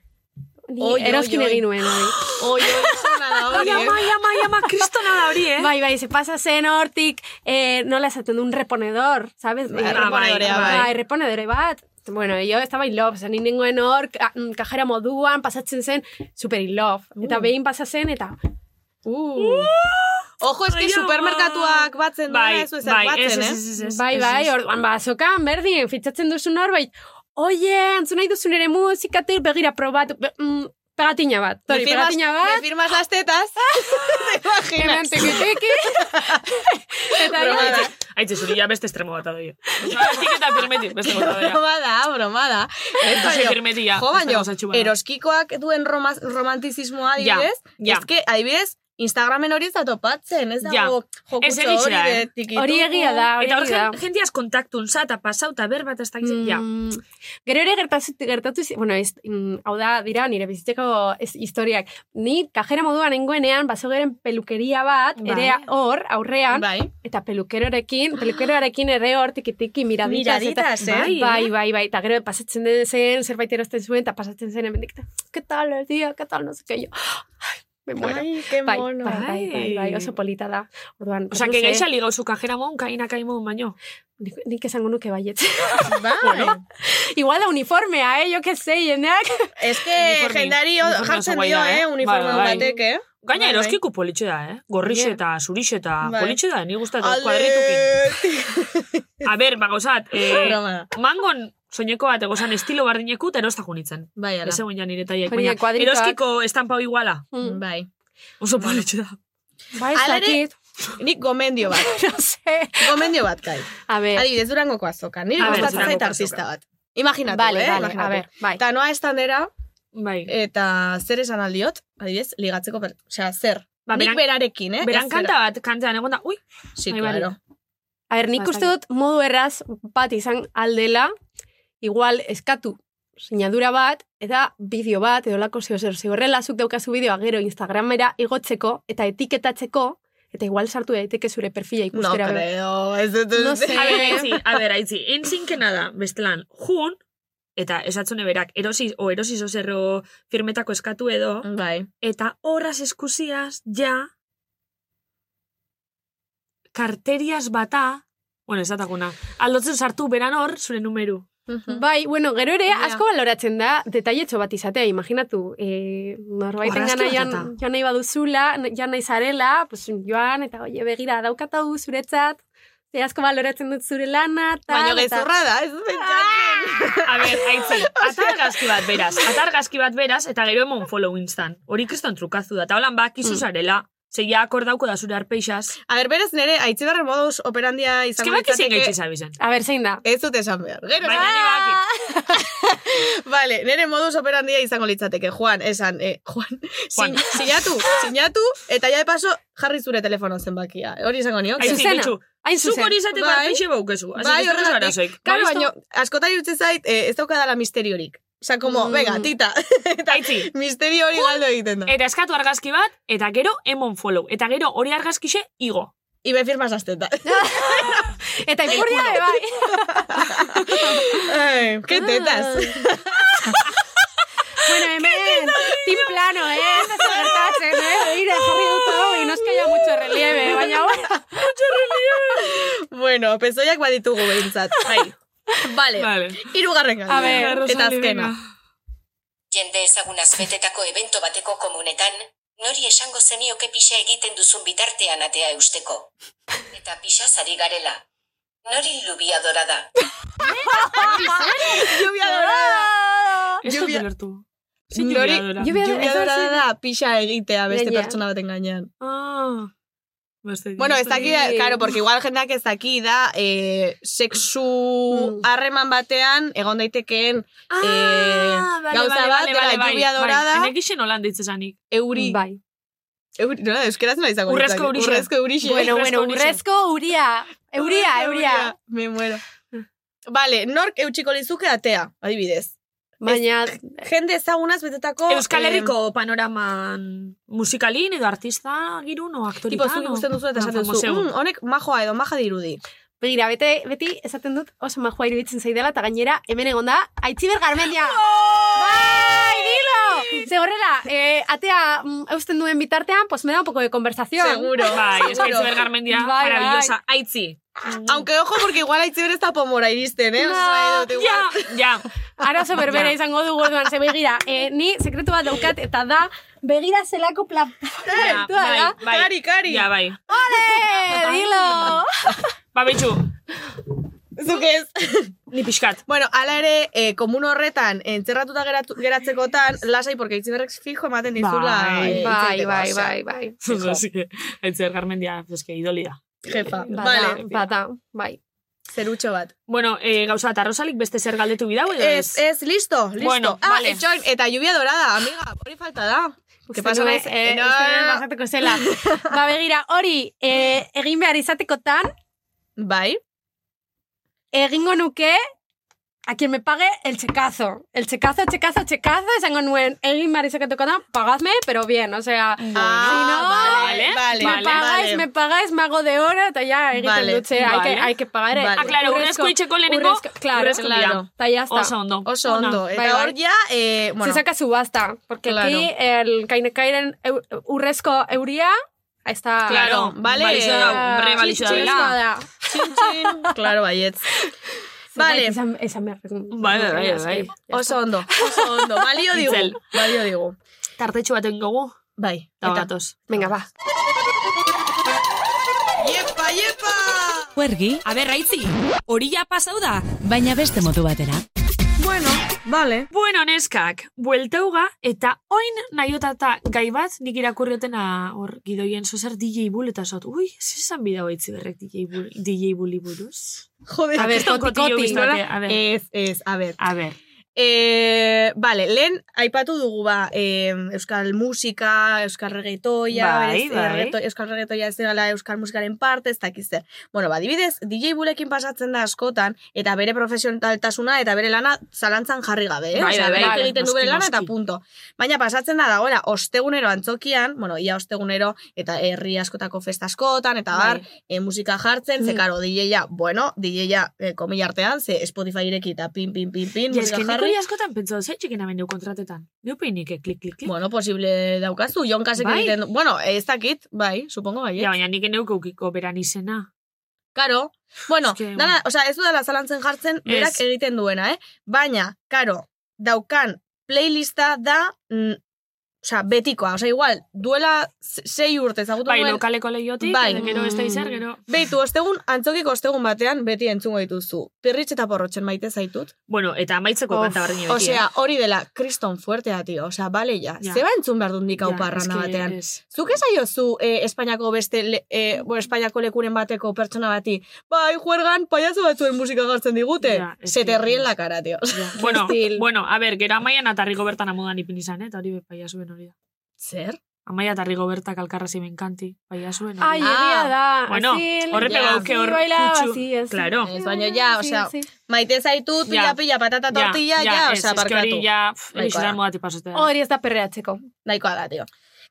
Ni
Oi, oi,
eroskin
oi.
egin nuen, hori.
Oi, oi, zona da hori,
Ai, ama,
eh?
ai, ama, ai, ama, kristona bai, da hori, eh?
Bai, bai, se pasa zen hortik, eh, nola esaten du, un reponedor, ¿sabes?
Bai,
Eh,
reponedorea, bai.
bai, reponedore bat. Bueno, yo estaba in love, zen nengoen hor, ka, mm, kajera moduan, pasatzen zen, super in love. Eta behin pasa zen, eta...
Uh. Ojo,
Ai,
eski
ama.
supermerkatuak batzen duela,
Bai,
ez du ezer
bai, ez,
batzen,
ez,
eh?
ez, ez.
bai,
ez,
bai,
ez.
orduan, ba, sokan, berdin, fitxatzen duzu norbait, oie, entzun nahi duzu nire musikatik, begira probatu, be, mm, pegatina bat,
Me
tori,
firmas,
pegatina bat,
me firmas las tetas. Te
hemen
imaginas.
tiki-tiki. eta
Broma da.
Aitze, zuri ja beste estremo bat adoio. Tik eta firmeti, beste gota doia.
Broma da, broma da. Ez
Beste
baino,
firmeti ja.
Bai, Jo,
beste
baino,
gauzatxu bat.
eroskikoak duen romaz, romantizismoa
Ja,
adibidez,
ja.
eske, adibidez, Instagramen hori ez da topatzen, ez
Ja.
dago
Ez
jokutxo
egia
hori
da, eh?
de tikituku.
Hori egia da, hori
Eta hor,
egia da.
jen- jentiaz kontaktun za, eta pasau, eta berba, eta ez dakiz, ja.
Mm, Gero ere gertatu, gertatu zi- bueno, ez, mm, hau da, dira, nire bizitzeko ez, historiak. Ni kajera moduan nengoenean, bazegoeren pelukeria bat,
Bai.
ere hor, aurrean,
Bai.
eta pelukerorekin, pelukeroarekin ere hor, tiki-tiki, miraditas.
Miraditas,
eta,
eh?
Bai, bai, bai, eta gero pasatzen den zen, zerbait erosten zuen, eta pasatzen zen, hemen dikta, ¿qué tal el día? ¿Qué tal? No sé qué, yo, "Ay, me muero.
Ai, que
Bai,
mono.
bai, bai, bai, bai, oso polita da. Orduan,
Osa,
ez
que
luze,
gaixa ligauzu kajera mon, kaina kaimon baino.
nik, nik esango nuke baietz.
Bai.
Igual da uniformea, eh, jo que sei, jendeak.
Ez que
Uniforme.
jendari
Uniforme
jartzen
oso guai
dio,
da, eh?
eh, uniforme
Bai, bai.
batek, eh?
Gaina
Bai, bai.
eroskiku politxe da, eh? Gorrixe eta zurixe eta
Bai.
politxe da, ni gustatzen kuadritukin.
Ale!
A ber, bagozat, eh,
Broma da.
mangon soineko bat egozan estilo bardineku eta erosta junitzen.
Bai, ala.
Ez egon ja nire taiak,
Hori da,
baina
kuadritoak.
eroskiko estampau iguala.
Mm.
Bai.
Oso politxe da.
Bai, ez
Hala ere-
dakit.
Nik gomendio bat.
no sé.
Gomendio bat, kai.
A ver,
Adibidez, durangoko azokan. Nire
A ber,
gustatzen zait
Durangoko
artista
azoka.
bat. Imaginatu,
vale,
eh?
vale,
imaginatu.
a ver, bai.
Eta noa estandera,
Bai.
eta zer esan aldiot, adibidez, ligatzeko, per... osea, zer.
Ba,
Nik
beran,
berarekin, eh?
beran
Ez
kanta bat, kantean egon da, ui,
zera. Sí,
Bai, bai.
claro.
A ver, nik
Bai,
Ba, ez
uste dut modu erraz bat izan aldela, igual eskatu sinadura bat, eta bideo bat, edo lako zeo zer, ze horrela zuk daukazu bideoa gero Instagramera igotzeko, eta etiketatzeko, eta igual sartu daiteke zure perfila
No
ikustera. be.
creo, ez dut
No
uste.
sé.
A ber, aitzi, a ber, aitzi, entzinkena da, bestelan, jun, eta esatzune berak, erosi, o erosi zozerro firmetako eskatu edo,
Bai.
eta horraz eskusiaz, ja, karteriaz bata, bueno, ez datakuna, aldotzen sartu beran hor, zure numeru.
Bai, bueno, gero ere,
Ja.
asko baloratzen da, detailetxo bat izatea, imaginatu, e, norbaiten
Orrazki
gana joan,
hortata.
joan nahi baduzula, n- joan nahi zarela, pues, joan, eta oie begira, daukata du zuretzat, ze asko baloratzen dut zure lana, tal,
Baina
eta-
gezurra da, ez dut pentsatzen.
A ber, aitzi, atargazki bat beraz, atargazki bat beraz, eta gero emon follow instan. Hori kriston trukazu da, eta holan bak
Mm.
izu zarela, Segia akordauko da zure arpeixaz.
A ber, berez nere, aitzibarren moduz operandia
Ez que
izango
bak izin
litzateke-
gaitxe zabizen.
A ber, zein da?
Ez dut esan behar. Gero, bai.
Baina ni bakit.
Vale, nere modus operandia izango litzateke, Juan, esan, eh, Juan,
Juan.
Sin, sinatu, sinatu, eta ja de paso, jarri zure telefono zenbakia. Hori izango nioke.
Aitzi,
Zuzena.
bitxu,
Hain
Zuk
zuzen.
hori izateko
Bai.
arpeixe baukezu. Así
Bai,
que ez duzu
horregatik.
arazoik.
Claro,
Baina,
baina askotari utzi zait, eh, ez daukadala misteriorik. Osa, como,
Mm.
venga, tita,
Aitzi,
misterio hori galdo egiten da.
Eta eskatu argazki bat, eta gero emon follow. Eta gero hori argazkixe igo.
Y me firmas las tetas.
Eta ipurdia, be, bai.
Ay, ¿Qué tetas?
Ah. bueno, hemen, tin plano, eh? Ez da gertatzen, eh? Begira, jarri dut hau, y no es que haya mucho relieve, baina, bueno.
bueno, pezoiak baditugu behintzat. Bai. Vale,
Vale.
irugarren
A ver,
galdera. Eta azkena.
Jende ezagunaz betetako evento bateko komunetan, nori esango zenioke pixa egiten duzun bitartean atea eusteko. Eta pixa zari garela. Nori lubia dorada.
Lluvia dorada.
Ez dut
Lluvia-
ulertu. Zein
Nori,
lluvia dora?
Lluvia-
lluvia
ez da
dorada
zer-
da pixa egitea beste
Gainea.
pertsona baten gainean.
Ah. Beste-
Bueno, ez daki,
Sí.
claro, porque igual jendeak ez daki da eh, sexu
Mm.
harreman batean egon daitekeen
Ah,
eh,
vale,
gauza
vale,
bat
vale,
dela
vale, bai,
lluvia
bai.
dorada.
Henek ixen holan deitz esanik.
euri.
Bai.
euri no, euskeraz nola izango
Urrezko
litzake?
eurixe.
Urrezko eurixe.
Bueno,
Urrezko
bueno,
horixe.
urrezko, uria. Euria, Mm.
Urrezko
euria.
Me muero. Vale, nork eutxiko lizuke atea, adibidez.
Baina...
jende ezagunaz betetako... eh,
Euskal Herriko panoraman musikalin edo artista girun o aktoritan.
Tipo, zuk ikusten duzu eta esaten duzu, "Mm, honek majoa edo maja dirudi.
Begira, bete, beti esaten dut oso majoa iruditzen zaidela, eta gainera hemen egon da, aitziber garmendia! Bai, dilo! Ze horrela, eh, atea mm, eusten duen bitartean, pues me da un poco de conversación.
Seguro.
Bai, eskaitzi
Seguro.
bergarmendia,
Bai, bai.
maravillosa. Aitzi.
Aunque ojo, porque igual aitziber ez da pomora iristen, eh? Osa, edo, igual.
Ja, ja.
Arazo berbera
Ja.
izango dugu orduan, ze begira, eh, ni sekretu bat daukat eta da, begira zelako plan...
Ja,
da.
bai, bai.
Kari, kari.
Ja, bai.
Ole, dilo!
Ba, betxu,
bai.
Zuk ez.
ni pixkat.
Bueno, ala ere, eh, komun horretan, entzerratuta geratu, geratzekotan, lasai, porque itziberrek fijo ematen dizula.
Bai,
eh,
Bai,
hitz egiteko,
bai,
osea,
bai, bai.
Así que, Aitzi Garmendia, pues que idolida.
Jefa,
Bada,
vale,
bada, bai.
zerutxo bat.
Bueno, eh, gauza, eta Rosalik beste zer galdetu bidau edo ez?
Ez, ez, listo, listo.
Bueno,
ah,
vale.
etxoin, eta lluvia dorada, amiga, hori falta da.
Uste
¿Qué pasa?
nuen,
naiz-
eh,
no,
uste nuen pasatuko zela. ba, begira, hori, eh, egin behar izatekotan,
Bai,
egingo nuke, a quien me pague el checazo. El checazo, checazo, checazo, esango nuen, egin behar izatekotan, pagadme, pero bien, o sea,
Ah,
si
vale,
no,
Mm. vale,
me
vale,
pagáis,
vale.
me pagáis, me hago de hora, eta ya, egiten
Vale,
dut, ze, hay, que,
vale.
hay que pagar. eh,
Vale.
Ah, claro,
urrezko-
urrezko itxeko lehenengo,
urrezko- claro,
urrezko dira.
claro. Eta ya está.
Oso ondo.
oso
Ona.
ondo.
Bai,
Eta
bai.
hor ja, eh, bueno,
Se saca subasta, porque
Claro.
aquí el kainekairen eu- urrezko euria, ahí está...
Claro,
Vale.
Balizio da, hombre, balizio da
Txintxinezkoa
dela.
da.
txin, txin, claro, baietz. Vale.
Esan, esan behar.
Bai, bai, bai, bai.
Oso ondo, oso ondo. Balio
Itzel.
digu, balio digu.
Tartetxo baten gogu,
Bai,
eta
eta.
gatoz.
Venga, ba.
Iepa, iepa!
Huergi,
Aber, aitzi, hori ja pasau da.
baina beste modu batera.
Bueno, vale.
Bueno, neskak, bueltauga eta oin nahiotata gai bat nik irakurriotena hor gidoien zozer DJ Bull eta zot. Ui, zesan bidao itzi berrek DJ Bull, DJ Bulli buruz.
Jode,
A ber,
koti,
kotillo
koti,
biztate,
nola?
A ber,
Ez, ez, a ber.
a ber.
E, vale, lehen aipatu dugu ba, e, euskal musika, euskal reggaetoia,
Bai,
berez, eh,
bai.
reggaeto- euskal reggaetoia ez dela euskal musikaren parte, ez dakiz zer. Bueno, ba, dibidez, DJ Bulekin pasatzen da askotan, eta bere profesionaltasuna eta bere lana zalantzan jarri gabe, eh?
Bai,
Osea,
bai,
berak
bai,
egiten du
noski,
bere lana eta
noski.
punto. Baina pasatzen da dagoela, ostegunero antzokian, bueno, ia ostegunero, eta herri askotako festa askotan, eta
Bai.
bar, e, musika jartzen,
Mm.
ze karo, DJ-a, bueno, DJ-a, e, komila artean, ze Spotify ireki eta pin, pin, pin, pin,
Ja,
musika
eski niko
jarri.
askotan pentsatu zei txekena mendeu kontratetan. Gio peinik, eh, klik, klik, klik.
Bueno, posible daukazu, jonkasek
Bai.
egiten du. Bueno, ez dakit, bai, supongo bai.
ja, baina nik eneuk eukiko beran izena.
Karo, bueno,
Es que-
dana, o sea, ez dudala zalantzen jartzen, berak
Ez.
egiten duena, eh? Baina, karo, daukan playlista da, mm, o sea, betikoa, o sea, igual, duela se- sei urte ezagutu
Bai,
nuen,
lokaleko lehiotik,
Bai.
eta gero ez da izar, gero...
Beitu, ostegun, antzokiko ostegun batean beti entzungo dituzu. Pirritx eta porrotxen maite zaitut.
Bueno, eta amaitzeko
Of,
kanta barri Bai, beti, eh.
Osea, hori dela, kriston fuertea, tio. Osea, bale ja.
Ja.
Zeba ba entzun behar dut nik hau
Ja,
parranda
eske
batean.
ez.
Zuk esaiozu eh, Espainiako beste, le,
Mm.
eh, bueno, Espainiako lekuren bateko pertsona bati, bai, juergan, paiazo batzuen musika gartzen digute.
Ja, ez
Se te
que-
ríen la cara, tío.
Ja. Bueno, bueno, a ber, gero amaia natarriko bertan amodan ipin izan, eh, eta hori bepaia zuen hori da.
Zer?
Amaia eta Rigo Bertak alkarrasi benkanti, baina zuen. hori.
Ai, egia da.
Ah, bueno,
azil,
horre
ja.
pegauke hor
Sí, bailaba,
kutsu.
sí, así.
Claro.
Ez, baina ja, osea, Maite zaitu, pila,
Ja.
pila, patata tortilla, ja,
ez,
osea,
ez que
barkatu.
hori ja, pff,
Nahikoa
elixeran
da.
modati pasotea.
Hori ez da perreatzeko.
nahikoa da, tio.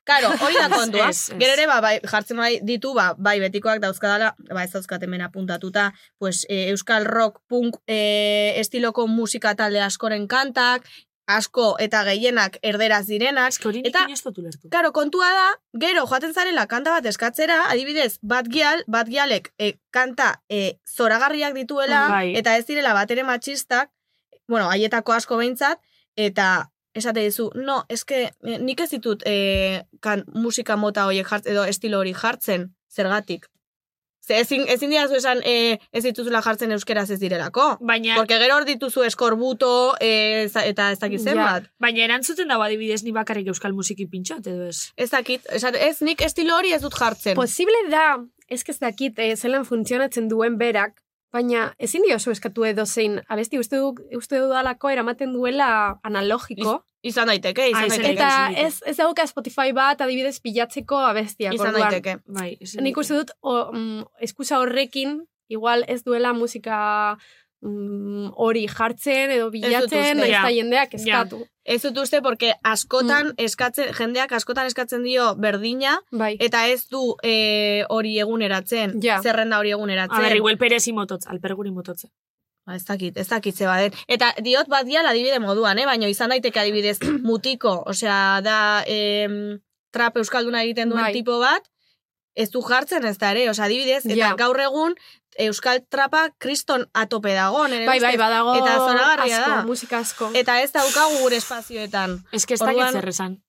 Karo, hori da kontua.
Ez, ez.
Gero ere, ba, bai, jartzen bai ditu, ba, bai betikoak dauzkadala, ba, ez dauzkatemen apuntatuta, pues, e, euskal rock, punk, e, estiloko musika talde askoren kantak, asko eta gehienak erderaz direnak,
Ez que hori
Eta-
nikin ez dut ulertu.
Karo, kontua da, gero joaten zarela kanta bat eskatzera, adibidez, bat gial, bat gialek e, kanta e, zoragarriak dituela,
Bai.
eta ez direla bat ere matxistak, bueno, haietako asko behintzat, eta esate dizu, no, eske eh, nik ez ditut e, kan, musika mota horiek jartzen, edo estilo hori jartzen, zergatik. Ze ezin, ezin dira esan e, ez dituzula jartzen euskeraz ez direlako.
Baina,
Porque gero hor dituzu eskorbuto e, za- eta ez dakit
Ja.
zenbat.
baina erantzuten dago adibidez ni bakarrik euskal musiki pintxot, edo ez?
Ez dakit, esate- ez nik estilo hori ez dut jartzen.
Posible da, ez ez dakit, eh, zelan funtzionatzen duen berak, baina ezin diozu eskatu edo zein, abesti uste, du, uste dudalako eramaten duela analogiko.
Izan daiteke,
Ah,
izan
izan
daiteke.
Eta
izan daiteke.
ez, ez dauka Spotify bat adibidez pilatzeko abestiak.
Izan
orduan.
daiteke.
Bai, ez-
Nik uste dut, o, mm, eskusa horrekin, igual ez duela musika mm, hori jartzen edo bilatzen,
uste.
nahiz
Ja.
eta jendeak
Ja.
eskatu.
Ez dut uste, porque
Mm.
askotan eskatzen, jendeak askotan eskatzen dio berdina,
Bai.
eta ez du eh, hori eguneratzen, zerrenda hori eguneratzen.
A ber, igual perezi mototz, alperguri mototz.
Ba, ez dakit, ez dakit ze baden. Eta diot bat diala adibide moduan, eh? baina izan daiteke adibidez mutiko, osea, da em, trap euskalduna egiten duen
Bai.
tipo bat, ez du jartzen ez da ere, osea, adibidez, eta
Ja.
gaur egun euskal trapa kriston atope dago, nire
Bai, bai,
ustez.
badago
Eta zoragarria
asko,
da.
musika asko.
Eta ez daukagu gure espazioetan.
Ez que ez
Orduan-
dakit zer esan.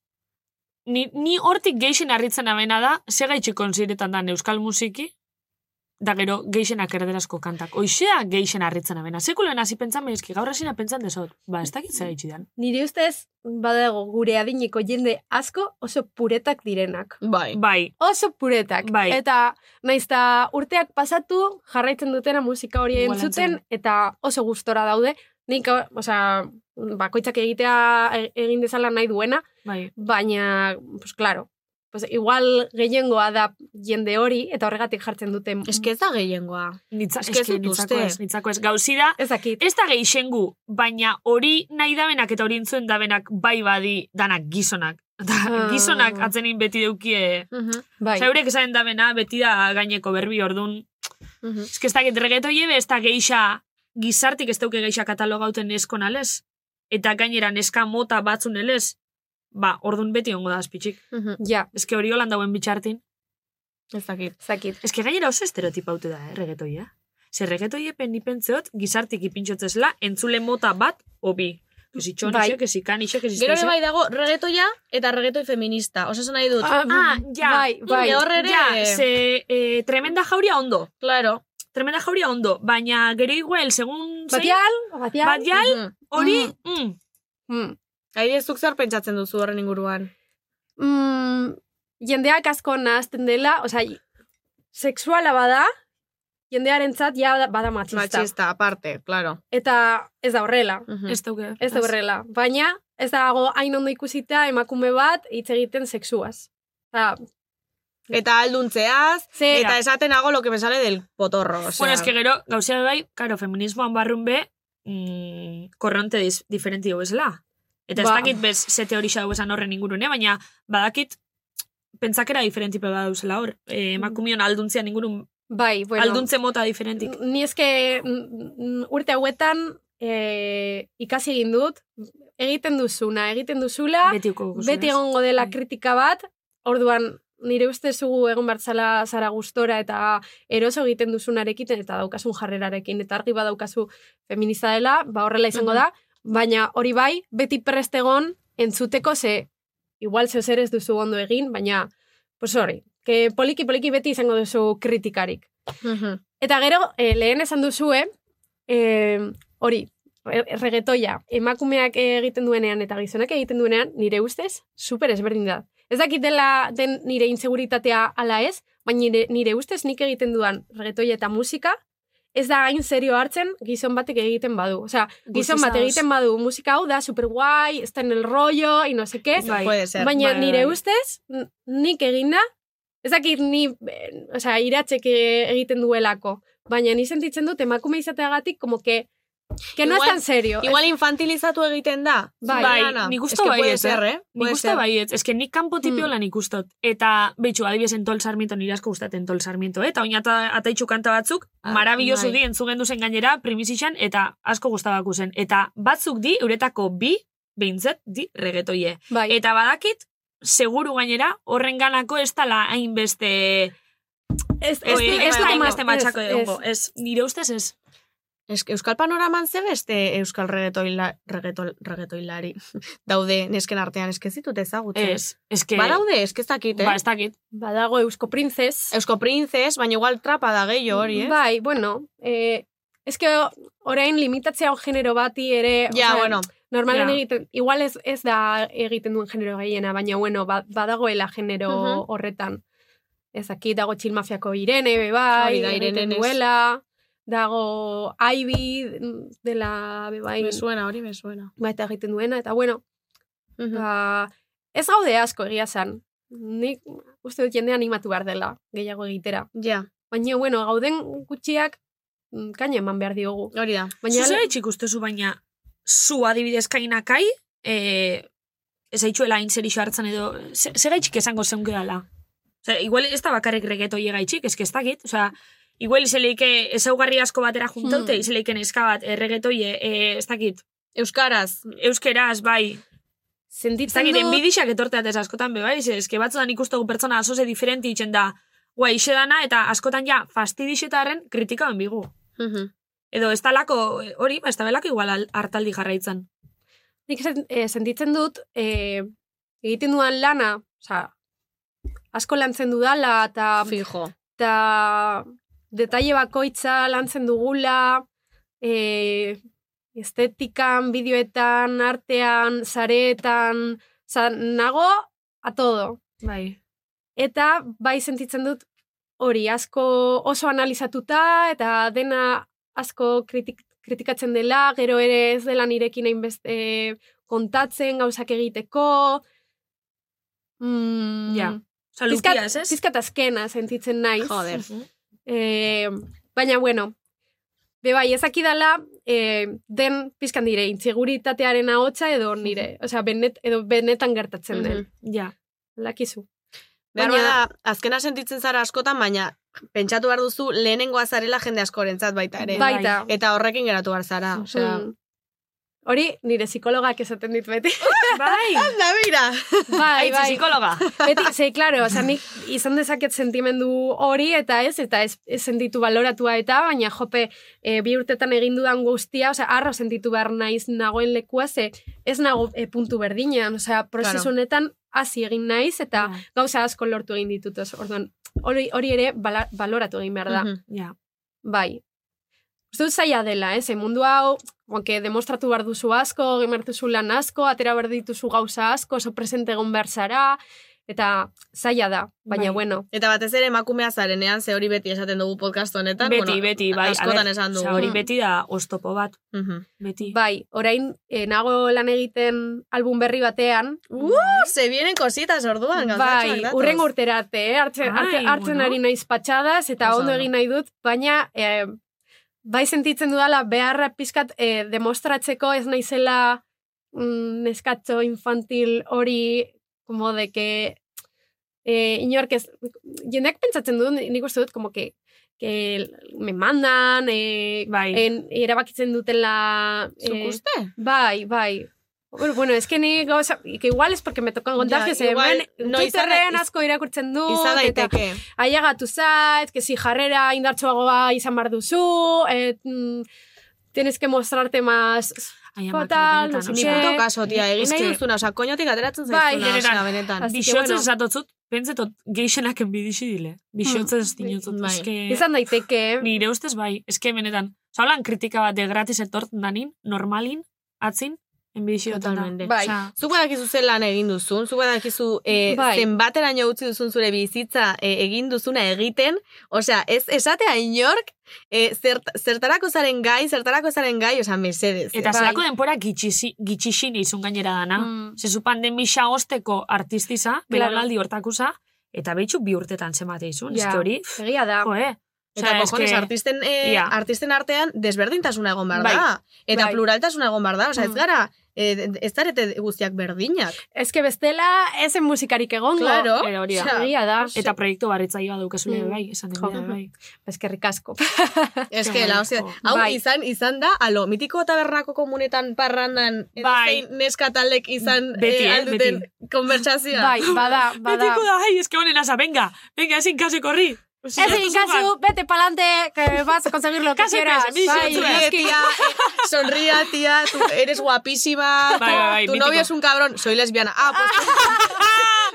Ni, ni hortik geixen harritzen abena da, ze gaitxik konziretan dan euskal musiki, da gero geixenak erderazko kantak. Oixea geixen harritzen abena. Sekulen hasi pentsan behizki, gaur hasina pentsan dezot. Ba, ez dakit ze gaitxik dan.
Nire ustez, badago gure adineko jende asko oso puretak direnak.
Bai.
Bai.
Oso puretak.
Bai.
Eta naiz eta urteak pasatu jarraitzen dutena musika hori
Igual
entzuten
antzen.
eta oso gustora daude. Nik, osea, bakoitzak egitea e- egin dezala nahi duena,
Bai.
baina, pues claro, pues igual gehiengoa da jende hori eta horregatik jartzen duten.
Eske ez da gehiengoa.
Nitza,
Eske ez
eske
dut
nitzako
uste.
ez, nitzako ez. Gauzi da,
ez,
da geixengu, baina hori nahi dabenak eta hori intzuen dabenak bai badi danak gizonak. Eta
Ah.
gizonak atzenin beti deukie...
Bai.
Osa, eurek esaten dabena beti da gaineko berbi ordun Ez que ez dakit regeto llebe, ez da geixa, gizartik ez dauke geixa katalogauten neskon alez. Eta gainera neska mota batzun elez. Ba, ordun beti ongo da azpitzik.
Ja.
Ez que hori holan dauen bitxartin.
Ez dakit.
Ez dakit.
Ez que gainera oso estereotipaute da, eh, regetoia. Zer regetoie pen nipentzeot gizartik ipintxotzezela entzule mota bat obi. Kesi txonixek,
Bai.
kesi kanixek, kesi
Gero ere bai
estaizek.
dago regetoia eta regetoi feminista. Osa esan nahi dut.
bai.
Ah, ah, ja.
Inde horre ere...
Ja, ze, eh, tremenda jauria ondo.
Claro.
Tremenda jauria ondo, baina gero igual, segun... zein-
Batial, batial.
Batial, hori... mm.
Mm.
Aire, zuk zer pentsatzen duzu horren inguruan?
mm, jendeak asko nahazten dela, osea, sexuala bada, jendearentzat ja bada- bada matxista.
Machista, aparte, claro.
Eta ez da horrela.
Mm-hmm.
Ez dauke.
Mm. Ez da horrela. Baina ez dago hain ondo ikusita emakume bat hitz egiten sexuaz. Eta,
Eta alduntzeaz, eta esaten hago lo que me sale del potorro. O sea,
Bueno, es que gero, gauzea bai, karo, feminismoan barrun be, mm, korronte diz, diferenti dugu bezala. Eta
Ba.
ez dakit bez, ze teorisa dugu esan horren ingurune, baina badakit, pentsakera diferentipe bat duzela hor. E, emakumion alduntzean ingurun,
bai, Mm. bueno.
alduntze mota diferentik.
Ni eske mm, mm, urte hauetan e, ikasi egin dut, egiten duzuna, egiten duzula,
Beti uko duzula,
Ba, beti
ez?
egongo dela kritika bat, orduan nire uste zugu egon bertzala zara gustora eta eroso egiten duzunarekin eta daukasun jarrerarekin eta argi badaukazu feminista dela, ba horrela izango da, baina hori bai, beti prest egon entzuteko ze igual zeo zer ez duzu ondo egin, baina pues hori, que poliki poliki beti izango duzu kritikarik. Eta gero, eh, lehen esan duzue, eh, hori, re- regetoia, emakumeak eh, egiten duenean eta gizonak egiten duenean, nire ustez, super ezberdin da. Ez dakit dela den nire inseguritatea ala ez, baina nire, nire ustez nik egiten duan regetoia eta musika, ez da hain serio hartzen gizon batek egiten badu. Osea, gizon
Guztiz
bat
ados.
egiten badu musika hau da super guai, está en el rollo, y no sé qué.
Bai. Puede ser.
Baina
Bai,
nire
bai.
ustez, n- nik eginda, ez dakit ni, eh, osea, iratzek eh, egiten duelako, baina ni sentitzen dut emakume izateagatik como que que no es tan serio.
Igual infantilizatu egiten da.
Bai,
Ana,
nik
es
uste
que
bai
puede
ez,
ser, eh?
Nik
Puede
uste
ser. Hmm.
baiet, ez que nik kanpo tipio lan ikustot. Eta, behitxu, adibidez, entol sarmiento, nire asko gustaten entol sarmiento, eh? eta oin ata, ataitxu kanta batzuk,
Ah,
marabilloso
bai.
di, entzugen duzen gainera, primizixan, eta asko gustabaku zen. Eta batzuk di, euretako bi, behintzet, di, regetoie.
Bai.
Eh,
Eta badakit, seguru gainera, horren ganako ez tala hainbeste... ez,
Ez,
ez-
ez, da
ez-
hainbeste
ez-
matxako
ez-
egongo. Ez, nire ustez ez.
Es que Euskal Panoraman ze beste Euskal regetoila, regetol, regetoilari daude nesken artean, eske ez ditut ezagutzen.
Ez, eske-
Badaude, eske ez dakit, eh?
Ba, ez dakit.
Badago Eusko Princes.
Eusko Princes, baina igual trapa da gehiago hori, eh?
Bai, bueno, eh, es que orain limitatzea genero bati ere,
Ja, bueno,
normalen
ja.
egiten, igual ez, ez da egiten duen genero gehiena, baina bueno, ba- badagoela genero
Mhm.
horretan. Ez dakit, dago txilmafiako Irene, be bai,
Hori da,
egiten
Irenen ez.
duela, dago Aibi dela be bai.
me suena, hori me suena.
Ba, eta egiten duena, eta bueno, ba, ez gaude asko egia san. Nik uste dut jendea animatu behar dela, gehiago egitera.
Ja.
Baina, bueno, gauden gutxiak mm, kaina eman behar diogu.
Hori da.
Baina zera ikustezu, baina zu adibidez kainakai, e, ez aitzuela hain zer hartzen edo, zera itxik esango zeunke dala. Osea, igual ez da bakarrik regeto llega itxik, ez ez dakit, osea, igual izeleike ezaugarri asko batera juntaute,
Hmm.
hmm. izeleike neska bat, erregetoi, e, ez dakit,
Euskaraz.
euskeraz, bai, Ez
Sentitzen
dakit,
dut...
enbidixak etorteat ez askotan be, bai, ze eske batzudan ikustegu pertsona asoze diferenti itxen da, guai, ixe dana, eta askotan ja, fastidixetaren kritika enbigu.
Mhm.
Edo ez talako, eh, hori, ba, ez da belako igual al- hartaldi jarraitzen.
Nik sen- eh, sentitzen dut, eh, egiten duan lana, osea, asko lantzen dudala, eta,
Fijo.
eta detaile bakoitza lantzen dugula, eh, estetikan, bideoetan, artean, sareetan, osea, nago, a todo.
Bai.
Eta bai sentitzen dut hori asko oso analizatuta eta dena asko kritik, kritikatzen dela, gero ere ez dela nirekin hainbeste eh, kontatzen, gauzak egiteko. Mm,
Ja. Osa,
pizkat-
luzia, ez ez?
pizkat azkena sentitzen naiz.
Joder.
Eh, baina, bueno, be bai, ezakidala eh, den pizkan dire intziguritatearen ahotsa edo nire, osea, benet, edo benetan gertatzen den.
Ja.
Lakizu.
Baina,
Baina-
azkena sentitzen zara askotan, baina pentsatu behar duzu lehenengo azarela jende askorentzat baita ere.
Bai.
Baita.
Eta horrekin geratu behar zara. Osea,
Mm. Hori, nire psikologak esaten dit beti.
Bai,
Da, begira!
bai,
Aitzi
bai.
psikologa.
Beti, ze, klaro, oza, nik izan dezaket sentimendu hori, eta ez, eta ez, ez sentitu baloratua eta, baina jope, e, bi urtetan egin dudan guztia, oza, arro sentitu behar naiz nagoen lekua, ze ez nago e, puntu berdinean, oza, prozesu
Claro.
honetan hasi egin naiz, eta
Ja.
gauza asko lortu egin ditut, oso, orduan, hori, hori ere bala, baloratu egin behar da.
Mhm.
Ja.
Bai. Uste dut zaila dela, ez? Eh? mundu hau, onke, demostratu behar duzu asko, egin behar duzu lan asko, atera behar dituzu gauza asko, oso presente egon behar zara, eta zaila da, baina
Bai.
bueno.
Eta batez ere emakumea zarenean, ze hori beti esaten dugu podcast honetan.
Beti,
bueno,
beti, bai. a
Askotan
ber,
esan dugu.
osea, hori beti da ostopo bat,
Mhm.
beti.
Mm. Bai, orain, eh, nago lan egiten album berri batean,
Uh, se vienen cositas orduan,
bai, urren urtera arte, eh? hartzen,
Ai,
hartzen, hartzen
bueno.
ari naiz patxadas, eta
Oso
ondo
ondo.
egin nahi dut, baina eh, bai sentitzen dudala beharra pizkat eh, demostratzeko ez naizela mm, neskatxo infantil hori, como de que eh, inork ez, jendeak pentsatzen du, nik uste dut, como que, que me mandan, eh,
Bai.
en, erabakitzen dutela... eh,
Zukuste?
Bai, bai. Bueno, bueno, es que ni gauza, que igual es porque me tocan contagios,
Ja,
ja,
igual,
hemen
no,
Twitterren
izan-
asko irakurtzen du,
Izan
eta
daiteke.
ailegatu zait, que si jarrera indartsuagoa izan behar duzu, et, mm, tienes que mostrarte más...
Ai, ama,
Total,
benetan,
no sé
Ni
osea,
qué.
puto kaso, tia, egin
Eske-
nahi duzuna, oza, koñotik ateratzen zaizuna,
Bai,
benetan.
benetan.
benetan.
Así que,
Bixotzen
bueno.
esatotzut, pentsetot, geixenak enbidixi dile. Bixotzen ez dinotzut.
Bai.
eske-
Mm. Izan daiteke,
Nire ustez bai, eske benetan. Osa, holan kritika bat de gratis etorten danin, normalin, atzin, enbidixiotan da.
Totalmente.
bai.
Osea,
Zuk badakizu zer lan egin duzun, zuk badakizu e,
Bai.
zenbateraino utzi duzun zure bizitza e, egin duzuna egiten, osea, ez esatea inork, e, zert, zertarako zaren gai, zertarako zaren gai, osea, mesedez.
Eta
Bai.
zelako denpora gitxisi- gitxixin izun gainera dana.
Mm.
Zezu pandemisa osteko artistiza, belaunaldi hortakusa, eta behitxu bi urtetan zemate izun.
Ja.
Eske hori, pff,
egia da.
jo, eh? Osea,
Eta kojones,
eske-
artisten, e,
Ia.
artisten artean desberdintasuna egon behar
Bai.
da. Eta
Bai.
pluraltasuna egon behar da, osea, ez
Mm.
gara, e, ez zarete guztiak berdinak.
Ez que bestela ezen musikarik egongo.
Claro.
eh, hori da.
Osea,
Egia da.
Eta proiektu barritzaioa daukazule
Mm.
bai, esan den
Jo.
bera, bai.
Eskerrik asko.
Ez que, la, hostia,
Bai.
hau izan, izan da, alo, mitiko tabernako komunetan parrandan, edo
Bai.
zein neska taldek izan
Beti,
eh,
eh,
alduten konbertsazioa.
bai, bada, bada.
Betiko da, ai, eske honen asa, venga, venga, ezin kasu korri.
Ez egin kasu, bete pa'lante, que vas a conseguir lo que
Kasu,
quieras.
kasu,
Bai,
bizitzu, eh.
Sonríe,
noski.
tía, eh, sonría, tía, tú eres guapísima,
Bai, bai, bai,
tu
mítico.
novio es un cabrón, soy lesbiana. Ah,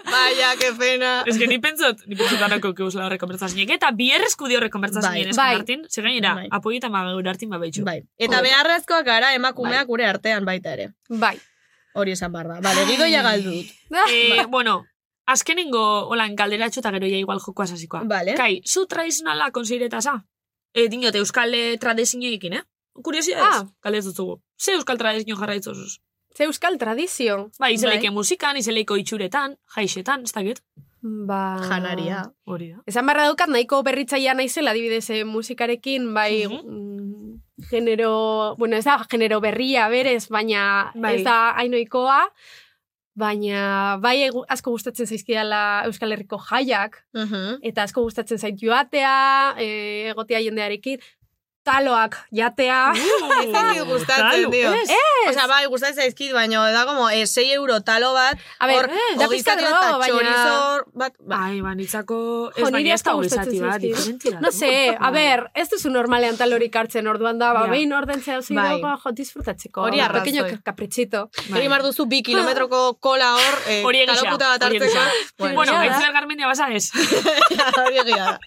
pues... Vaya, qué pena.
Ez que ni pentsot, ni pentsot danako keuzela horre konbertzazinek, eta bierrezku di horre konbertzazinek
Bai.
bai.
Bai.
hartin, ze gainera,
Bai.
apoietan mageur hartin ba babetxu.
Bai. Eta beharrezkoak gara
Bai.
emakumeak gure artean baita ere.
Bai.
Hori esan behar da. Bale, gidoia galdu dut.
Eh, bueno, azkenengo, holan, galderatxo eta gero ja igual joko asasikoa.
Bale.
Bai.
Kai, zu tradizionala konsideretaza? E, dinot, euskal eh, tradizioekin, eh? Kuriosia ez,
Ah.
ah. zugu. Ze euskal tradizio jarraitzozuz?
Ze euskal tradizio. Bai.
Bai, izeleike musikan, izeleiko itxuretan, jaixetan, ez dakit.
Ba...
Janaria.
Ah.
Hori da.
Esan barra daukat nahiko berritzaia naizela adibidez eh, musikarekin, bai mm, genero, bueno, ez da genero berria berez, baina
Bai.
ez da ainoikoa, baina bai egu- asko gustatzen zaizkidala Euskal Herriko jaiak,
Mhm.
eta asko gustatzen zait joatea, eh, egotea jendearekin, taloak jatea.
Mhm.
Ez
Uh,
zaizu gustatzen, tio. Osa, bai, gustatzen zaizkit, baino, da como, eh, 6 euro talo bat,
A ber,
hor,
da
hogei
pizkat
zati
geroago,
eta
baina...
chorizo bat, ba.
Ah,
Ai, ba, nitzako...
Jo,
Ez
niri
baina ez
asko
dago
gustatzen
izati bat,
zaizkit.
diferentia.
No sé,
Bai.
a ber, ez duzu normalean talorik hartzen orduan da, ba,
Ja.
behin ordentzea duzu
Bai.
dago, jo, disfrutatzeko.
Hori
Hor,
arrazoi.
Pequeño caprichito.
Gero imar duzu bi kilometroko kola hor, eh,
Hori egia,
kalokuta bat
hori
hartzeko.
egia. Bueno,
ja,
Aitziar Garmendia basa ez.
da, hori egia da.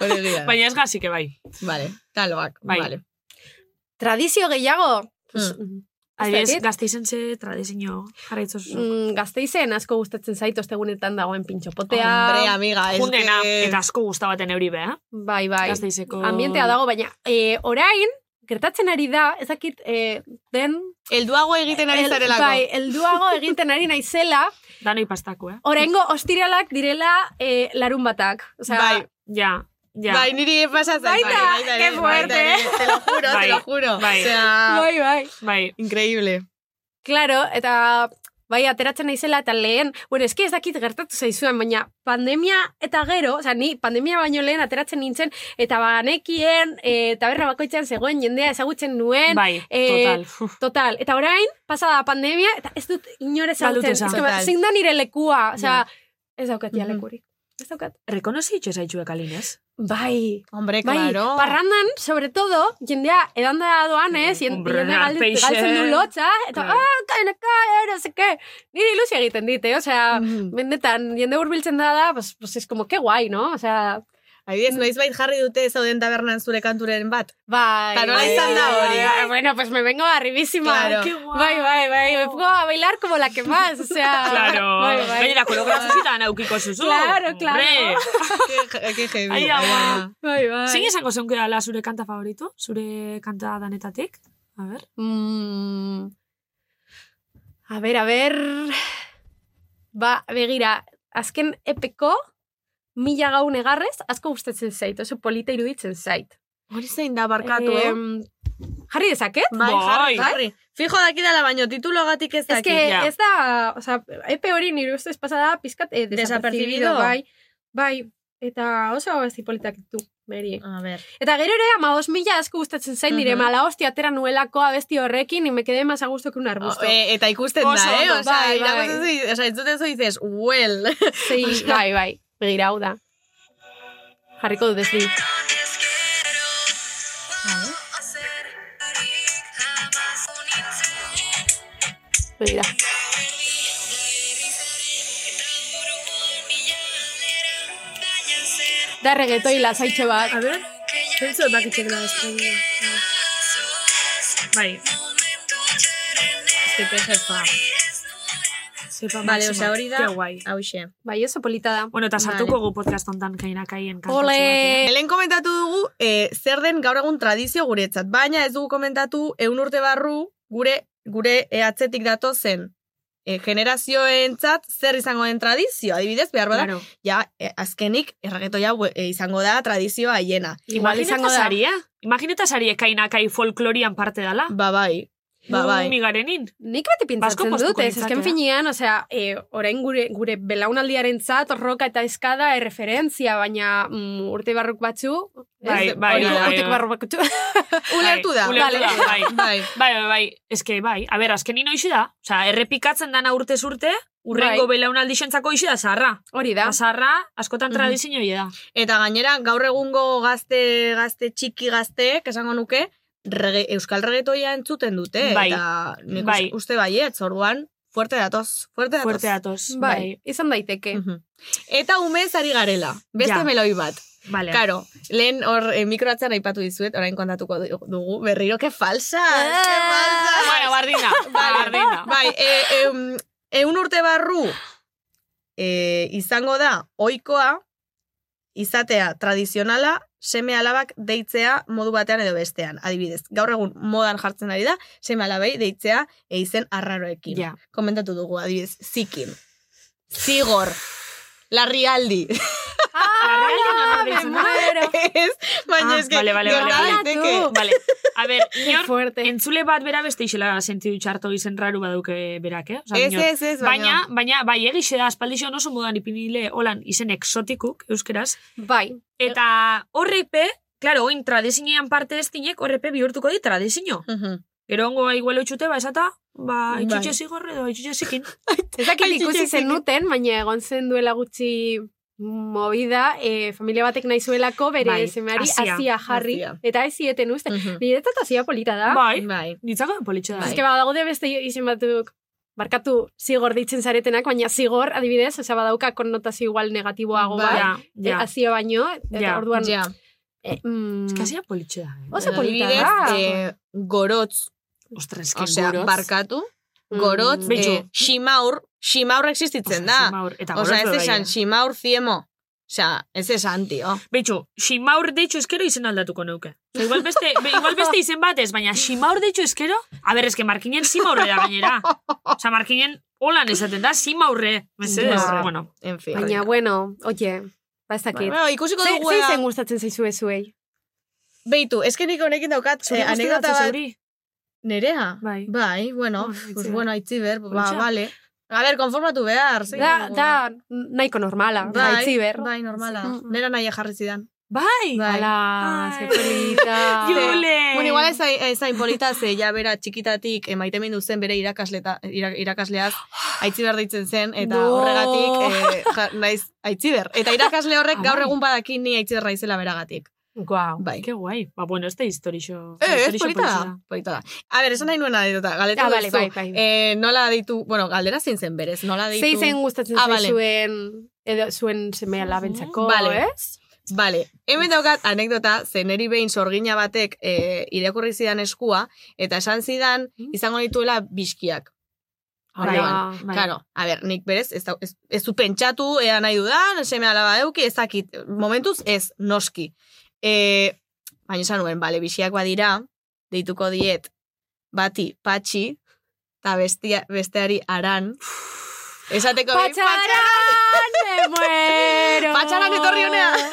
Hori egia da.
Baina ez gazik, bai.
Vale, taloak,
Bai.
vale.
Tradizio gehiago? Pues,
Hmm.
mm,
Adibidez,
dakit.
gazteizen ze tradizio jarraitzos.
mm, gazteizen asko gustatzen zait, ostegunetan dagoen pintxopotea.
Hombre, amiga, ez
Jundena,
que-
eta asko gustabaten euri eh? beha.
Bai, bai.
Gazteizeko...
Ambientea dago, baina e, orain, gertatzen ari da, ez dakit, e, den...
Elduago egiten ari
el-
zarelako.
bai, elduago egiten ari naizela,
Danoi pastako, eh?
oraingo ostiralak direla e, larun batak. Osea,
Bai,
Ja, ja.
bai, niri pasatzen.
Baita, qué
ere,
fuerte.
ere, Te lo juro, te
Bai,
lo juro.
bai.
Osea,
bai, bai.
bai.
increíble.
Claro, eta bai, ateratzen naizela eta lehen, bueno, eski ez dakit gertatu zaizuen, baina pandemia eta gero, oza, ni pandemia baino lehen ateratzen nintzen, eta banekien, e, taberna bakoitzean zegoen jendea ezagutzen nuen,
Bai,
eh,
total. Uf,
total, eta orain, pasada pandemia, eta ez dut inore
Badut
ezagutzen,
esan.
Ez que ba-
Total.
zein da nire lekua, oza,
Ja.
ez daukat ja
Mhm.
lekurik, ez daukat.
Rekonozi itxez aitzuek alinez?
Bai,
Hombre,
bai,
claro.
parrandan, sobre todo, jendea edanda doan, ez,
Mm,
jende
hombre,
galdu-
peixe.
galtzen du lotza, eta,
Claro.
ah, kainaka, no sé qué, nire ilusia egiten dite, osea,
Mhm.
Bendetan, jende hurbiltzen da da, pues, pues es como, que guai, no? O sea,
Adibidez, noizbait jarri dute zauden tabernan zure kanturen bat.
bai.
Eta nola
bai,
izan da
bai,
hori?
bai, Bueno, pues me vengo arribísima.
Claro.
Ay, qué guay. Bai, bai, bai, me pongo a bailar como la que más, o sea.
Claro.
Bai, bai.
Gainera, koreografizietan aukiko zuzu.
Claro, claro.
Hombre.
Ke- Ke heavy. eh.
Ai, ama.
ama.
Bai, bai.
Zein esango zeunke ala zure kanta favorito? Zure kanta danetatik? A ber.
Mm, a ber, a ber... Ba, begira, azken epeko, mila gaun egarrez, asko gustatzen zait, oso polita iruditzen zait.
Hori zein da barkatu, eh?
Em, jarri dezaket?
Bai,
Bai.
jarri, jarri. Fijo daki dela baino, titulogatik ez
Ez
daki.
que
ja.
ez da, o sea, epe hori nire ustez pasada pizkat eh, desapercibido,
Desapercibido.
bai. Bai, eta oso abesti politak ditu, beri.
A ver.
Eta gero ere, ama mila asko gustatzen zain nire,
Mhm.
mala hostia atera nuelako abesti horrekin, y me quedé más a gusto que un arbusto.
Eh, eta ikusten
Oso
da, eh?
ondo,
Osa,
bai,
irakurtzen
bai.
zu, osa, entzuten zu dices, well.
Sí, bai, bai, begira hau da. Jarriko dut desli. Begira. Da regetoi lasaitxo bat.
ber. Zentzu bakitzen da ez. Bai.
Este jefa.
Zepa
Vale, osa, hori da,
Ke guai.
hauxe.
Bai, oso polita da.
Bueno, eta sartuko
Vale.
gu podcast ontan kainakaien kanta. eh?
Ole!
Helen komentatu dugu, eh, zer den gaur egun tradizio guretzat, baina ez dugu komentatu eun urte barru gure gure eh, atzetik datozen eh, generazioentzat zer izango den tradizio. Adibidez, behar bada,
Claro.
ja, eh, azkenik erregetoia bue- eh, izango da tradizioa hiena.
Igual izango da. Saria. Imagineta sarie kainakai folklorian parte dela.
Ba bai, ba
Nu
bai.
Migarenin.
Nik beti
Basko
pintzatzen dut,
poztuko
ez, azken
nintzatela.
finean, osea, e, orain gure, gure belaunaldiaren zat, roka eta eskada erreferentzia, baina mm, urte barruk batzu, ez,
Bai, bai,
hori da,
bai,
urteko
bai.
barruk batzu,
Ulertu da.
ulertu da, bai.
bai.
Bai, bai, bai. Eske, bai. A ber, azkenin hoxe da. Osa, errepikatzen dana urte urte, urrengo
Bai.
belaunaldi sentzako hoxe da zarra.
hori da.
Eta zarra, askotan
Mhm.
tradizio da.
Eta gainera, gaur egungo gazte, gazte txiki gazteek, esango nuke, rege, euskal regetoia entzuten dute.
Bai.
Eta nik
Bai.
us- uste baiet, orduan, fuerte datoz, fuerte datoz.
Fuerte datoz.
Bai, izan daiteke.
Mm.
Mhm. Eta umez ari garela, beste
Ja.
meloi bat.
Vale.
Karo, lehen hor eh, mikroatzean aipatu dizuet, orain kontatuko du- dugu, berriro, que falsa! que
Ah.
falsa!
Bueno, bardina. bardina.
Bai, e, eun, eun urte barru e, izango da ohikoa izatea tradizionala seme alabak deitzea modu batean edo bestean. Adibidez, gaur egun modan jartzen ari da, seme alabei deitzea eizen arraroekin.
Ja.
Komentatu dugu, adibidez, zikin. Zigor. La Rialdi.
Ah, me
muero.
Ez, baina
Ah,
eske,
vale, vale,
gerta
vale,
vale.
daiteke.
Tú.
Eh, Vale, a ber, inor,
fuerte.
entzule bat bera beste isela sentidu txarto izen raru baduke berak, eh? Osa,
Ez, ez, ez,
Baina, baina, bai, egixe da, aspaldixo oso modan ipinile holan izen exotikuk, euskeraz.
Bai.
Eta horrepe, claro, oin tradizinean parte ez dinek, horrepe bihurtuko di tradizio.
Mhm.
Gero ongo igual eutxute, ba, esata, ba,
Bai.
itxutxe zigor edo itxutxe zikin.
Ez dakit
Ai,
ikusi
txiki, txiki.
zenuten, baina egon zen duela gutxi movida, eh, familia batek nahi zuelako bere
Bai, Mm.
semeari
hazia,
hasia jarri,
hazia.
eta ez zieten uste.
Mhm.
Niretzat hasia polita da.
Bai,
Bai.
nitzako politxe da.
Ez que badaude beste izen batzuk barkatu zigor ditzen zaretenak, baina zigor adibidez, osea badauka konnotazio igual negatiboago
Bai.
bat,
Ja,
ja.
ja.
azio baino, eta
Ja.
orduan...
Ja.
eh, mm,
Ez que hasia politxe da. eh?
Oso polita
Adibidez,
da.
eh, gorotz,
Ostra, ez que
osea,
gorotz.
barkatu,
Mm.
gorotz,
Beitu.
eh, ximaur, ximaur existitzen
Ostra,
da.
Simaur, Eta
Osea,
gorotz
ez
bebai,
esan
eh?
ximaur ziemo. Osea, ez esan, tio.
Betxo, Simaur deitxo eskero izen aldatuko neuke. Eta Igual beste, be- igual beste izen batez, baina Simaur deitxo eskero, a ber, eske Markinen Simaurre da gainera. Osa, Markinen holan esaten da Simaurre. Mesedez,
Ja.
bueno.
En fin.
Baina, bueno, oie, ba ez dakit.
Bueno, ikusiko
Ze-
dugu
Zein
ea-
zen gustatzen zaizu ezuei?
Beitu, ez que nik honekin daukat, eh,
Zure gustu
anekdota
datzu
bat.
zeuri?
Nerea?
Bai.
Bai, bueno,
Ah,
pues
Aitziber.
bueno, aitziber, ba,
Politxa.
vale. A ber, konformatu behar. zein
Da,
dugu.
da, nahiko normala,
Bai,
bai, ber.
Bai, normala.
Mm.
Nera nahi jarri zidan.
Bai!
Bai.
Ala,
Ai.
ze polita.
Jule!
Ah. Bueno, igual ez da- ez da inpolita, ze ja bera txikitatik emaite mindu zen bere irakasleta, irak, irakasleaz aitziber deitzen zen, eta
No.
horregatik eh, ja, naiz aitziber. Eta irakasle horrek gaur egun badakin ni aitziber naizela beragatik.
Guau.
Bai.
Ke guai. Ba, bueno, ez da historixo.
Eh, ez,
historixo
polita da. Polita da. A ber, esan nahi nuena anekdota. Galetu
Ah, vale,
duzu,
bai, bai.
eh, nola deitu, bueno, galdera zein zen berez, nola deitu.
Zei zen gustatzen
Ah,
ah,
vale.
zaizuen edo zuen semea labentzako,
Vale.
ez?
Vale, hemen daukat anekdota, ze neri behin sorgina batek e, irakurri zidan eskua, eta esan zidan izango dituela bizkiak.
Mm. Bai,
Orduan,
bai.
Claro, a ber, nik berez, ez, da- ez, ez du pentsatu, ea nahi dudan, seme alaba euki, ez dakit, momentuz ez, noski. E, baina esan nuen, bale, biziak badira, deituko diet, bati, patxi, eta bestia, besteari aran, esateko bai, behin,
Patxaran, me muero!
Patxaran etorri honea.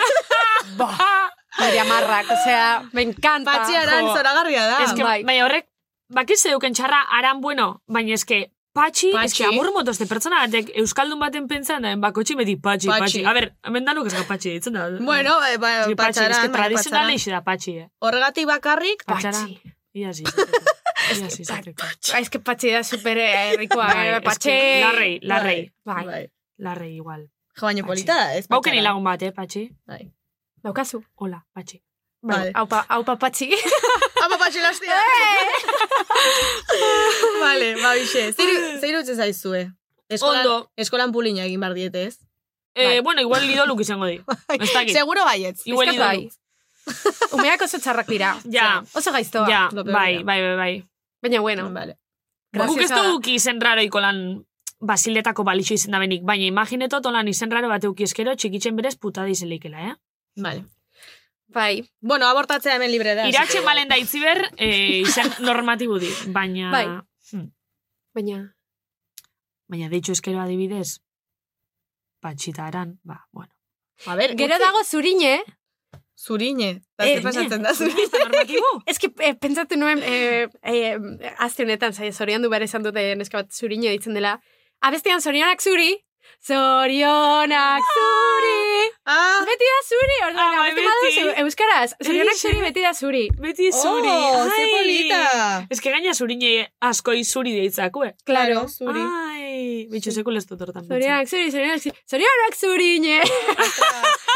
Ba, nire amarrak, osea, me encanta.
patxi aran
Jo.
zoragarria da.
Ez que,
bai.
baina horrek, bakiz zeuken txarra aran bueno, baina ez que, patxi, ez
Patxi.
que amor motoz de pertsona batek Euskaldun baten pentsan da, bakotxi beti patxi,
Patxi.
patxi. A ber, hemen danok ez da patxi ditzen da.
Bueno, eh, ba,
Ez que patxi, ez
patxaran,
que
baina
tradizionala
patxaran.
ixe da patxi, eh.
Horregatik bakarrik,
Patxaran. Ia zi. Ia zi, zatreko.
Ah, Ez que patxi da super errikoa,
Bai,
eh,
ez
patxi.
que Larrei, larrei.
Bai,
bai.
Larrei igual.
Jo, baina
Patxi.
polita da, ez?
Bauken
patxaran.
hilagun bat, eh, patxi.
Bai.
daukazu.
Hola, patxi.
Vale.
Aupa, aupa patxi.
Apa, patxi lastia! vale, ba, bixe. Zer zer irutzen zaizue? Eskolan,
Ondo.
Eskolan pulina egin behar diete, ez?
Eh, bueno, igual lidoluk izango di. bai Ez dakit.
Seguro baietz.
Igual
Pizkat
idolu.
bai. Umeak oso txarrak dira.
Ja.
Oso gaiztoa.
Ja,
lo peor
bai,
dira.
bai, bai, bai.
Baina, bueno,
Vale.
Guk ez
graziosa da.
dugu izen raro ikolan basiletako balixo izen da benik, baina imaginetot olan izen raro bat euki eskero txikitzen berez puta dizeleikela, eh?
Vale.
Bai,
Bueno, abortatzea hemen libre da.
Iratxe malen da itziber eh, izen normatibu di, baina...
Bai. baina...
Baina deitxo eskero adibidez, patxitaran, ba, bueno.
A ber,
Gero dago zurine,
Zurine. Da, zer
Eh,
pasatzen da, zurine.
Ez da normatibu?
Ez que eh, pentsatu nuen, eh, eh, azte honetan, zai, zorion du behar esan dute neska bat zurine ditzen dela. Abestean zorionak zuri, zorionak zuri,
Ah,
beti da zuri, orduan,
Ah, bai,
abeste badu
beti.
zu- euskaraz, zorionak
Eixe.
zuri, beti da zuri.
Beti eh, zuri.
Oh, ze
ai.
polita.
Ez que gaina zurine asko zuri deitzakue.
Claro, zuri.
Ah. Ai, bitxo sekul ez dut hortan. pentsa.
Zorionak zuri, zorionak zuri, zorionak zurine.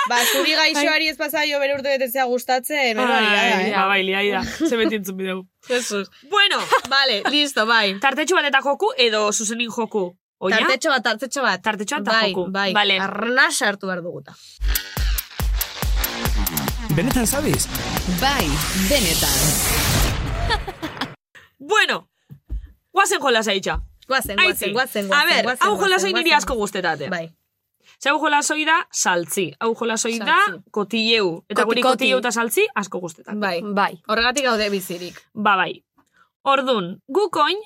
Ba, zuri gaixoari ez pasaio bere urte betetzea gustatzen, meroari gara,
Ai,
eh?
ba, bai, liai da. Ze beti entzun bideu.
Jesus.
Bueno,
Vale, listo, bai.
tartetxo bat eta joku edo zuzenin joku. Oia?
Tartetxo bat, tartetxo bat.
Tartetxoa eta
bai,
joku.
Bai,
Vale.
Arnasa hartu behar duguta.
Benetan zabiz?
Bai, benetan.
Bueno, guazen jolas aitxa.
Guazen,
Aitzi.
guazen, guazen, guazen.
A ber,
guazen,
hau
guazen,
jolas
guazen.
niri asko guztetate.
Bai.
Ze hau jolas hoi da, saltzi. Hau jolas hoi da,
Saltzi.
kotilleu. Eta guri
Koti-koti.
kotilleu eta saltzi asko Ba, guztetate.
Bai.
Bai,
Horregatik gaude bizirik.
Ba, bai. Ordun, gukoin,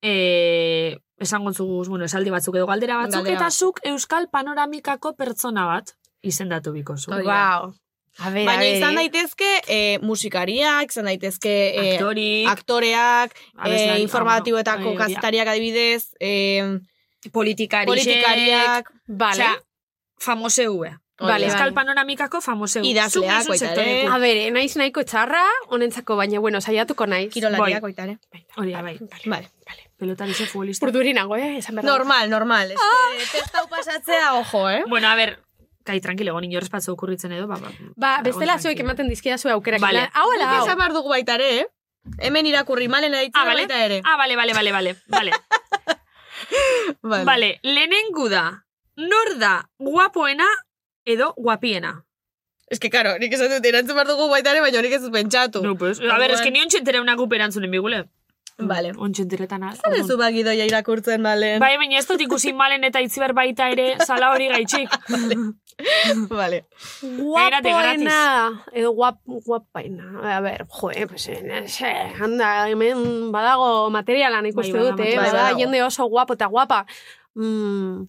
e, esango zuguz, bueno, esaldi batzuk edo galdera batzuk,
Galdera
eta
bat.
zuk Euskal Panoramikako pertsona bat izendatu Ba, bikozu.
Hori da. Guau.
A eh.
Baina izan daitezke eh, musikariak, izan daitezke eh,
Aktorik,
aktoreak,
abeslari,
eh,
ah,
informatiboetako
bueno, hori da.
kaztariak adibidez, eh,
politikariak,
politikariak,
Vale.
osea, famose hue.
Hori
Vale,
da.
Euskal Panoramikako famose hue.
Idazleak, baita ere.
A ber, eh, naiz nahiko txarra, honentzako baina, bueno, saiatuko naiz.
kirolariak
Bai.
oita ere.
Hori da, bai.
Vale.
Pelotari ze futbolista.
Urduri nago, eh, esan behar. dago.
Normal, normal. Ez
Ah.
que testau pasatzea, ojo, eh?
Bueno, a ber, kai, tranquilo, gonin jorrez patzo okurritzen edo, ba, ba.
Ba, bestela
Egon
zuek
tranquilo.
ematen dizkidazu aukerak.
Vale.
Vale. Hau, ala,
Guk
hau.
Esan behar dugu baita ere, eh? Hemen irakurri malena ditzen
Ah, vale.
baita ere.
Ah, bale, bale, bale, bale, bale. Ah,
Vale.
Bale, lehenengu da, nor da guapoena edo guapiena.
Ez que, karo, nik esan dut erantzun behar dugu baita ere, baina horik ez dut pentsatu.
No, pues. A ber,
Orduan-
eski ni ontsentere una gupe erantzunen bigule.
Vale.
Ontsenteretan az.
Zer ez du bagidoia irakurtzen, malen?
Mm. Bai, baina ez dut ikusi malen eta itziber baita ere sala hori gaitxik.
Vale.
Begirate, gratis.
Guapoena, edo Eh, guap, guapaina. A ber, jo, eh, pues, eh, ne sé, anda, hemen badago materialan ikuste
Bai, bada
dut, eh,
materiala.
bada
Badago.
jende oso guapo eta guapa. Mm,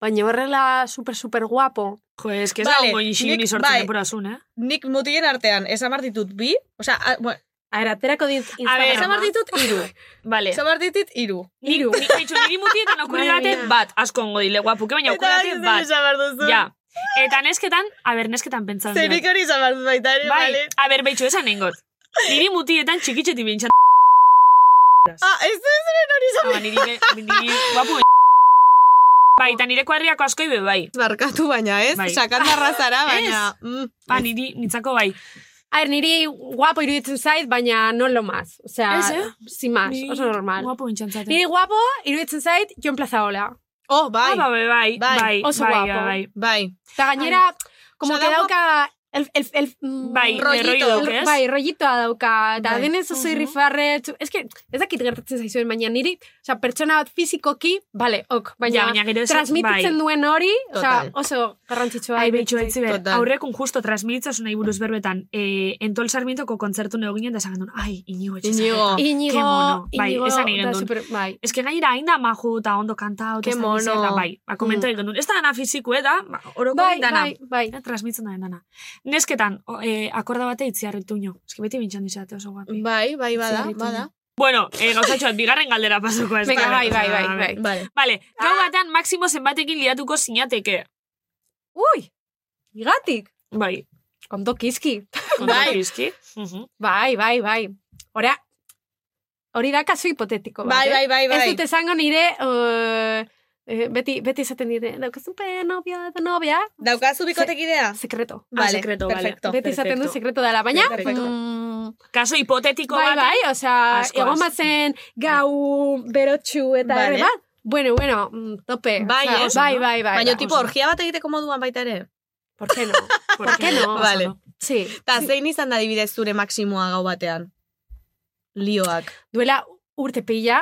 baina horrela super, super guapo.
Jo, eski ez
Vale,
dago goinxin
nik-
ni sortzen
bai.
deporazun, eh?
Nik mutilen artean, esan behar ditut bi, osea, a- bueno,
A ber, aterako dit
A ber,
esan behar ditut iru.
Vale.
Esan behar ditut iru.
Hiru. Nik bitxo, niri mutietan okurri
Madre
date
mía.
bat, asko ongo dile guapuke, baina okurri date
zer
bat.
esan behar duzu.
Ja. Eta nesketan, a ber, nesketan pentsan diat.
Zerik hori esan behar dut baita ere,
Bai,
vale.
a ber, behitxu esan nengot. Niri mutietan txikitxeti bintxan.
Ah, ez du ez ere hori esan
Ba,
behar.
niri, be- niri guapu Bai, eta nire kuadriako asko ibe bai.
Barkatu baina, ez?
Bai.
Sakandarra zara, baina... mm,
Ba, niri nitzako bai.
A ber, niri guapo iruditzen zait, baina non lo más. O sea,
Ez, eh?
sin más, Ah, oso normal.
Guapu bintxantzate.
Niri guapo iruditzen zait, Jon Plazaola.
Oh,
Ah,
bai,
ba, be, bai,
Bai,
bai, bai,
oso
bai,
guapo.
bai.
bai.
Eta gainera, como
Osa,
que
da guap-
dauka... El, el, el, mm,
Bai,
Rollito.
lerroio dauk, ez?
Bai, rollitoa dauka, eta
Bai.
denez oso
Mhm.
irrifarre, txu- ez que, ez dakit gertatzen zaizuen, baina niri, osea, pertsona bat fizikoki, bale, ok,
Ja,
baina,
baina bai. gero ez-
transmititzen bai. duen hori, osea,
Total.
oso garrantzitsua.
Ai, behitxu,
iruditzen zait.
haitzi ber,
Total.
aurrekun justo transmititzen nahi buruz berbetan, eh, entol sarmientoko kontzertu neo ginen, da esan gendun, ai, inigo etxe
Inigo.
Ke mono.
Inigo,
Bai,
Inigo,
esan egin
da
dut.
super, bai.
Ez que gaira hain da maju eta ondo kantau.
Ke
eta ez dakit zer
mono.
Da, bai, ba, komento egin duen. Ez da dana fiziku, eh, da, ba, oroko
Mm. Bai,
dana.
bai, bai.
Eh, transmitzen da dana. Nesketan, o, eh, akorda bate itzi harritu nio. Ez que beti bintxan dizate oso guapi.
Mm.
Bai, bai, bada,
Zerritu,
bada.
Bueno, eh, gauzatxo bat, bigarren galdera pasuko ez.
Venga,
da?
bai, bai, bai,
Ah,
bai.
Vale.
Vale, gau batean Maximo zenbatekin liatuko sinateke.
Ui, igatik,
Bai,
ondo kizki.
bai.
Bai.
Kizki. Mhm.
Bai, bai, bai. Ora, hori da kasu hipotetiko. bat,
Bai,
eh?
bai, bai, bai.
Ez dut esango nire, uh, eh, beti, beti esaten dire, daukazun pe novia, da novia,
Daukazu bikotekidea?
sekreto.
Ah, secreto, vale.
perfecto.
beti esaten du
perfecto.
sekreto dela, baina,
Perfecto.
mm,
Kaso hipotetiko
bai,
bat.
bai, osea,
Asko,
egon
asko.
batzen gau berotxu eta
Vale.
erre bat, bueno, bueno, mm, tope.
Bai,
osea,
eh?
bai, bai, bai.
Baina
bai.
tipo orgia bat egiteko moduan baita ere.
¿Por qué no? ¿Por qué no?
Vale.
Sí.
Ta zein izan da adibidez zure maksimoa gau batean? Lioak.
Duela urte pila,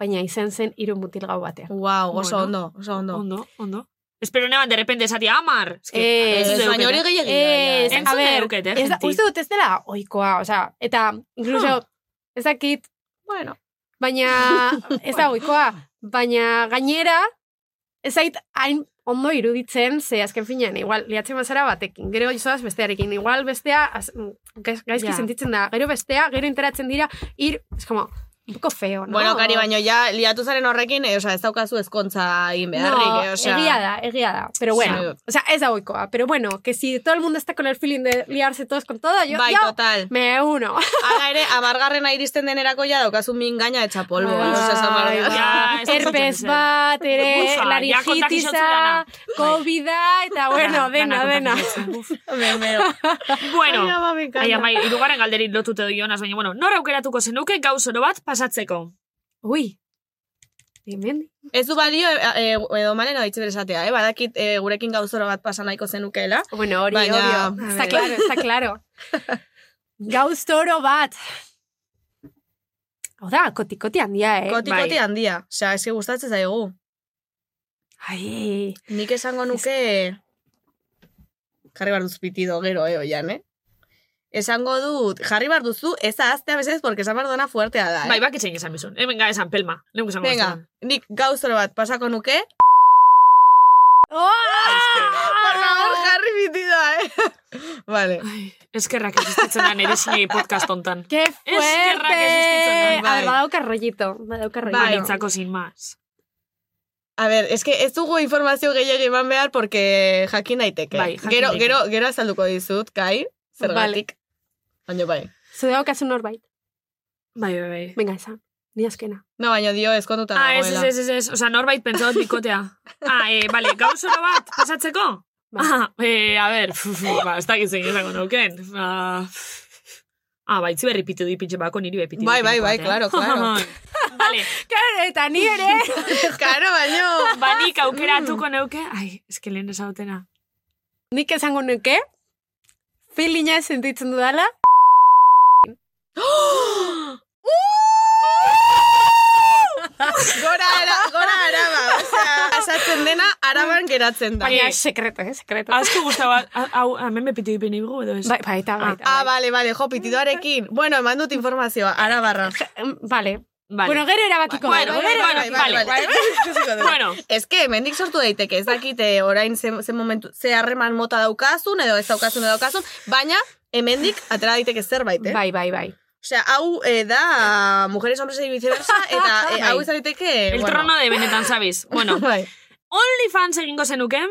baina izen zen hiru mutil gau batean.
Wow, oso
Bueno.
ondo, oso ondo.
Ondo, ondo. Espero neban, derrepende esatia amar. Ez
Eh,
entzun
ez,
Ez,
zeukete.
baina hori gehiagia.
Ez,
ja, ja.
Entzun
a ber,
deuket, eh,
ez da,
gentil.
uste dut ez dela oikoa, osea, eta incluso, ez dakit, bueno, baina, ez da oikoa, baina gainera, ez zait hain ondo iruditzen, ze azken finean, igual, liatzen bazara batekin, gero izoaz bestearekin, igual bestea, az, mm, gaiz- gaizki
Ja.
sentitzen da, gero bestea, gero interatzen dira, ir, es como, un poco feo, no?
Bueno, kari, baino ja, liatu zaren horrekin, eh, osea, ez daukazu ezkontza egin beharrik,
No,
eh, osea.
egia da, egia da. Pero bueno,
Sí.
o sea, es ahoikoa. Pero bueno, que si todo el mundo está con el feeling de liarse todos con todo, yo,
Bai,
yo
total.
me uno.
Hala ere, amargarrena iristen denerako ja daukazu min gaina etxapolbo.
Bai,
Ja, ez da
herpes eh,
zuzen,
bat,
Bufa,
ere,
ja, kontakizio
laringitisa,
zuzena.
covida, eta ah, bueno, dena, dena.
Uf.
Bueno,
Eh,
bueno,
Ai,
ai, amai, irugarren galderin lotute doi honaz, baina, bueno, nor aukeratuko zenuke gauzoro bat pasatzeko?
Ui, hemen,
Ez du balio, eh, eh, edo malen odaitze beresatea, eh? Badakit eh, gurekin gauzoro bat pasa nahiko zenukeela.
bueno, hori, hori,
Baina-
hori. está claro, está claro. Gauz toro bat. Hau da, kotikoti handia, eh?
Kotikoti handia. Osea, eski gustatzen zaigu.
Ai,
Nik esango nuke... Jarri behar duz pitido gero, eh, oian, eh? esango dut, jarri bar duzu, ez aztea bezez, porque esan behar duena fuertea da, eh?
Bai, bak etxein esan bizun. Hemen gara esan pelma. Leuk esan
Venga, nik gauzoro bat pasako nuke.
¡Oh!
Ah!
Por favor, jarri bitida, eh? vale.
Eskerrak existitzen da nire zinei podcast ontan.
¡Qué
Eskerrak existitzen da.
A ver, badauka rollito. Badauka rollito.
Bai, nitzako sin más.
A ver, es que ez dugu informazio gehiagi eman behar, porque jakin daiteke.
Bai, jakin
gero,
daiteke.
gero, gero azalduko dizut, kai, zergatik. Baina bai.
Zu daukazu norbait.
Bai, bai, bai.
Venga, esan. Ni azkena.
No, baina dio, eskonduta
Ah, ez,
dagoela.
ez, ez, ez, ez. Osa, norbait pentsa dut bikotea. Ah, eh, bale, gauzora bat, pasatzeko?
Bai.
Ah, eh, a ber, fu, fu, ba, ez dakit zein esako nauken. Ah, ah bai, ziberri pitu di pintxe bako niri bepiti.
Bai, bai, bai, claro,
eh.
claro.
Bale,
Claro, eta ni ere.
Karo, baino.
ba, nik aukeratuko neuke. Ai, ez que lehen esautena.
Nik esango nuke, filina sentitzen dudala.
Gora, ara, gora araba. Osea, pasatzen dena, araban geratzen da.
Baina, sekreto, eh, sekreto.
Azko guztaba, hau, hemen bepiti di pini gugu, edo ez?
Bai, bai, eta, bai, eta,
Ah,
bai.
bale, bale, jo, pitidoarekin. Bueno, eman dut informazioa, arabarra.
Mm, Vale.
Vale.
Bueno, gero erabakiko.
Bueno,
dugu,
bueno,
gero
bueno,
erabakiko.
vale. Bueno,
Ez que, mendik sortu daiteke, ez dakite orain ze, ze momentu, ze harreman mota daukazun, edo ez daukazun, edo daukazun, baina hemendik atera daiteke zerbait, eh?
Bai, bai, bai.
Osea, hau eh, da mujeres, hombres y viceversa, eta eh, hau ez daiteke...
Bai. el
bueno.
trono de Benetan, sabiz. Bueno,
Bai.
OnlyFans egingo zenuken?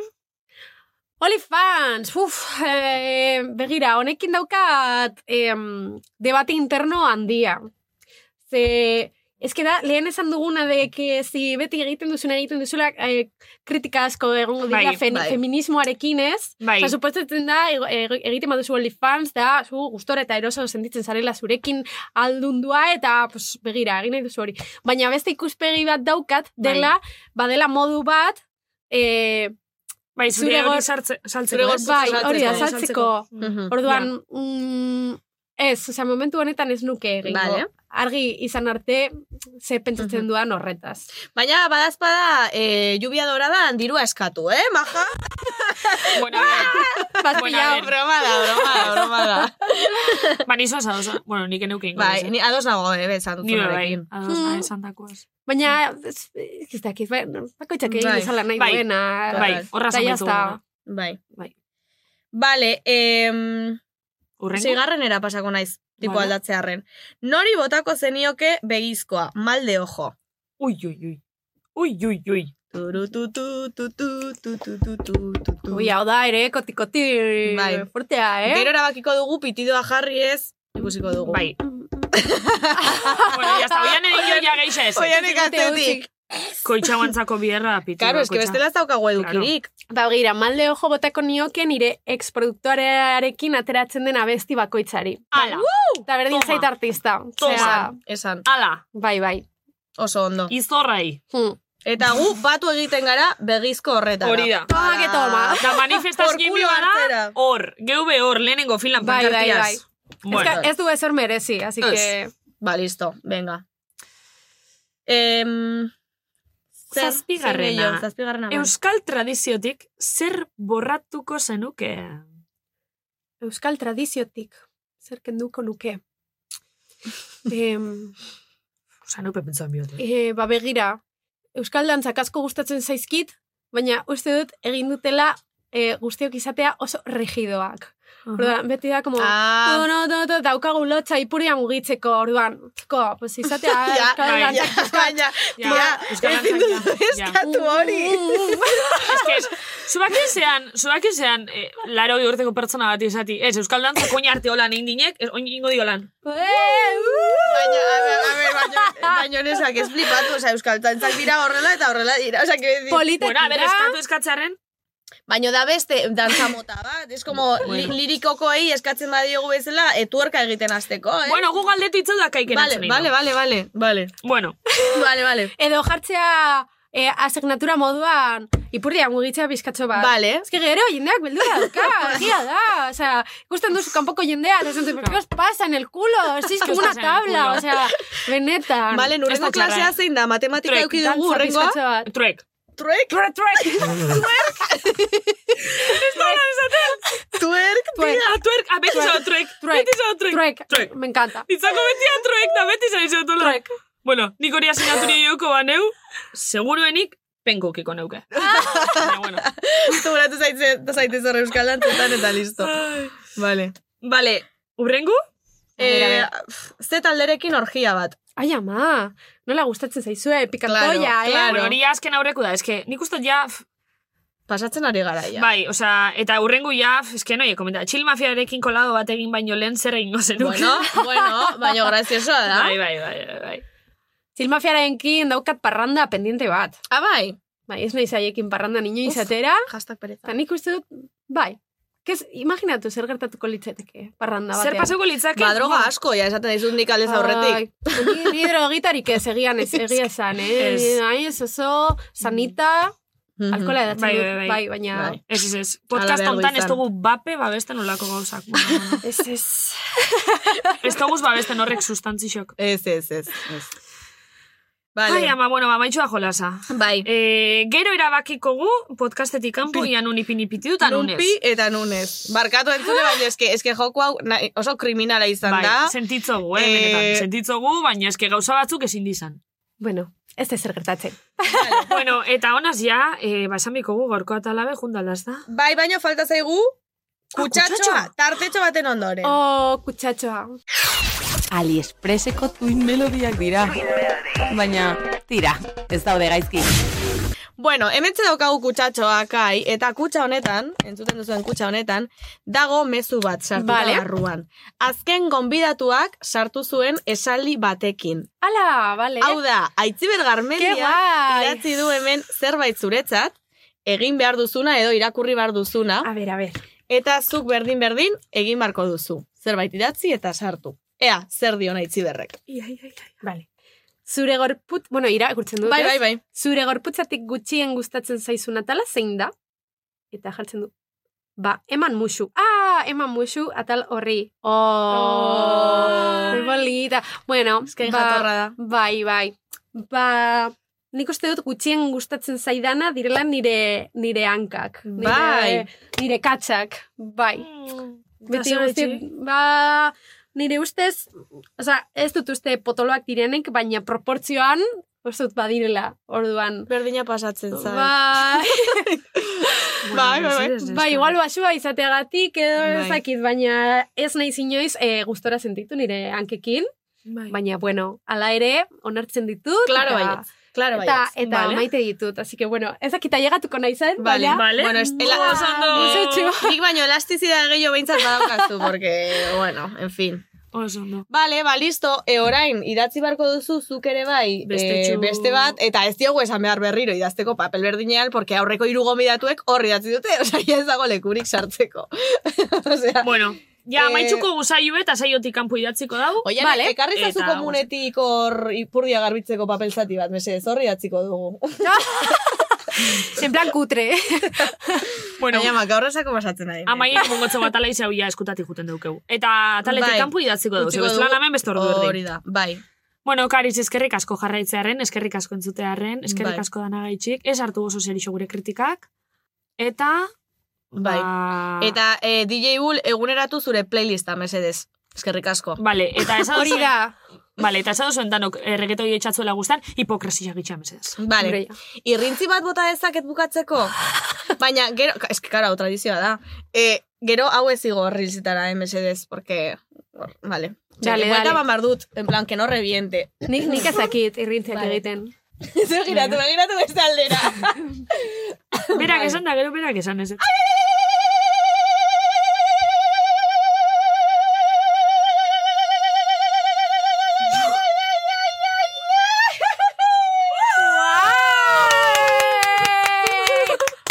Olifans, uf, eh, begira, honekin daukat em, debate interno handia. Ze, ez que da, lehen esan duguna de que si beti egiten duzuna egiten duzula eh, kritika asko egongo dira
Bai,
fe,
bai.
feminismoarekin ez.
Bai.
Osa, supostatzen da, ego- eg- egiten baduzu OnlyFans, da, zu gustora eta eroso sentitzen zarela zurekin aldundua, eta, pues, begira, egin nahi duzu hori. Baina beste ikuspegi bat daukat, dela, badela modu bat, eh,
Bai, zure
Zure
hori
gor-
sartze- saltzeko.
zure
ez?
gorputza
Bai, hori da,
saltzeko.
saltzeko.
Mhm.
Orduan, mm, ez, osea, momentu honetan ez nuke egingo.
Vale.
Argi izan arte, ze pentsatzen duan horretaz.
Baina, badazpada, eh, lluvia dorada dirua eskatu, eh, maja?
Bueno, bien. Bueno, a
Pastilla,
ver.
broma da, broma da, broma da.
Ba, nizo osa, osa. Bueno, nik eneuke ingo.
Bai, ni ados nago, eh, bezan dut
Ni be, bai,
zunarekin.
ados, nahi esan dakoaz.
baina, ez ez dakit, bai, bakoitzak egin
Bai.
bezala nahi
Bai.
duena.
Bai, horra
Eta ya
zamaitu.
está.
Bai.
Bai.
Vale, em,
Urrengo?
Seigarrenera pasako naiz, tipo
Vale.
aldatzearren. Nori botako zenioke begizkoa, mal de ojo.
Ui, ui, ui. Ui, ui, ui.
Turu, tu, tu, tu, tu, tu, tu, tu, tu, tu,
Mm.
tu.
Ui, hau da, ere, kotikoti,
Bai.
fortea, eh?
Gero erabakiko dugu, pitidoa jarri ez, ikusiko dugu.
Bai. bueno, ya está. Oian egin jo ja geixa ez.
Oianek
Koitikotea
atzetik.
Koitxa guantzako bierra pitu.
Karo, eske bestela ez daukagu edukirik.
Ba, gira, malde ojo botako nioke nire ex-produktorearekin ateratzen den abesti bakoitzari.
Ala,
Eta berdin
Toma.
zait artista.
Toma.
Osea,
Esan,
ala.
bai, bai.
oso ondo.
Izorrai.
Hm.
Eta gu batu egiten gara begizko horretara.
Hori da.
Toma que toma.
Da
Por
manifestazkin
culo hartzera.
bibara, hor, geube hor, lehenengo filan
Bai, bai,
pankartiaz.
bai.
Bueno,
Ez, ka- ez du ezor merezi, así
Ez.
que...
Ba, listo, venga. Em, zer-
Zazpigarrena.
zer gehiago? Zazpigarrena. bai.
Euskal tradiziotik zer borratuko zenuke?
Euskal tradiziotik, zer kenduko nuke. em,
Osa, nupe pentsan biote.
e, ba begira, Euskal dantzak asko gustatzen zaizkit, baina uste dut egin dutela e, guztiok izatea oso rigidoak. Orduan, beti da, como, "Oh,
Ah.
no, no, no, no, daukagu lotxa ipuria mugitzeko, orduan, txoko, pues izatea
Ja,
Euskal
bai,
dantzak
Ja, baina,
Ja,
tia,
Euskal
ezin
Dantzak,
duzu
ja.
eskatu
Uh.
Eh,
hori.
uh.
Ez que, zubakin zean, zubakin zean, eh, laro urteko pertsona bat izati. Ez, Euskal Dantza koin arte holan egin dinek, ez, oin ingo diolan.
Baina, a ber, a ber, baina, baina nesak ez flipatu, oza, euskal tantzak dira horrela eta horrela dira, oza, que decir,
Polita
Bueno, a ber,
dira.
eskatu eskatzearen,
baina da beste dantza mota bat, es como li, lirikokoei eskatzen badiogu bezala, etuerka egiten hasteko, eh?
bueno, gu galdetu itzau da kaiken
vale, vale, vale, vale, vale,
Bueno,
vale, vale,
Edo jartzea e, asignatura moduan ipurria mugitzea bizkatxo bat.
Bai.
vale,
Ez que gero jendeak beldura dauka, egia da. Osea, ikusten duzu kanpoko jendea, eta esan dut, "Pero ¿qué os pasa en el culo? Si es
¿Qué
que
os
una
pasa en el
tabla,
culo?
osea, benetan.
vale,
Ez da
nurrengo
txarra,
klasea
eh?
zein da, matematika
Truek,
euki dugu,
Dantza
urrengoa,
pizkatxo bat.
truek.
Truek?
Truek, truek.
Tuerk?
Ez da lan esaten.
Tuerk,
Tuerk.
tia.
Ah, tuerk, ah, beti
Tuerk.
zao truek,
Truek.
beti zao truek.
Truek.
Truek.
Me encanta.
Ditzako beti da truek, da beti zao izan dola.
Truek.
Bueno, nik hori asinatu nire joko baneu, seguruenik penkokiko neuke. Baina, bueno.
Zuratu zaitez horre euskal antzutan eta listo. Vale.
Vale, urrengu?
Eh, ze talderekin orgia bat.
Ai, ama. Nola gustatzen zaizue,
Claro,
pikatoia, eh?
claro.
Bueno, hori azken aurreku da, eske, nik uste ja, f-
Pasatzen ari gara, ja.
bai, osea, eta urrengu ja, f- eske noie, komenta, txil mafiarekin kolado bat egin baino lehen zer egingo zenuke.
Bueno, bueno, baina graziosoa da.
bai, bai, bai, bai, bai.
Zilmafiarenkin daukat parranda pendiente bat.
Ah, bai.
Bai, ez nahi zaiekin parranda nino izatera.
Hashtag pereza.
Eta nik uste dut, bai. Kez, imaginatu zer gertatuko litzateke parranda batean.
Zer pasako litzake?
Ba, droga asko, ja, esaten dizut nik aldez aurretik.
Ai, ni- Ni drogitarik ez egian ez egia esan, eh?
Ez.
Ni- Ai, ez oso, sanita,
Mhm.
alkola edatzen
Bai,
dut,
bai, bai.
bai, baina...
Bai.
Ez, ez, ez.
Ala
Podcast
behar
hontan ez
izan.
dugu bape babesten olako gauzak. Bueno, bueno.
Ez, ez.
ez dugu babesten horrek sustantzixok.
Ez, ez, ez. ez. Vale.
Ai, ama, bueno, mamaitxua jolasa.
bai.
E, gero erabakiko gu, podcastetik kanpo,
Pi-
ian unipinipitiu eta nunez.
Nupi eta nunez. Barkatu entzule, baina eske, eske joko hau nahi- oso kriminala izan
Bai,
da.
sentitzogu, eh,
Eh,
benetan. Sentitzogu, baina eske gauza batzuk ezin dizan.
Bueno, ez da zer gertatzen.
bueno, eta honaz ja, e, ba, esan bikogu gaurko atalabe jundalaz da.
Bai, baina falta zaigu kutsatxoa,
kutsatxoa.
tartetxo baten ondoren.
Ah, Oh, kutsatxoa.
Aliexpreseko tuin melodiak dira. Baina, tira, ez daude gaizki.
Bueno, hementze daukagu kutsatxoa kai, eta kutsa honetan, entzuten duzuen kutsa honetan, dago mezu bat sartuta
Vale.
barruan. Azken gonbidatuak sartu zuen esaldi batekin.
Ala, bale.
Hau da, aitziber
Ke
garmendia
guai.
idatzi du hemen zerbait zuretzat, egin behar duzuna edo irakurri behar duzuna,
A ber, a ber.
eta zuk berdin-berdin egin beharko duzu. Zerbait idatzi eta sartu. Ea, zer dio nahi berrek.
Bale. Zure gorput... Bueno, irakurtzen dut,
Bai,
ez? Ba,
bai, bai.
Zure gorputzatik gutxien gustatzen zaizun atala zein da? Eta jartzen du. Ba, eman musu. Ah, eman musu atal horri. Oh,
Oh.
Ze bolita. Bueno,
Ezkain
ba,
jatorra da.
bai, bai. Ba, nik uste dut gutxien gustatzen zaidana direla nire, nire hankak. Nire,
Bai.
Nire katzak. Bai.
Mm.
Beti
Eta zer
guzti,
etxe?
ba, nire ustez, oza, ez dut uste potoloak direnek, baina proportzioan, ez dut badirela, orduan.
Berdina pasatzen zain.
Ba,
Bai, bai, bai.
ez, ez, ez,
ba,
ez.
igual basua izateagatik edo
Bai.
ez dakit, baina ez nahi inoiz e, gustora sentitu nire hankekin,
ba-
Bai.
baina bueno, hala ere onartzen ditut.
Claro
eta-
baietz, claro
Eta,
baietz.
eta
Vale.
maite ditut, así que bueno, ez dakita llegatuko nahi zen,
Vale,
baina...
Vale.
Bueno, ez, ela-
Oso ondo.
Nik baino elastizidad gehiago behintzat badaukazu, porque, bueno, en fin.
Oso ondo.
Vale, ba, listo, e, orain, idatzi barko duzu, zuk ere bai,
Bestetxu.
eh, beste bat, eta ez diogu esan behar berriro idazteko papel berdinean, porque aurreko hiru gonbidatuek hor idatzi dute, osea, ja ez dago lekurik sartzeko. osea,
Bueno, ja,
Eh,
maitxuko guzaiu eta saiotik kanpo idatziko dau.
Oian,
Vale.
ekarri zazu
Eta-
komunetik hor ipurdia garbitzeko papel zati bat, mesedez, horri atziko dugu.
En plan kutre.
Bueno,
Baina, maka horrezako pasatzen ari.
Amaia mongotzo bat ala izau ja eskutatik juten daukegu. Eta taletik
Bai.
kanpo idatziko dugu,
Utziko
zebez lan hemen beste ordu erdi.
Hori da, bai.
Bueno, Kariz, eskerrik asko jarraitzearen, eskerrik asko entzutearen, eskerrik
Bai.
asko danagaitxik, ez hartu oso zer gure kritikak, eta...
Bai.
Ah.
ba-
Eta eh, DJ Bull eguneratu zure playlista, mesedez. Eskerrik asko.
Vale, eta esan
Hori da.
Vale, eta esan duzuen danok erregetoi etxatzuela guztan, hipokresia gitxan mesedez.
Vale.
Hombre,
Irrintzi bat bota dezaket bukatzeko? Baina, gero, es que, karo, hau tradizioa da. E, gero hau ez igo rilzitara, eh, mesedez, porque... hor, Vale.
Dale,
Buelta
dale.
eman behar dut, en plan, que no reviente.
Nik, nik ezakit irrintziak
Vale.
egiten.
Zer giratu, begiratu beste aldera.
Berak
Bai.
esan da, gero berak esan ez.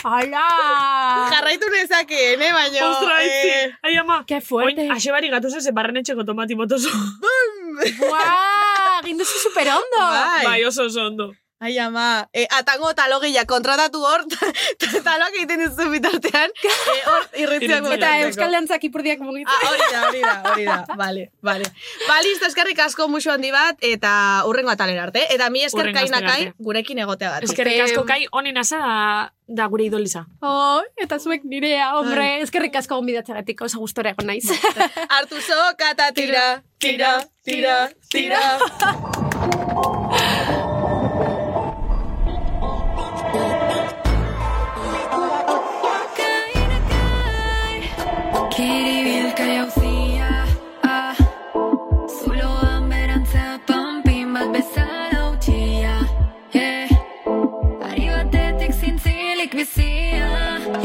Hala!
Jarraitu nezakeen, eh, baina...
Ostra, eh,
eh,
ai ama,
Ke
oin,
fuerte!
asebari gatoza ze barren etxeko tomati motoso.
Buah! Gindu zu super ondo!
Bai.
Bai, oso oso ondo.
Ai, ama, e, atango talogia kontratatu hor, ta- taloak egiten dizuen bitartean, e, hor irritziak
Eta Euskal Dantzak ipurdiak mugitzen.
Ah, hori da, hori da, hori da, bale, bale. Ba, listo, eskerrik asko musu handi bat, eta urrengo atalera arte. Eta mi esker
Hurrengo astera
kainakai,
arte.
gurekin egoteagatik.
Eskerrik asko kai, honen asa da, da gure idoliza.
Oh, eta zuek nirea,
Bai.
hombre, eskerrik asko gonbidatzeagatik oso gustora egon naiz.
Artu zoka eta tira, tira, tira, tira.
Kiribilkai hauzia ah, Zuloan berantza panpin bat bezala utxia yeah. Ari batetik zintzilik bizia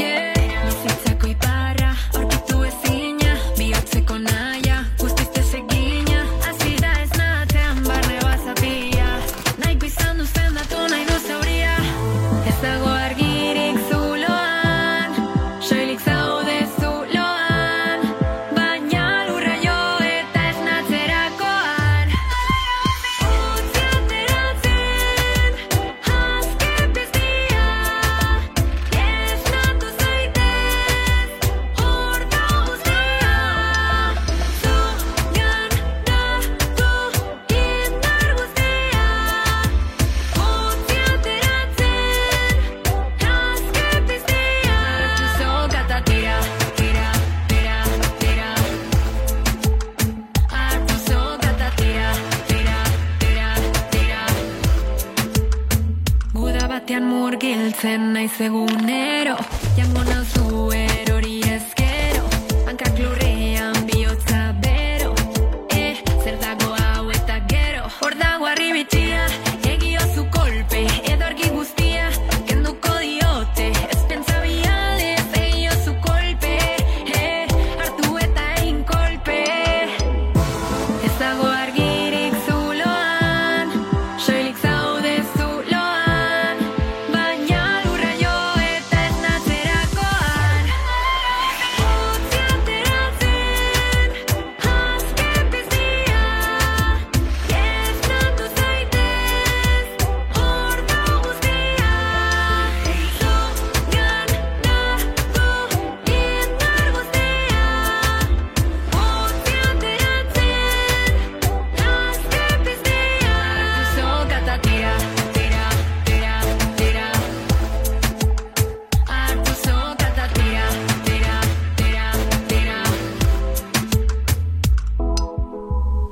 yeah. Bizitzako iparra, aurkitu ezina Bihotzeko naia, guztiz desegina Hasi da ez natean barne bazapia Naiko izan du zendatu nahi du zauria Ez dago argirik zuloan Soilik zaude zuloan Baina lurra jo eta esnatzerakoan Utzi ateratzen Azken piztia Esnatu zaitez Horta guztia Zugan datu Indar guztia Utzi ateratzen Azken piztia Hartu zogata tira Tira, tira, tira Hartu zogata tira Tira, tira, tira Guda batean murgiltzen naiz egunero Jango nauzue Eh, Eh,